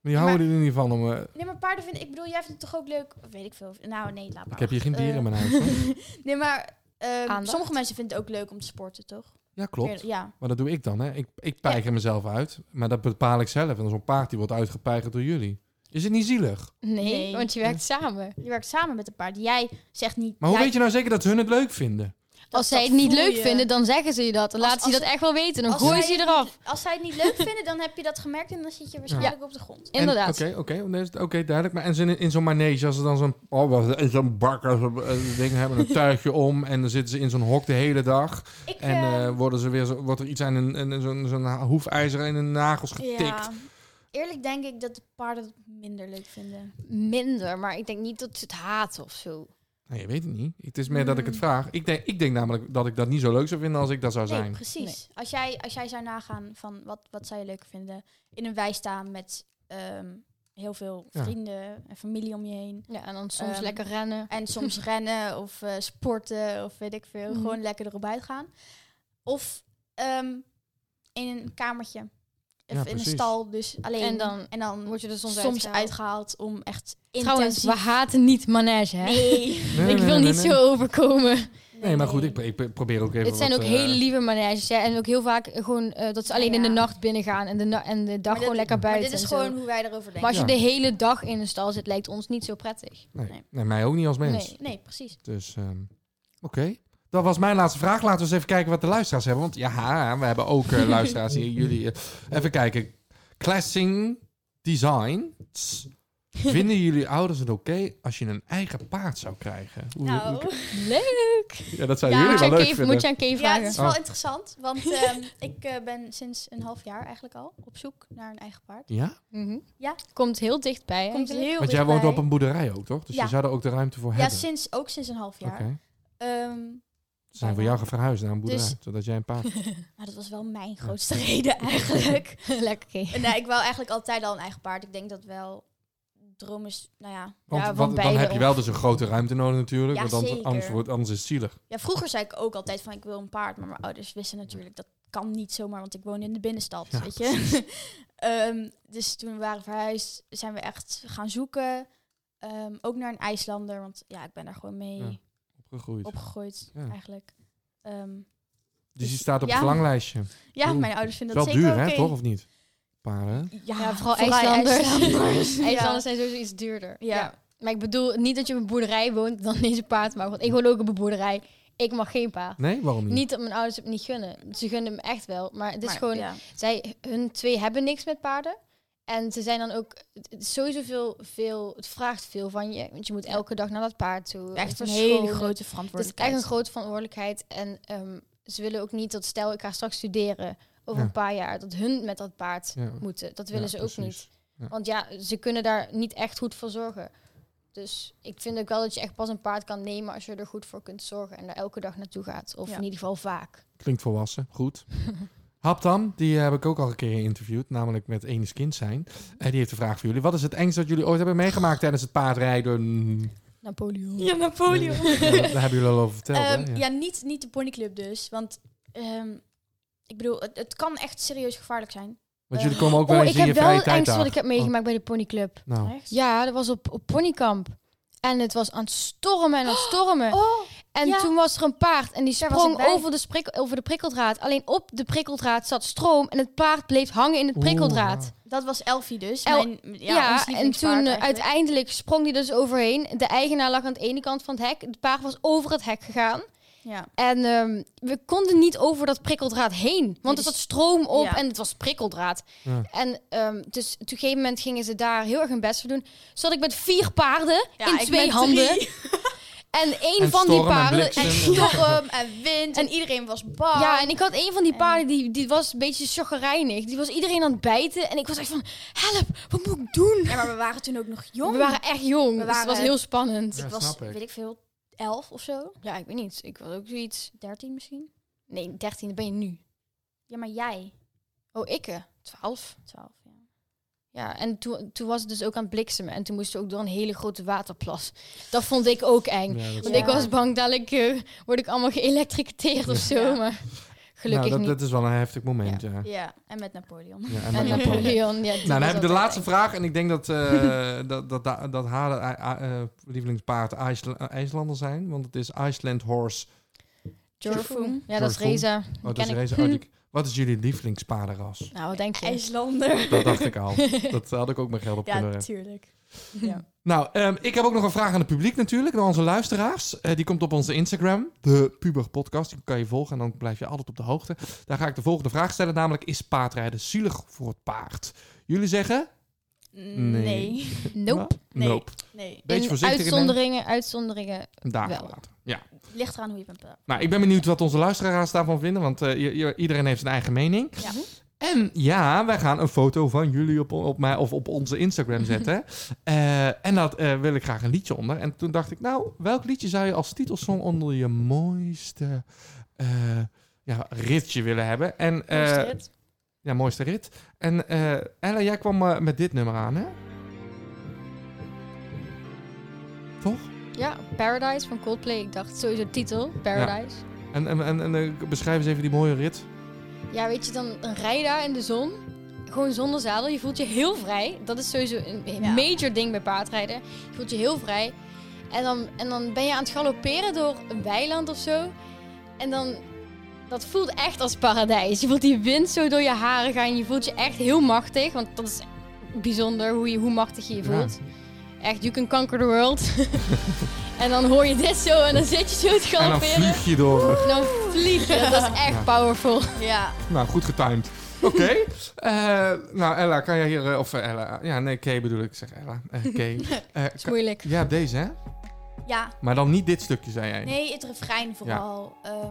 [SPEAKER 1] Die houden er in ieder geval om... eh,
[SPEAKER 9] Nee, maar paarden vinden... Ik bedoel, jij vindt het toch ook leuk? Of weet ik veel. Nou, nee, laat maar.
[SPEAKER 1] ik heb hier geen
[SPEAKER 9] Eh,
[SPEAKER 1] dieren nou- in mijn huis. hoor.
[SPEAKER 9] nee, maar ehm,
[SPEAKER 8] Aandacht.
[SPEAKER 9] sommige mensen vinden het ook leuk om te sporten, toch?
[SPEAKER 1] Ja, klopt.
[SPEAKER 9] Ja.
[SPEAKER 1] Maar dat doe ik dan, hè. Ik, ik pijger mezelf uit. Maar dat bepaal ik zelf. En dan zo'n paard die wordt uitgepeigerd door jullie. Is het niet zielig?
[SPEAKER 8] Nee,
[SPEAKER 9] Nee.
[SPEAKER 8] want je werkt samen.
[SPEAKER 9] Je werkt samen met een paard. Jij zegt niet...
[SPEAKER 1] Maar hoe
[SPEAKER 9] jij-
[SPEAKER 1] weet je nou zeker dat hun het leuk vinden?
[SPEAKER 9] dat-
[SPEAKER 8] Als zij
[SPEAKER 9] dat
[SPEAKER 8] het niet
[SPEAKER 9] voel
[SPEAKER 8] leuk
[SPEAKER 9] je.
[SPEAKER 8] vinden, dan zeggen ze je dat. Dan
[SPEAKER 9] Als-
[SPEAKER 8] laten ze je
[SPEAKER 9] als
[SPEAKER 8] dat
[SPEAKER 9] ze-
[SPEAKER 8] echt wel weten. Dan
[SPEAKER 9] als
[SPEAKER 8] gooien
[SPEAKER 9] zij
[SPEAKER 8] ze je
[SPEAKER 9] het
[SPEAKER 8] eraf.
[SPEAKER 9] Als zij het niet leuk vinden, dan heb je dat gemerkt en dan zit je waarschijnlijk op de grond.
[SPEAKER 1] En-
[SPEAKER 8] Inderdaad.
[SPEAKER 1] Oké, oké. nee, is het- Oké, duidelijk. Maar en zo in, in zo'n manege, als ze dan zo'n... Oh, wat is zo'n bak, als we, eh, ding hebben een tuigje om. En dan zitten ze in zo'n hok de hele dag.
[SPEAKER 9] Ik,
[SPEAKER 1] En
[SPEAKER 9] ehm,
[SPEAKER 1] eh, worden ze weer zo, wordt er iets aan een, een, zo'n, zo'n ha- hoefijzer en hun nagels getikt.
[SPEAKER 9] ja. Eerlijk denk ik dat de paarden het minder leuk vinden.
[SPEAKER 8] Minder, maar ik denk niet dat ze het haat of zo.
[SPEAKER 1] Nou, je weet het niet. Het is meer dat
[SPEAKER 8] Mm.
[SPEAKER 1] ik het vraag. Ik denk, ik denk namelijk dat ik dat niet zo leuk zou vinden als ik dat zou
[SPEAKER 9] Nee,
[SPEAKER 1] zijn.
[SPEAKER 9] precies. Als, jij, als jij zou nagaan van wat, wat zou je leuk vinden in een wei staan met ehm, heel veel
[SPEAKER 1] Ja.
[SPEAKER 9] vrienden en familie om je heen.
[SPEAKER 8] Ja, en dan soms
[SPEAKER 9] Ehm,
[SPEAKER 8] lekker rennen.
[SPEAKER 9] En soms rennen of eh, sporten of weet ik veel.
[SPEAKER 8] Mhm.
[SPEAKER 9] Gewoon lekker erop uitgaan. Of ehm, in een kamertje. Of
[SPEAKER 1] Ja,
[SPEAKER 9] in
[SPEAKER 1] precies.
[SPEAKER 9] een stal, dus alleen.
[SPEAKER 8] En dan
[SPEAKER 9] en dan
[SPEAKER 8] Word je er soms,
[SPEAKER 9] soms uitgehaald. om echt
[SPEAKER 8] Trouwens,
[SPEAKER 9] intensief...
[SPEAKER 8] we haten niet manege, hè?
[SPEAKER 9] Nee.
[SPEAKER 1] Nee,
[SPEAKER 8] ik
[SPEAKER 1] nee,
[SPEAKER 8] wil
[SPEAKER 1] nee,
[SPEAKER 8] niet
[SPEAKER 1] nee.
[SPEAKER 8] zo overkomen.
[SPEAKER 1] Nee, maar goed, ik, pro- ik pro- probeer ook even
[SPEAKER 8] Het zijn
[SPEAKER 1] wat,
[SPEAKER 8] ook
[SPEAKER 1] eh,
[SPEAKER 8] hele lieve maneges, hè? En ook heel vaak eh, gewoon eh, dat ze alleen in de
[SPEAKER 9] Ja.
[SPEAKER 8] nacht binnen gaan en de, na- en de dag
[SPEAKER 9] Maar
[SPEAKER 8] gewoon
[SPEAKER 9] dit-
[SPEAKER 8] lekker
[SPEAKER 9] Maar
[SPEAKER 8] buiten.
[SPEAKER 9] dit is
[SPEAKER 8] en zo.
[SPEAKER 9] gewoon hoe wij erover
[SPEAKER 8] Maar
[SPEAKER 9] denken.
[SPEAKER 8] als je
[SPEAKER 1] Ja.
[SPEAKER 8] de hele dag in een stal zit, lijkt ons niet zo prettig.
[SPEAKER 1] Nee,
[SPEAKER 9] Nee.
[SPEAKER 1] nee, mij ook niet als mens.
[SPEAKER 8] Nee.
[SPEAKER 9] Nee, precies.
[SPEAKER 1] Dus, ehm, oké. Dat was mijn laatste vraag. Laten we eens even kijken wat de luisteraars hebben. Want ja, we hebben ook eh, luisteraars hier. Jullie, eh, even kijken. Classing Design. Tss. Vinden jullie ouders het oké als je een eigen paard zou krijgen? Hoe-
[SPEAKER 9] Nou,
[SPEAKER 1] hoe-
[SPEAKER 8] Leuk!
[SPEAKER 1] ja, dat zou
[SPEAKER 9] Ja.
[SPEAKER 1] jullie
[SPEAKER 8] Moet je,
[SPEAKER 1] wel leuk
[SPEAKER 8] aan Kay,
[SPEAKER 1] vinden.
[SPEAKER 8] moet je aan Kay
[SPEAKER 9] ja,
[SPEAKER 8] vragen.
[SPEAKER 9] het is wel
[SPEAKER 1] Oh.
[SPEAKER 9] interessant, want ehm, ik eh, ben sinds een half jaar eigenlijk al op zoek naar een eigen paard.
[SPEAKER 1] Ja?
[SPEAKER 8] Mhm.
[SPEAKER 9] Ja.
[SPEAKER 8] Komt heel dichtbij.
[SPEAKER 9] Komt
[SPEAKER 8] eigenlijk.
[SPEAKER 9] heel
[SPEAKER 1] Want jij woont op
[SPEAKER 9] dichtbij.
[SPEAKER 1] een boerderij ook, toch? Dus
[SPEAKER 9] Ja.
[SPEAKER 1] je zou er ook de ruimte voor
[SPEAKER 9] Ja,
[SPEAKER 1] hebben.
[SPEAKER 9] sinds, ook sinds een half
[SPEAKER 1] Oké.
[SPEAKER 9] jaar. Ehm,
[SPEAKER 1] Ze zijn voor jou verhuisd naar een boerderij,
[SPEAKER 9] Dus-
[SPEAKER 1] zodat jij een paard...
[SPEAKER 9] maar dat was wel mijn grootste reden eigenlijk.
[SPEAKER 8] Lekker, Kay.
[SPEAKER 9] nee, ik wou eigenlijk altijd al een eigen paard. Ik denk dat wel droom is, nou ja.
[SPEAKER 1] Want
[SPEAKER 8] van
[SPEAKER 1] wat- dan
[SPEAKER 8] beide
[SPEAKER 1] heb je wel dus een grote ruimte nodig natuurlijk.
[SPEAKER 9] Ja,
[SPEAKER 1] want anders,
[SPEAKER 9] zeker.
[SPEAKER 1] anders, wordt, anders is het zielig.
[SPEAKER 9] Ja, vroeger zei ik ook altijd van ik wil een paard, maar mijn ouders wisten natuurlijk dat kan niet zomaar, want ik woon in de binnenstad,
[SPEAKER 1] Ja,
[SPEAKER 9] weet je. Ehm, dus toen we waren verhuisd, zijn we echt gaan zoeken. Ehm, ook naar een IJslander, want ja, ik ben daar gewoon mee
[SPEAKER 1] Ja. Opgegroeid.
[SPEAKER 9] opgegroeid
[SPEAKER 1] Ja.
[SPEAKER 9] eigenlijk. Ehm,
[SPEAKER 1] Dus die staat op
[SPEAKER 9] Ja.
[SPEAKER 1] het verlanglijstje.
[SPEAKER 9] ja,
[SPEAKER 1] Oeh.
[SPEAKER 9] mijn ouders vinden
[SPEAKER 1] wel
[SPEAKER 9] dat zeker
[SPEAKER 1] duur,
[SPEAKER 9] oké.
[SPEAKER 1] hè, toch? Of niet? Paarden.
[SPEAKER 9] Ja,
[SPEAKER 8] Ja, Ah, vooral IJslanders.
[SPEAKER 9] IJslanders. Ja.
[SPEAKER 8] IJslanders zijn sowieso iets duurder.
[SPEAKER 9] Ja.
[SPEAKER 8] Maar ik bedoel niet dat je op een boerderij woont, dan deze paard mag. Want ik woon ook op een boerderij. Ik mag geen paard.
[SPEAKER 1] Nee, waarom niet?
[SPEAKER 8] Niet dat mijn ouders het niet gunnen. Ze gunnen hem echt wel. Maar het is
[SPEAKER 9] Maar,
[SPEAKER 8] gewoon,
[SPEAKER 9] ja.
[SPEAKER 8] zij, hun twee hebben niks met paarden. En ze zijn dan ook het is sowieso veel, veel, het vraagt veel van je. Want je moet elke dag naar dat paard toe.
[SPEAKER 9] echt een Dus
[SPEAKER 8] verschonen.
[SPEAKER 9] hele grote
[SPEAKER 8] Het is echt
[SPEAKER 9] verantwoordelijkheid.
[SPEAKER 8] een grote verantwoordelijkheid. En ehm, ze willen ook niet dat, stel ik ga straks studeren over
[SPEAKER 1] Ja.
[SPEAKER 8] een paar jaar, dat hun met dat paard
[SPEAKER 1] Ja.
[SPEAKER 8] moeten. Dat willen
[SPEAKER 1] Ja,
[SPEAKER 8] ze ook
[SPEAKER 1] precies.
[SPEAKER 8] niet.
[SPEAKER 1] Ja.
[SPEAKER 8] Want ja, ze kunnen daar niet echt goed voor zorgen. Dus ik vind ook wel dat je echt pas een paard kan nemen als je er goed voor kunt zorgen en er elke dag naartoe gaat. Of
[SPEAKER 9] Ja.
[SPEAKER 8] in ieder geval vaak.
[SPEAKER 1] Klinkt volwassen. Goed. Haptam, die heb ik ook al een keer geïnterviewd, namelijk met Enes Kind zijn. En die heeft een vraag voor jullie. Wat is het engste dat jullie ooit hebben meegemaakt tijdens het paardrijden?
[SPEAKER 8] Napoleon.
[SPEAKER 9] Ja, Napoleon.
[SPEAKER 1] Ja, dat- daar hebben jullie al over verteld, hè?
[SPEAKER 9] Ehm,
[SPEAKER 1] Ja.
[SPEAKER 9] ja, niet, niet de ponyclub dus. Want ehm, ik bedoel, het, het kan echt serieus gevaarlijk zijn.
[SPEAKER 1] Want
[SPEAKER 9] eh,
[SPEAKER 1] jullie komen ook wel
[SPEAKER 8] Oh,
[SPEAKER 1] eens
[SPEAKER 8] ik
[SPEAKER 1] in je
[SPEAKER 8] heb wel
[SPEAKER 1] vrije
[SPEAKER 8] het
[SPEAKER 1] tijd
[SPEAKER 8] engste
[SPEAKER 1] daar. Oh.
[SPEAKER 8] wat ik heb meegemaakt bij de ponyclub.
[SPEAKER 1] Nou,
[SPEAKER 9] Echt?
[SPEAKER 8] Ja, dat was op, op ponykamp. En het was aan het stormen en aan het stormen.
[SPEAKER 9] Oh,
[SPEAKER 8] En
[SPEAKER 9] Ja.
[SPEAKER 8] toen was er een paard en die
[SPEAKER 9] Daar was ik
[SPEAKER 8] sprong
[SPEAKER 9] bij.
[SPEAKER 8] over de, sprik- over de prikkeldraad. Alleen op de prikkeldraad zat stroom en het paard bleef hangen in het
[SPEAKER 1] Oeh,
[SPEAKER 8] prikkeldraad.
[SPEAKER 9] dat was Elfie dus.
[SPEAKER 8] El-
[SPEAKER 9] mijn,
[SPEAKER 8] ja,
[SPEAKER 9] ja, ons
[SPEAKER 8] en
[SPEAKER 9] lievelingspaard
[SPEAKER 8] toen eh,
[SPEAKER 9] eigenlijk.
[SPEAKER 8] uiteindelijk sprong die dus overheen. De eigenaar lag aan de ene kant van het hek. Het paard was over het hek gegaan.
[SPEAKER 9] Ja.
[SPEAKER 8] En ehm, we konden niet over dat prikkeldraad heen. Want er
[SPEAKER 9] dus-
[SPEAKER 8] zat stroom op
[SPEAKER 9] ja.
[SPEAKER 8] en het was prikkeldraad.
[SPEAKER 1] Ja.
[SPEAKER 8] En ehm, dus op een gegeven moment gingen ze daar heel erg hun best voor doen. Zat ik met vier paarden
[SPEAKER 9] Ja,
[SPEAKER 8] in
[SPEAKER 9] ik
[SPEAKER 8] twee
[SPEAKER 9] met
[SPEAKER 8] handen.
[SPEAKER 9] drie.
[SPEAKER 8] En één
[SPEAKER 1] En
[SPEAKER 8] van
[SPEAKER 1] storm
[SPEAKER 8] die
[SPEAKER 1] en
[SPEAKER 8] paarden...
[SPEAKER 1] bliksem.
[SPEAKER 9] Storm en wind en iedereen was bang.
[SPEAKER 8] Ja, en ik had een van die paarden, die, die was een beetje chagrijnig. Die was iedereen aan het bijten. En ik was echt van, help, wat moet ik doen?
[SPEAKER 9] Ja, maar we waren toen ook nog jong.
[SPEAKER 8] We waren echt jong, dus het
[SPEAKER 9] waren-
[SPEAKER 8] was heel spannend.
[SPEAKER 1] Ja,
[SPEAKER 9] ik was,
[SPEAKER 1] snap ik.
[SPEAKER 9] weet ik veel, elf of zo.
[SPEAKER 8] Ja, ik weet niet. Ik was ook zoiets...
[SPEAKER 9] Dertien misschien.
[SPEAKER 8] Nee, 13 ben je nu.
[SPEAKER 9] Ja, maar jij,
[SPEAKER 8] Oh, ikke. 12.
[SPEAKER 9] twaalf. Ja.
[SPEAKER 8] Ja, en toen, toen was het dus ook aan het bliksemen. En toen moesten we ook door een hele grote waterplas. Dat vond ik ook eng.
[SPEAKER 1] Ja, dat-
[SPEAKER 8] Want ik was bang, dadelijk eh, word ik allemaal geëlektriciteerd of zo. Maar
[SPEAKER 1] nou,
[SPEAKER 8] gelukkig
[SPEAKER 1] dat,
[SPEAKER 8] niet.
[SPEAKER 1] dat is wel een heftig moment, ja.
[SPEAKER 9] Ja, en met Napoleon.
[SPEAKER 1] Ja, en met
[SPEAKER 8] En
[SPEAKER 1] Napoleon.
[SPEAKER 8] Napoleon, ja.
[SPEAKER 1] Nou,
[SPEAKER 8] die
[SPEAKER 1] dan
[SPEAKER 8] was
[SPEAKER 1] heb ik de
[SPEAKER 8] altijd
[SPEAKER 1] laatste
[SPEAKER 8] eng.
[SPEAKER 1] vraag. En ik denk dat, eh, dat, dat, dat, dat haar eh, eh, eh, lievelingspaard IJsla- eh, IJslander zijn. Want het is Iceland Horse.
[SPEAKER 8] Jorfum. Ja, dat is
[SPEAKER 1] Jorfum.
[SPEAKER 8] Reza.
[SPEAKER 1] Oh, dat is
[SPEAKER 8] ken ik.
[SPEAKER 1] Reza. Oh, die- wat is jullie lievelingspaardenras?
[SPEAKER 8] Nou, wat denk je?
[SPEAKER 9] IJslander.
[SPEAKER 1] Dat dacht ik al. Dat had ik ook mijn geld op
[SPEAKER 9] Ja,
[SPEAKER 1] kunnen.
[SPEAKER 9] natuurlijk.
[SPEAKER 1] Nou, ehm, ik heb ook nog een vraag aan het publiek natuurlijk. Aan onze luisteraars. Eh, die komt op onze Instagram. De Puber Podcast. Die kan je volgen en dan blijf je altijd op de hoogte. Daar ga ik de volgende vraag stellen. Namelijk, is paardrijden zielig voor het paard? Jullie zeggen?
[SPEAKER 9] Nee.
[SPEAKER 8] Nope.
[SPEAKER 1] Nou,
[SPEAKER 9] Nee.
[SPEAKER 1] nope.
[SPEAKER 9] Nee.
[SPEAKER 1] Beetje
[SPEAKER 8] In
[SPEAKER 1] voorzichtig in
[SPEAKER 8] uitzonderingen, uitzonderingen.
[SPEAKER 1] Een dag
[SPEAKER 8] Wel.
[SPEAKER 1] later. Ja.
[SPEAKER 9] Ligt eraan hoe je bent. bedacht.
[SPEAKER 1] Nou, ik ben benieuwd wat onze luisteraars daarvan vinden. Want eh, je- je- iedereen heeft zijn eigen mening.
[SPEAKER 9] Ja.
[SPEAKER 1] En ja, wij gaan een foto van jullie op, op, mij, of op onze
[SPEAKER 9] Mhm.
[SPEAKER 1] Instagram zetten. Eh, en daar wil ik graag een liedje onder. En toen dacht ik, nou, welk liedje zou je als titelsong onder je mooiste eh, ja, ritje willen hebben? En, eh,
[SPEAKER 9] Mooiste rit.
[SPEAKER 1] Ja, mooiste rit. En eh, Ella, jij kwam eh, met dit nummer aan, hè? Toch?
[SPEAKER 8] Ja, Paradise van Coldplay. Ik dacht sowieso titel, Paradise.
[SPEAKER 1] En, en, en, en eh, beschrijf eens even die mooie rit.
[SPEAKER 8] Ja, weet je, dan dan rij je daar in de zon. Gewoon zonder zadel. Je voelt je heel vrij. Dat is sowieso een een
[SPEAKER 9] Ja.
[SPEAKER 8] major ding bij paardrijden. Je voelt je heel vrij. En dan, en dan ben je aan het galopperen door een weiland of zo. En dan... Dat voelt echt als paradijs. Je voelt die wind zo door je haren gaan. Je voelt je echt heel machtig. Want dat is bijzonder hoe, je, hoe machtig je je
[SPEAKER 1] Ja.
[SPEAKER 8] voelt. Echt, you can conquer the world. en dan hoor je dit zo en dan zit je zo te
[SPEAKER 1] En dan
[SPEAKER 8] galopperen.
[SPEAKER 1] vlieg je door.
[SPEAKER 8] En dan vlieg je. Dat is echt powerful.
[SPEAKER 9] Ja.
[SPEAKER 1] Nou, goed getimed. Oké. Eh, nou, Ella, kan jij hier... eh, of eh, Ella. Ja, nee, Kay bedoel ik. Ik zeg Ella. Eh Kay. Eh,
[SPEAKER 8] Dat is
[SPEAKER 1] kan-
[SPEAKER 8] moeilijk.
[SPEAKER 1] ja, deze, hè?
[SPEAKER 9] Ja.
[SPEAKER 1] Maar dan niet dit stukje, zei jij.
[SPEAKER 9] Nee, het refrein vooral. Ja,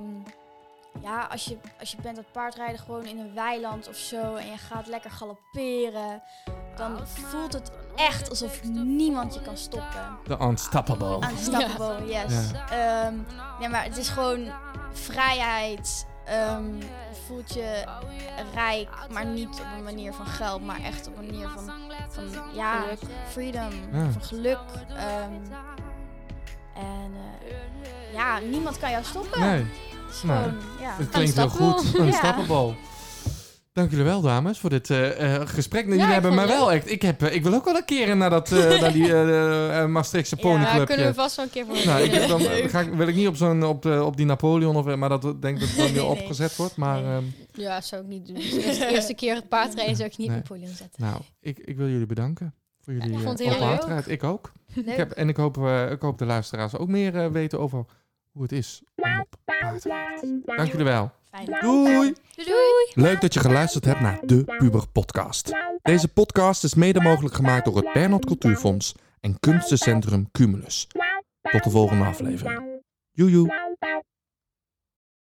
[SPEAKER 9] ja als, je, als je bent aan het paardrijden gewoon in een weiland of zo en je gaat lekker galopperen, dan voelt het echt alsof niemand je kan stoppen.
[SPEAKER 1] The
[SPEAKER 8] Ah,
[SPEAKER 1] Unstoppable.
[SPEAKER 9] Unstoppable, yes. Ehm, nee, maar het is gewoon vrijheid. Ehm, je voelt je rijk, maar niet op een manier van geld, maar echt op een manier van, van ja, freedom,
[SPEAKER 1] Ja.
[SPEAKER 9] van geluk. ehm. en eh, ja, niemand kan jou stoppen.
[SPEAKER 1] Nee,
[SPEAKER 9] Het is
[SPEAKER 1] nee.
[SPEAKER 9] gewoon, ja.
[SPEAKER 1] het klinkt heel goed.
[SPEAKER 8] Unstoppable.
[SPEAKER 1] Unstoppable. Dank jullie wel, dames, voor dit eh, eh, gesprek dat
[SPEAKER 8] Ja,
[SPEAKER 1] jullie
[SPEAKER 8] ik
[SPEAKER 1] hebben.
[SPEAKER 8] vond
[SPEAKER 1] Maar
[SPEAKER 8] het
[SPEAKER 1] wel echt, ik, heb, eh, ik wil ook wel een keer naar, dat, eh, naar die eh, eh, Maastrichtse
[SPEAKER 9] Ja,
[SPEAKER 1] ponyclubje.
[SPEAKER 8] Ja, kunnen we vast wel een keer voor
[SPEAKER 1] Nou, ik, dan
[SPEAKER 9] Leuk.
[SPEAKER 1] ga ik, wil ik niet op, zo'n, op, de, op die Napoleon, of, eh, maar dat denk ik dat het dan weer
[SPEAKER 9] Nee, nee.
[SPEAKER 1] opgezet wordt. Maar
[SPEAKER 9] Nee.
[SPEAKER 1] ehm,
[SPEAKER 8] Ja, dat zou ik niet doen. Dus de eerste- eerste keer het paard rijden zou ik niet
[SPEAKER 1] Nee.
[SPEAKER 8] Napoleon zetten.
[SPEAKER 1] nou, ik, ik wil jullie bedanken voor jullie
[SPEAKER 8] ik
[SPEAKER 1] eh,
[SPEAKER 8] vond het heel
[SPEAKER 1] open
[SPEAKER 8] leuk.
[SPEAKER 1] hartigheid. Ik ook. Ik heb, en ik hoop, eh, ik hoop de luisteraars ook meer eh, weten over hoe het is om op paard te rijden. Dank jullie wel.
[SPEAKER 9] Fijn.
[SPEAKER 1] Doei!
[SPEAKER 8] Doei!
[SPEAKER 1] Leuk dat je geluisterd hebt naar de Puber Podcast. Deze podcast is mede mogelijk gemaakt door het Bernhard Cultuurfonds en kunstencentrum Cumulus. Tot de volgende aflevering. Joejoe!
[SPEAKER 5] Bye.